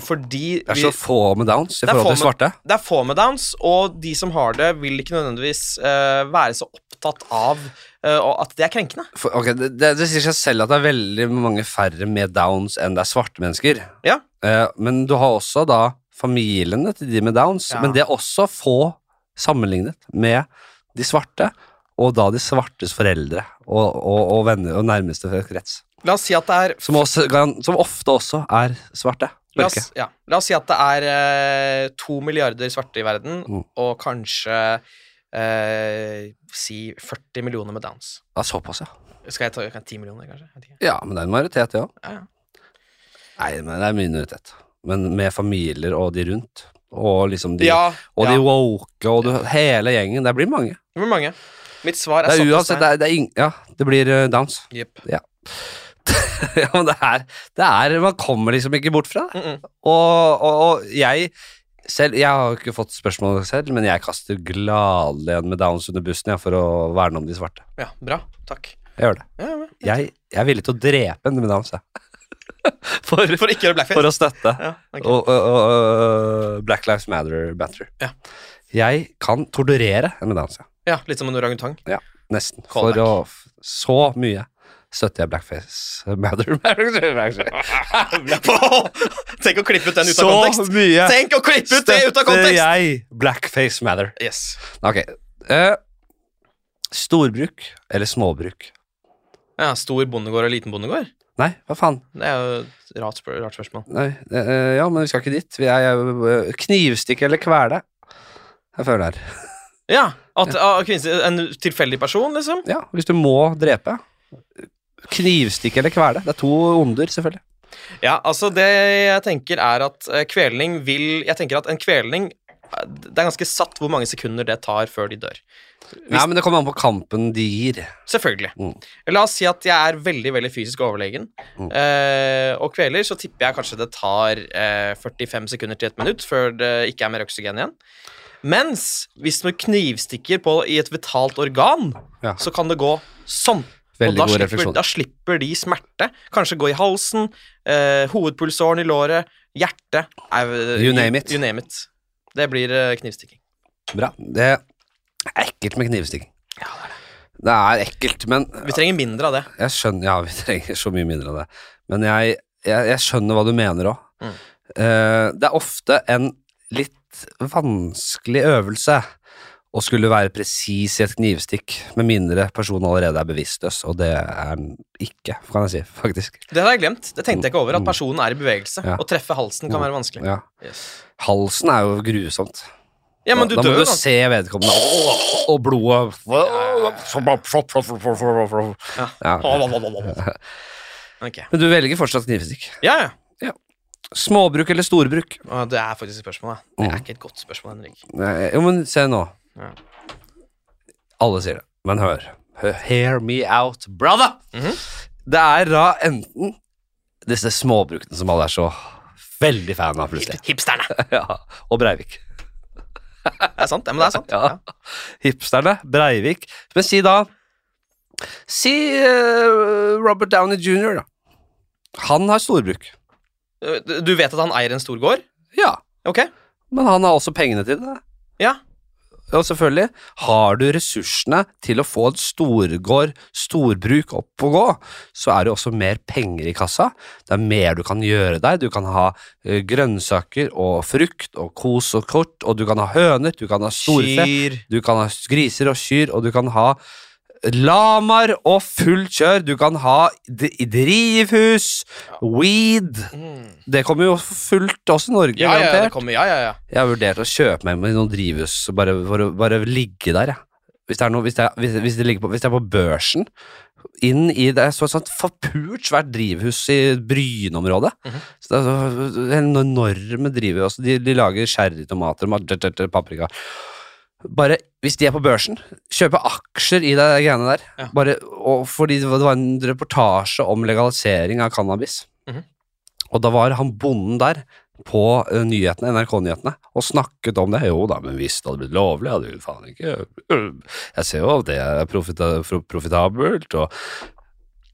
A: Det
B: fordi
A: er så
B: vi,
A: få med downs i
B: Det er
A: forhold
B: få
A: til svarte.
B: det er få med Downs, og de som har det, vil ikke nødvendigvis eh, være så opptatt av eh, og at det er krenkende.
A: For, ok, det, det, det sier seg selv at det er veldig mange færre med downs enn det er svarte mennesker.
B: Ja.
A: Eh, men du har også da familiene til de med downs,
B: Ja.
A: men det er også få sammenlignet med de svarte, og da de svartes foreldre og, og, og venner og nærmeste krets.
B: La oss si at det er
A: Som, også, garan- som ofte også er svarte.
B: La oss,
A: Mørke.
B: ja, la oss si at det er eh, to milliarder svarte i verden,
A: Mm.
B: og kanskje eh, si 40 millioner med Downs.
A: Ja, såpass, ja.
B: Skal jeg ta kan jeg 10 millioner, kanskje? Jeg vet ikke.
A: Ja, men det er en majoritet, ja.
B: Ja, ja.
A: Nei, men det er en minoritet. Men med familier og de rundt. Og liksom de,
B: ja,
A: og
B: ja.
A: de woke og du, hele gjengen. Det blir mange.
B: Det blir mange. Mitt svar
A: Det
B: er,
A: er
B: satt i
A: uansett, det
B: stein.
A: er, det er ing, Ja, det blir eh, downs.
B: Jepp.
A: [laughs] ja, men det er, det er Man kommer liksom ikke bort fra det.
B: Mm -mm.
A: Og, og, og jeg selv, jeg har jo ikke fått spørsmål selv, men jeg kaster gladelig en med downs under bussen jeg, for å verne om de svarte.
B: Ja, bra. Takk.
A: Jeg gjør det.
B: Ja, ja.
A: Jeg, jeg er villig til å drepe en med downs, jeg. [laughs] For,
B: For ikke å gjøre blackface.
A: for å støtte.
B: Ja, ok.
A: Og, og, og øh, Black Lives Matter Batter.
B: Ja.
A: Jeg kan torturere en med downs, jeg.
B: ja, litt som en orangutang.
A: Nesten. For
B: Callback.
A: å f- Så mye støtter jeg Blackface [laughs] Matter.
B: [laughs] Tenk å klippe ut den ut av
A: så
B: kontekst!
A: mye
B: Tenk å klippe ut det ut av
A: støtter
B: kontekst!
A: jeg Blackface Matter.
B: Yes.
A: Ok. eh, storbruk eller småbruk?
B: Ja, Stor bondegård og liten bondegård?
A: Nei, hva faen?
B: Det er jo et rart, spør rart spørsmål.
A: Nei, det, eh, ja, men vi skal ikke dit. Vi er eh, knivstikke eller kvele. Jeg føler her.
B: Ja, at ah, kvinner, En tilfeldig person, liksom?
A: Ja, hvis du må drepe. Knivstikke eller kvele. Det er to onder, selvfølgelig.
B: Ja, altså det jeg tenker er at eh, kvelning vil Jeg tenker at en kvelning eh, Det er ganske satt hvor mange sekunder det tar før de dør.
A: Nei, men det kommer an på kampen de gir.
B: Selvfølgelig.
A: Mm.
B: La oss si at jeg er veldig veldig fysisk overlegen
A: Mm.
B: eh, og kveler, så tipper jeg kanskje det tar eh, 45 sekunder til et minutt før det ikke er mer oksygen igjen. Mens hvis du knivstikker på i et vitalt organ,
A: Ja.
B: så kan det gå sånn.
A: Veldig
B: og da
A: god
B: slipper,
A: refleksjon.
B: da slipper de smerte. Kanskje gå i halsen, eh, hovedpulsåren i låret, hjertet au,
A: You name it.
B: You name it. Det blir eh, knivstikking.
A: Bra. Det er ekkelt med knivstikking. Det er ekkelt, men
B: Vi trenger mindre av det.
A: jeg skjønner Ja, [laughs] vi trenger så mye mindre av det. Men jeg, jeg, jeg skjønner hva du mener òg.
B: Mm.
A: det er ofte en litt vanskelig øvelse å skulle være presis i et knivstikk, med mindre personen allerede er bevisstløs, og det er den ikke, kan jeg si, [laughs] faktisk.
B: Det har jeg glemt. Det tenkte jeg ikke over, at
A: Mm.
B: personen er i bevegelse.
A: Ja.
B: Å treffe halsen kan
A: Mm.
B: være vanskelig.
A: Ja.
B: Yes.
A: Halsen er jo grusomt.
B: Ja, men du
A: da, da
B: dør
A: må
B: jo,
A: du
B: da.
A: se vedkommende, og, og blodet
B: Ja.
A: Ja.
B: Ok.
A: Men du velger fortsatt knivstikk.
B: Ja, ja.
A: Småbruk eller storbruk?
B: Å, Det er faktisk et spørsmål. da. Det
A: Mm.
B: er ikke et godt spørsmål, Henrik.
A: Nei, Jo, men se nå.
B: Ja.
A: Alle sier det, men hør. Hø- Hear me out, brother!
B: Mhm.
A: Det er da enten disse småbrukene som alle er så veldig fan av, plutselig.
B: Hipsterne!
A: Ja. [laughs] Og Breivik.
B: Det er sant, ja, men det er sant.
A: Ja. Hipsterne, Breivik. Men si da Si eh, Robert Downey jr., da. Han har storbruk.
B: Ja. Du- Du vet at han eier en stor gård?
A: Ja,
B: Ok?
A: men han har også pengene til det.
B: Ja.
A: Og selvfølgelig, har du ressursene til å få en storgård, storbruk, opp og gå, så er det også mer penger i kassa. Det er mer du kan gjøre deg. Du kan ha eh, grønnsaker og frukt og kos og kort, og du kan ha høner, du kan ha storfe,
B: Kyr.
A: du kan ha griser og kyr, og du kan ha lamaer og fullt kjør. Du kan ha d- drivhus, weed
B: Mm.
A: Det kommer jo fullt også i Norge,
B: Ja, ja, ja, det
A: garantert.
B: kommer. Ja, ja, ja.
A: Jeg har vurdert å kjøpe meg med noen drivhus bare for å bare ligge der, jeg. Hvis det, er noe, hvis, det er, hvis, hvis, det ligger på, hvis det er på børsen Inn i det er så et sånt forpult svært drivhus i Bryne-området.
B: Mhm.
A: Så det er så en enorme drivhus. altså De, de lager sherrytomater og mat- tjert, tjert, paprika. Bare, hvis de er på børsen, kjøpe aksjer i det greiene der.
B: Ja.
A: Bare, og fordi det var det var en reportasje om legalisering av cannabis.
B: Mhm.
A: Og da var han bonden der på eh, nyhetene, NRK-nyhetene og snakket om det. Jo da, men hvis det hadde blitt lovlig, hadde vi faen ikke øh, Jeg ser jo at det er profita pro- profitabelt, og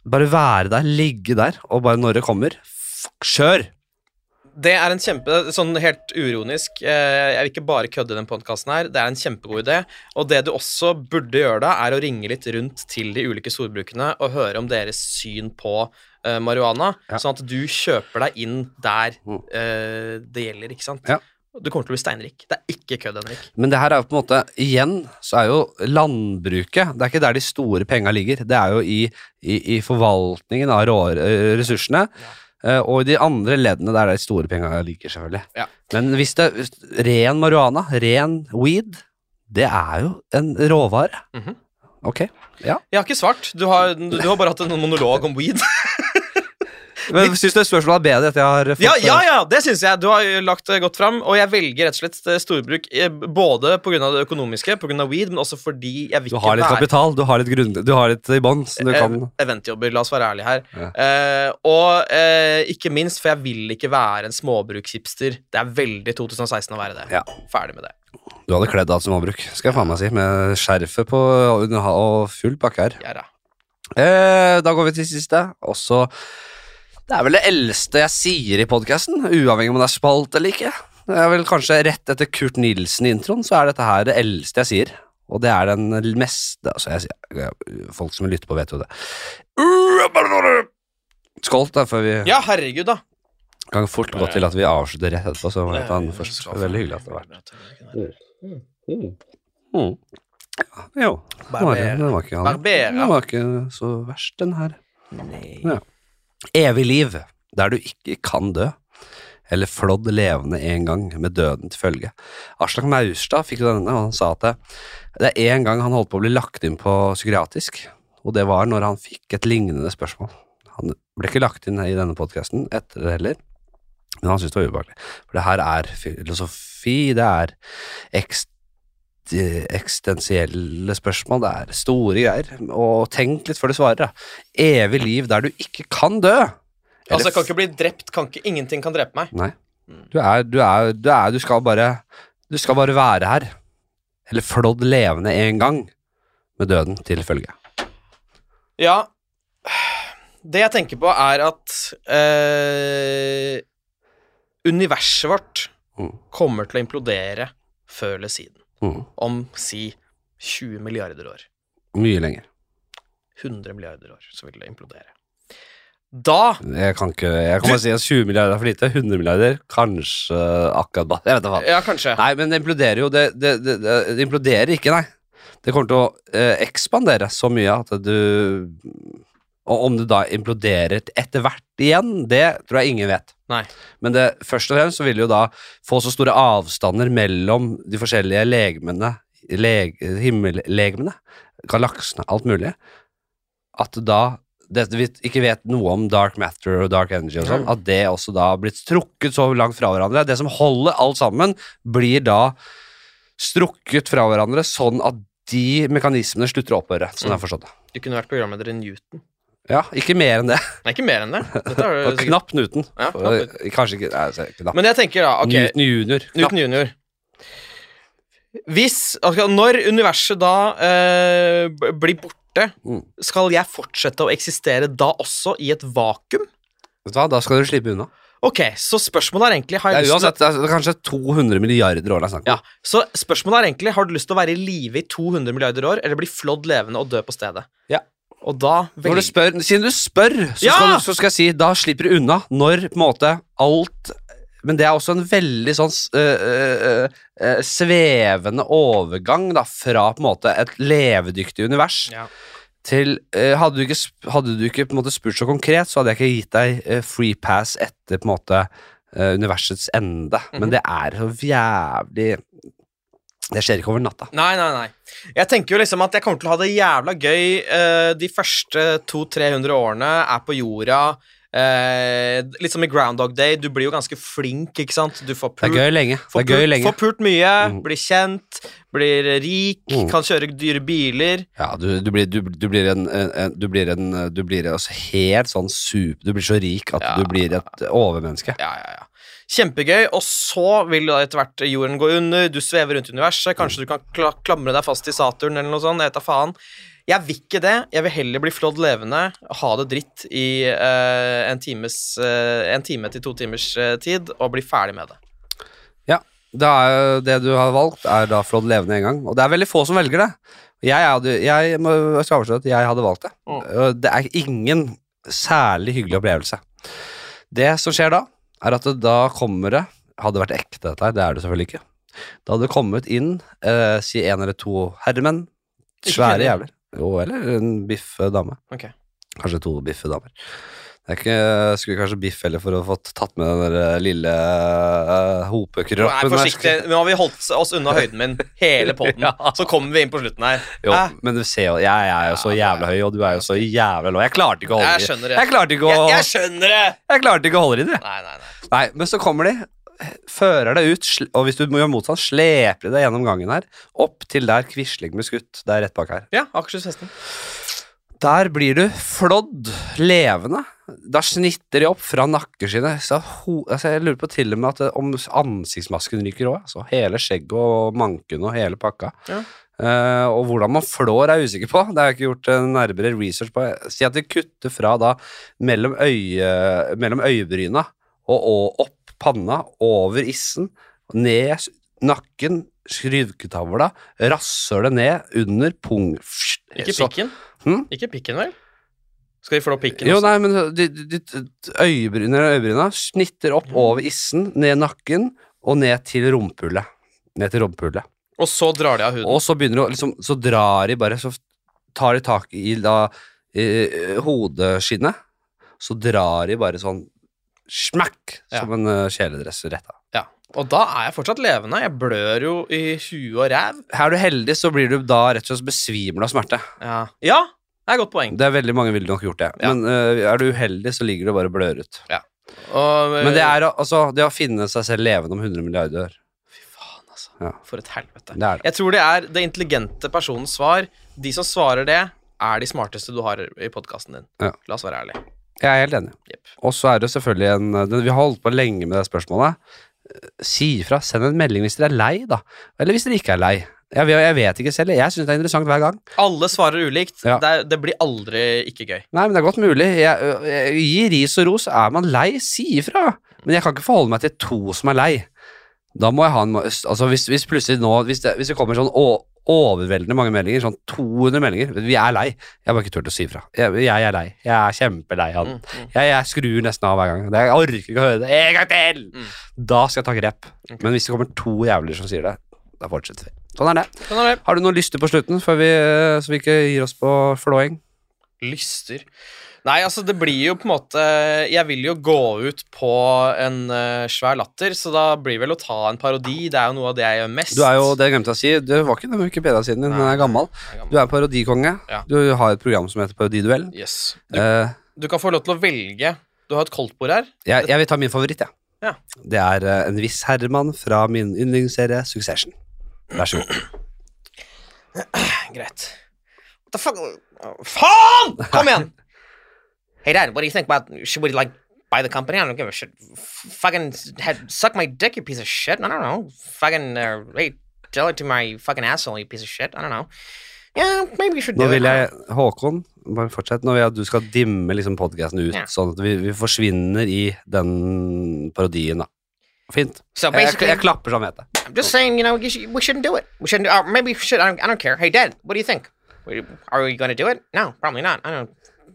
A: Bare være der, ligge der, og bare når det kommer f- Kjør!
B: Det er en kjempe, sånn helt uironisk eh, Jeg vil ikke bare kødde i den podkasten her. Det er en kjempegod idé. Og det du også burde gjøre da, er å ringe litt rundt til de ulike storbrukene og høre om deres syn på eh, marihuana,
A: Ja.
B: sånn at du kjøper deg inn der
A: Mm.
B: eh, det gjelder, ikke sant?
A: Ja.
B: Du kommer til å bli steinrik. Det er ikke kødd, Henrik.
A: Men det her er jo på en måte Igjen så er jo landbruket Det er ikke der de store penga ligger. Det er jo i, i, i forvaltningen av rå, eh, ressursene. eh, Og i de andre leddene der de store penga ligger, selvfølgelig.
B: Ja.
A: Men hvis det ren marihuana, ren weed, Det er jo en råvare.
B: Mhm.
A: Ok.
B: Jeg har ikke svart. Du har, du har bare hatt en monolog om weed.
A: Men Syns du spørsmålet er bedre etter jeg har fått
B: Ja, ja, ja, det syns jeg. Du har jo lagt det godt fram. Og jeg velger rett og slett eh, storbruk eh, både pga. det økonomiske, pga. weed, men også fordi jeg vil
A: Du
B: ikke
A: har litt
B: være
A: kapital, du har litt, grunn, du har litt i bånn, så du
B: Eh,
A: kan
B: eventjobber. La oss være ærlige her.
A: Ja.
B: Eh, og eh, ikke minst, for jeg vil ikke være en småbrukshipster. Det er veldig 2016 å være det.
A: Ja.
B: Ferdig med det.
A: Du hadde kledd deg som avbruk, skal jeg faen meg si, med skjerfet på og under- og full pakke her.
B: Jeg er da.
A: Eh, da går vi til siste, og så Det er vel det eldste jeg sier i podkasten, uavhengig om det er spalt eller ikke. Det er vel kanskje rett etter Kurt Nilsen-introen, så er dette her det eldste jeg sier. Og det er den mest Altså, jeg sier Folk som lytter på, vet jo det. Skål, da, før vi
B: Ja, herregud, da.
A: kan fort gå til at vi avslutter rett etterpå. Så må jeg
B: Eh,
A: ta den først. Det er Veldig hyggelig at det var Oh. Jo. Den var, den var ikke galen. Den
B: Barbera.
A: var ikke så verst, den her. Ja. Evig liv, der du ikke kan dø. Eller flådd levende en gang, med døden til følge. Aslak Maurstad fikk jo denne, og han sa at det, det er én gang han holdt på å bli lagt inn på psykiatrisk, og det var når han fikk et lignende spørsmål. Han ble ikke lagt inn i denne podkasten etter det heller, men han syntes det var ubehagelig. For det her er filosofi, det er ekst de eksistensielle spørsmål, det er store greier. Og tenk litt før du svarer. Da. Evig liv der du ikke kan dø.
B: Altså, jeg kan ikke bli drept. Kan ikke, ingenting kan drepe meg.
A: Nei. Du er, du er, du er Du skal bare Du skal bare være her. Eller flådd levende en gang, med døden til følge.
B: Ja. Det jeg tenker på, er at eh, universet vårt
A: Mm.
B: kommer til å implodere før eller siden.
A: Mm.
B: Om si 20 milliarder år.
A: Mye lenger.
B: 100 milliarder år, så vil det implodere. Da
A: Jeg kan ikke Jeg kan bare si at 20 milliarder er for lite. 100 milliarder, kanskje akkurat bare Jeg vet da faen.
B: Ja, kanskje.
A: Nei, men det imploderer jo det, det, det, det, det imploderer ikke, nei. Det kommer til å eh, ekspandere så mye at du Og om det da imploderer etter hvert igjen, det tror jeg ingen vet.
B: Nei.
A: Men det, først og fremst så vil det jo da få så store avstander mellom de forskjellige legemene, leg, himmellegemene, galaksene, alt mulig, at da det, vi ikke vet noe om dark matter og dark energy og sånn, at det også da har blitt strukket så langt fra hverandre. Det som holder alt sammen, blir da strukket fra hverandre sånn at de mekanismene slutter å opphøre. Sånn
B: Mm.
A: jeg har forstått det.
B: Du kunne vært programleder i Newton.
A: Ja, ikke mer enn det.
B: Nei, ikke mer enn det. Dette er jo
A: Og [laughs]
B: sikkert-
A: knapp Newton.
B: Ja, knapp Newton.
A: Kanskje ikke nei, altså, knapp.
B: Men jeg tenker da, ok
A: Newton junior. Knapp.
B: Newton junior. Hvis altså, Når universet da eh, b- blir borte,
A: Mm.
B: skal jeg fortsette å eksistere da også i et vakuum?
A: Vet du hva, da skal du slippe unna.
B: Ok, så spørsmålet er egentlig har
A: Det
B: jeg
A: er
B: lyst til,
A: uansett altså, det er kanskje 200 milliarder år det er snakk
B: ja,
A: om.
B: Så spørsmålet er egentlig Har du lyst til å være i live i 200 milliarder år, eller bli flådd levende og dø på stedet?
A: Ja.
B: Og da
A: Når du
B: velger
A: spør, siden du spør, så,
B: Ja!
A: skal du, så skal jeg si da slipper du unna. Når på en måte alt Men det er også en veldig sånn s- øh, øh, øh, svevende overgang da, fra på en måte et levedyktig univers
B: Ja.
A: til eh, Hadde du ikke, sp- hadde du ikke på en måte spurt så konkret, så hadde jeg ikke gitt deg eh, free pass etter på en måte eh, universets ende.
B: Mhm.
A: Men det er så jævlig Det skjer ikke over natta.
B: Nei, nei, nei. Jeg tenker jo liksom at jeg kommer til å ha det jævla gøy eh, de første 200-300 årene, er på jorda. eh, litt som i Groundhog Day, du blir jo ganske flink, ikke sant? Du får
A: Det er
B: pult,
A: gøy lenge. Det
B: får
A: er gøy
B: pult,
A: lenge.
B: får pult mye,
A: Mm.
B: blir kjent, blir rik,
A: Mm.
B: kan kjøre dyre biler.
A: Ja, du, du, blir, du, du blir en, en, en- du blir en eh, Du blir altså helt sånn super Du blir så rik at
B: Ja.
A: du blir et overmenneske.
B: Ja, ja, ja. Kjempegøy, og så vil da etter hvert jorden gå under, du svever rundt i universet, kanskje du kan kla klamre deg fast i Saturn eller noe sånt, jeg vet da faen. Jeg vil ikke det, jeg vil heller bli flådd levende, ha det dritt i eh, en, times, eh, en time til to timers eh, tid, og bli ferdig med det.
A: Det, er, jo- det du har valgt, er da flådd levende en gang. Og det er veldig få som velger det. Jeg, hadde, jeg, må, jeg skal avsløre at jeg hadde valgt det.
B: Mm.
A: Og Det er ingen særlig hyggelig opplevelse. Det som skjer da, er at det, da kommer det Hadde det vært ekte, dette her, det er det selvfølgelig ikke. Da hadde det kommet inn eh, si en eller to herremenn.
B: Ikke
A: Svære
B: kvinner.
A: jævler. Jo, eller en biff dame.
B: Ok.
A: Kanskje to biffe damer. Jeg ikke, jeg skulle kanskje biff heller for å få tatt med den der lille eh,
B: Vær
A: hopekroppen. der.
B: forsiktig. Nå har vi holdt oss unna høyden min
A: [laughs]
B: hele poden. Så kommer vi inn på slutten her.
A: Jo,
B: Hæ?
A: men du ser jo, jeg er jo så jævla høy, og du er jo så jævla lav. Jeg klarte ikke å holde
B: Jeg skjønner det.
A: Jeg klarte ikke å,
B: Jeg, jeg
A: jeg,
B: skjønner det!
A: klarte ikke å holde det inn, jeg.
B: Nei, nei, nei.
A: Nei, men så kommer de, fører deg ut, sl- og hvis du må gjøre motstand, sleper de deg gjennom gangen her, opp til der Quisling ble skutt. Det er rett bak her.
B: Ja, Akershus Hesten.
A: Der blir du flådd levende. Da snitter de opp fra nakkeskinnet. Så ho altså, jeg lurer på til og med at eh, om ansiktsmasken ryker òg. Altså, hele skjegget og manken og hele pakka.
B: Ja.
A: Eh, og hvordan man flår, er jeg usikker på. Det har jeg ikke gjort eh, nærmere research på. Si at de kutter fra da mellom, øye, mellom øyebryna og, og opp panna, over issen, ned s- nakken, skryggetavla, rasshølet ned, under pung...
B: Ikke
A: Så-
B: pikken.
A: Hm?
B: Ikke pikken, vel? Skal vi flå pikken
A: Jo,
B: også?
A: nei, men de, de, de, øyebryn, eller øyebryna snitter
B: Mm.
A: opp over issen, ned nakken og ned til rumpehullet. Ned til rumpehullet.
B: Og så drar de av huden.
A: Og så begynner de å liksom Så drar de bare Så tar de tak i da eh, hodeskinnet, så drar de bare sånn smakk!
B: Ja.
A: Som en eh, kjeledress rett av.
B: Ja. Og da er jeg fortsatt levende. Jeg blør jo i huet og ræv.
A: Er du heldig, så blir du da rett og slett besvimel av smerte.
B: Ja. ja, det er et godt poeng.
A: Det er veldig mange ville nok gjort det.
B: Ja.
A: Men eh, er du uheldig, så ligger du bare og blør ut.
B: Og,
A: Men det er altså Det å finne seg selv levende om 100 milliarder år,
B: Fy faen, altså.
A: Ja.
B: For et helvete.
A: det er det.
B: Jeg tror det er det intelligente personens svar. De som svarer det, er de smarteste du har i podkasten din.
A: Ja.
B: La oss være ærlige.
A: Jeg er helt enig.
B: Jepp.
A: Og så er det selvfølgelig en det- Vi har holdt på lenge med det spørsmålet. Eh, Si ifra. Send en melding hvis dere er lei, da. Eller hvis dere ikke er lei. Jeg, vet- jeg vet ikke selv. Jeg syns det er interessant hver gang.
B: Alle svarer ulikt.
A: Ja.
B: Det, er, det blir aldri ikke gøy.
A: Nei, men det er godt mulig. Jeg, jeg, gi ris og ros. Er man lei, si ifra. Men jeg kan ikke forholde meg til to som er lei. Da må jeg ha en må- Altså, hvis, hvis plutselig nå Hvis det, hvis det kommer sånn å, overveldende mange meldinger, sånn 200 meldinger Vi er lei. Jeg har bare ikke turt å si ifra. Jeg, jeg er lei. Jeg er kjempelei av den.
B: Mm, mm.
A: Jeg, jeg skrur nesten av hver gang. Det- Jeg orker ikke å høre det en gang til!
B: Mm.
A: Da skal jeg ta grep. Men hvis det kommer to jævler som sier det, da fortsetter vi. Sånn er det.
B: Sånn er det.
A: Har du noe lyster på slutten, før vi, eh, så vi ikke gir oss på flåing?
B: Lyster. Nei, altså, det blir jo på en måte Jeg vil jo gå ut på en eh, svær latter, så da blir vel å ta en parodi. Det er jo noe av det jeg gjør mest.
A: Du er jo, det glemte jeg å si, du var ikke den Wikipedia-siden din, den
B: Nei.
A: er gammel. Du
B: Jeg er gammel.
A: er parodikonge.
B: Ja.
A: Du har et program som heter Parodiduell.
B: Yes. Du,
A: Eh,
B: du kan få lov til å velge. Du har et koldtbord her.
A: jeg, jeg vil ta min favoritt, jeg.
B: Ja.
A: Det er eh, en viss Herman fra min yndlingsserie Succession. Vær så god.
B: Greit. What the fuck? Faen! Kom igjen! hey dad, what do you think about should we like buy the company? I don't give a shit. Fucking head, suck my dick, you piece of shit. I don't know. Fucking uh, hey, tell it to my fucking asshole, you piece of shit. I don't know. Yeah, maybe you should
A: Nå
B: do
A: vil
B: it.
A: jeg, Håkon, bare fortsett. Nå vil jeg at du skal dimme liksom podkasten ut,
B: Ja.
A: sånn at vi, vi forsvinner i den parodien, da. Fint.
B: So
A: Jeg, jeg,
B: basically,
A: jeg klapper som heter det.
B: I'm just saying, you know, you should, we shouldn't do it. We shouldn't. Or maybe we should. I don't, I don't care. Hey dad, what do you think? We- Are we going to do it? No, probably not. I don't.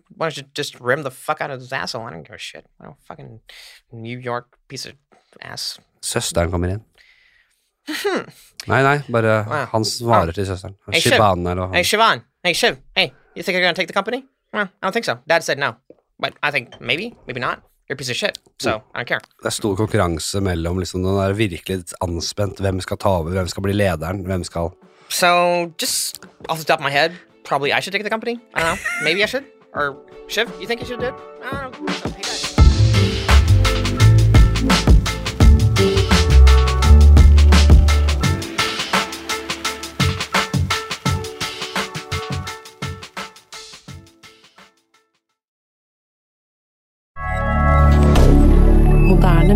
B: Why don't you just rim the fuck out of this asshole? I don't give a shit. I don't fucking New York piece of ass.
A: Søsteren kommer inn.
B: Hmm.
A: Nei, nei, bare han svarer til søsteren.
B: Hey, Shiv.
A: Shibane eller
B: Hey,
A: hva.
B: Siobhan. Hey, Shiv. Hey, you think you're going to take the company? Well, I don't think so. Dad said no. But I think maybe, maybe not. You're a piece of shit. So I don't care.
A: Det er stor konkurranse mellom liksom, den er virkelig anspent. Hvem skal ta over? Hvem skal bli lederen? Hvem skal
B: So just off the top of my head, probably I should take the company. I don't know. maybe I should. Or Shiv, you think you should do it? I don't know. Hey, Dad.
E: Moderne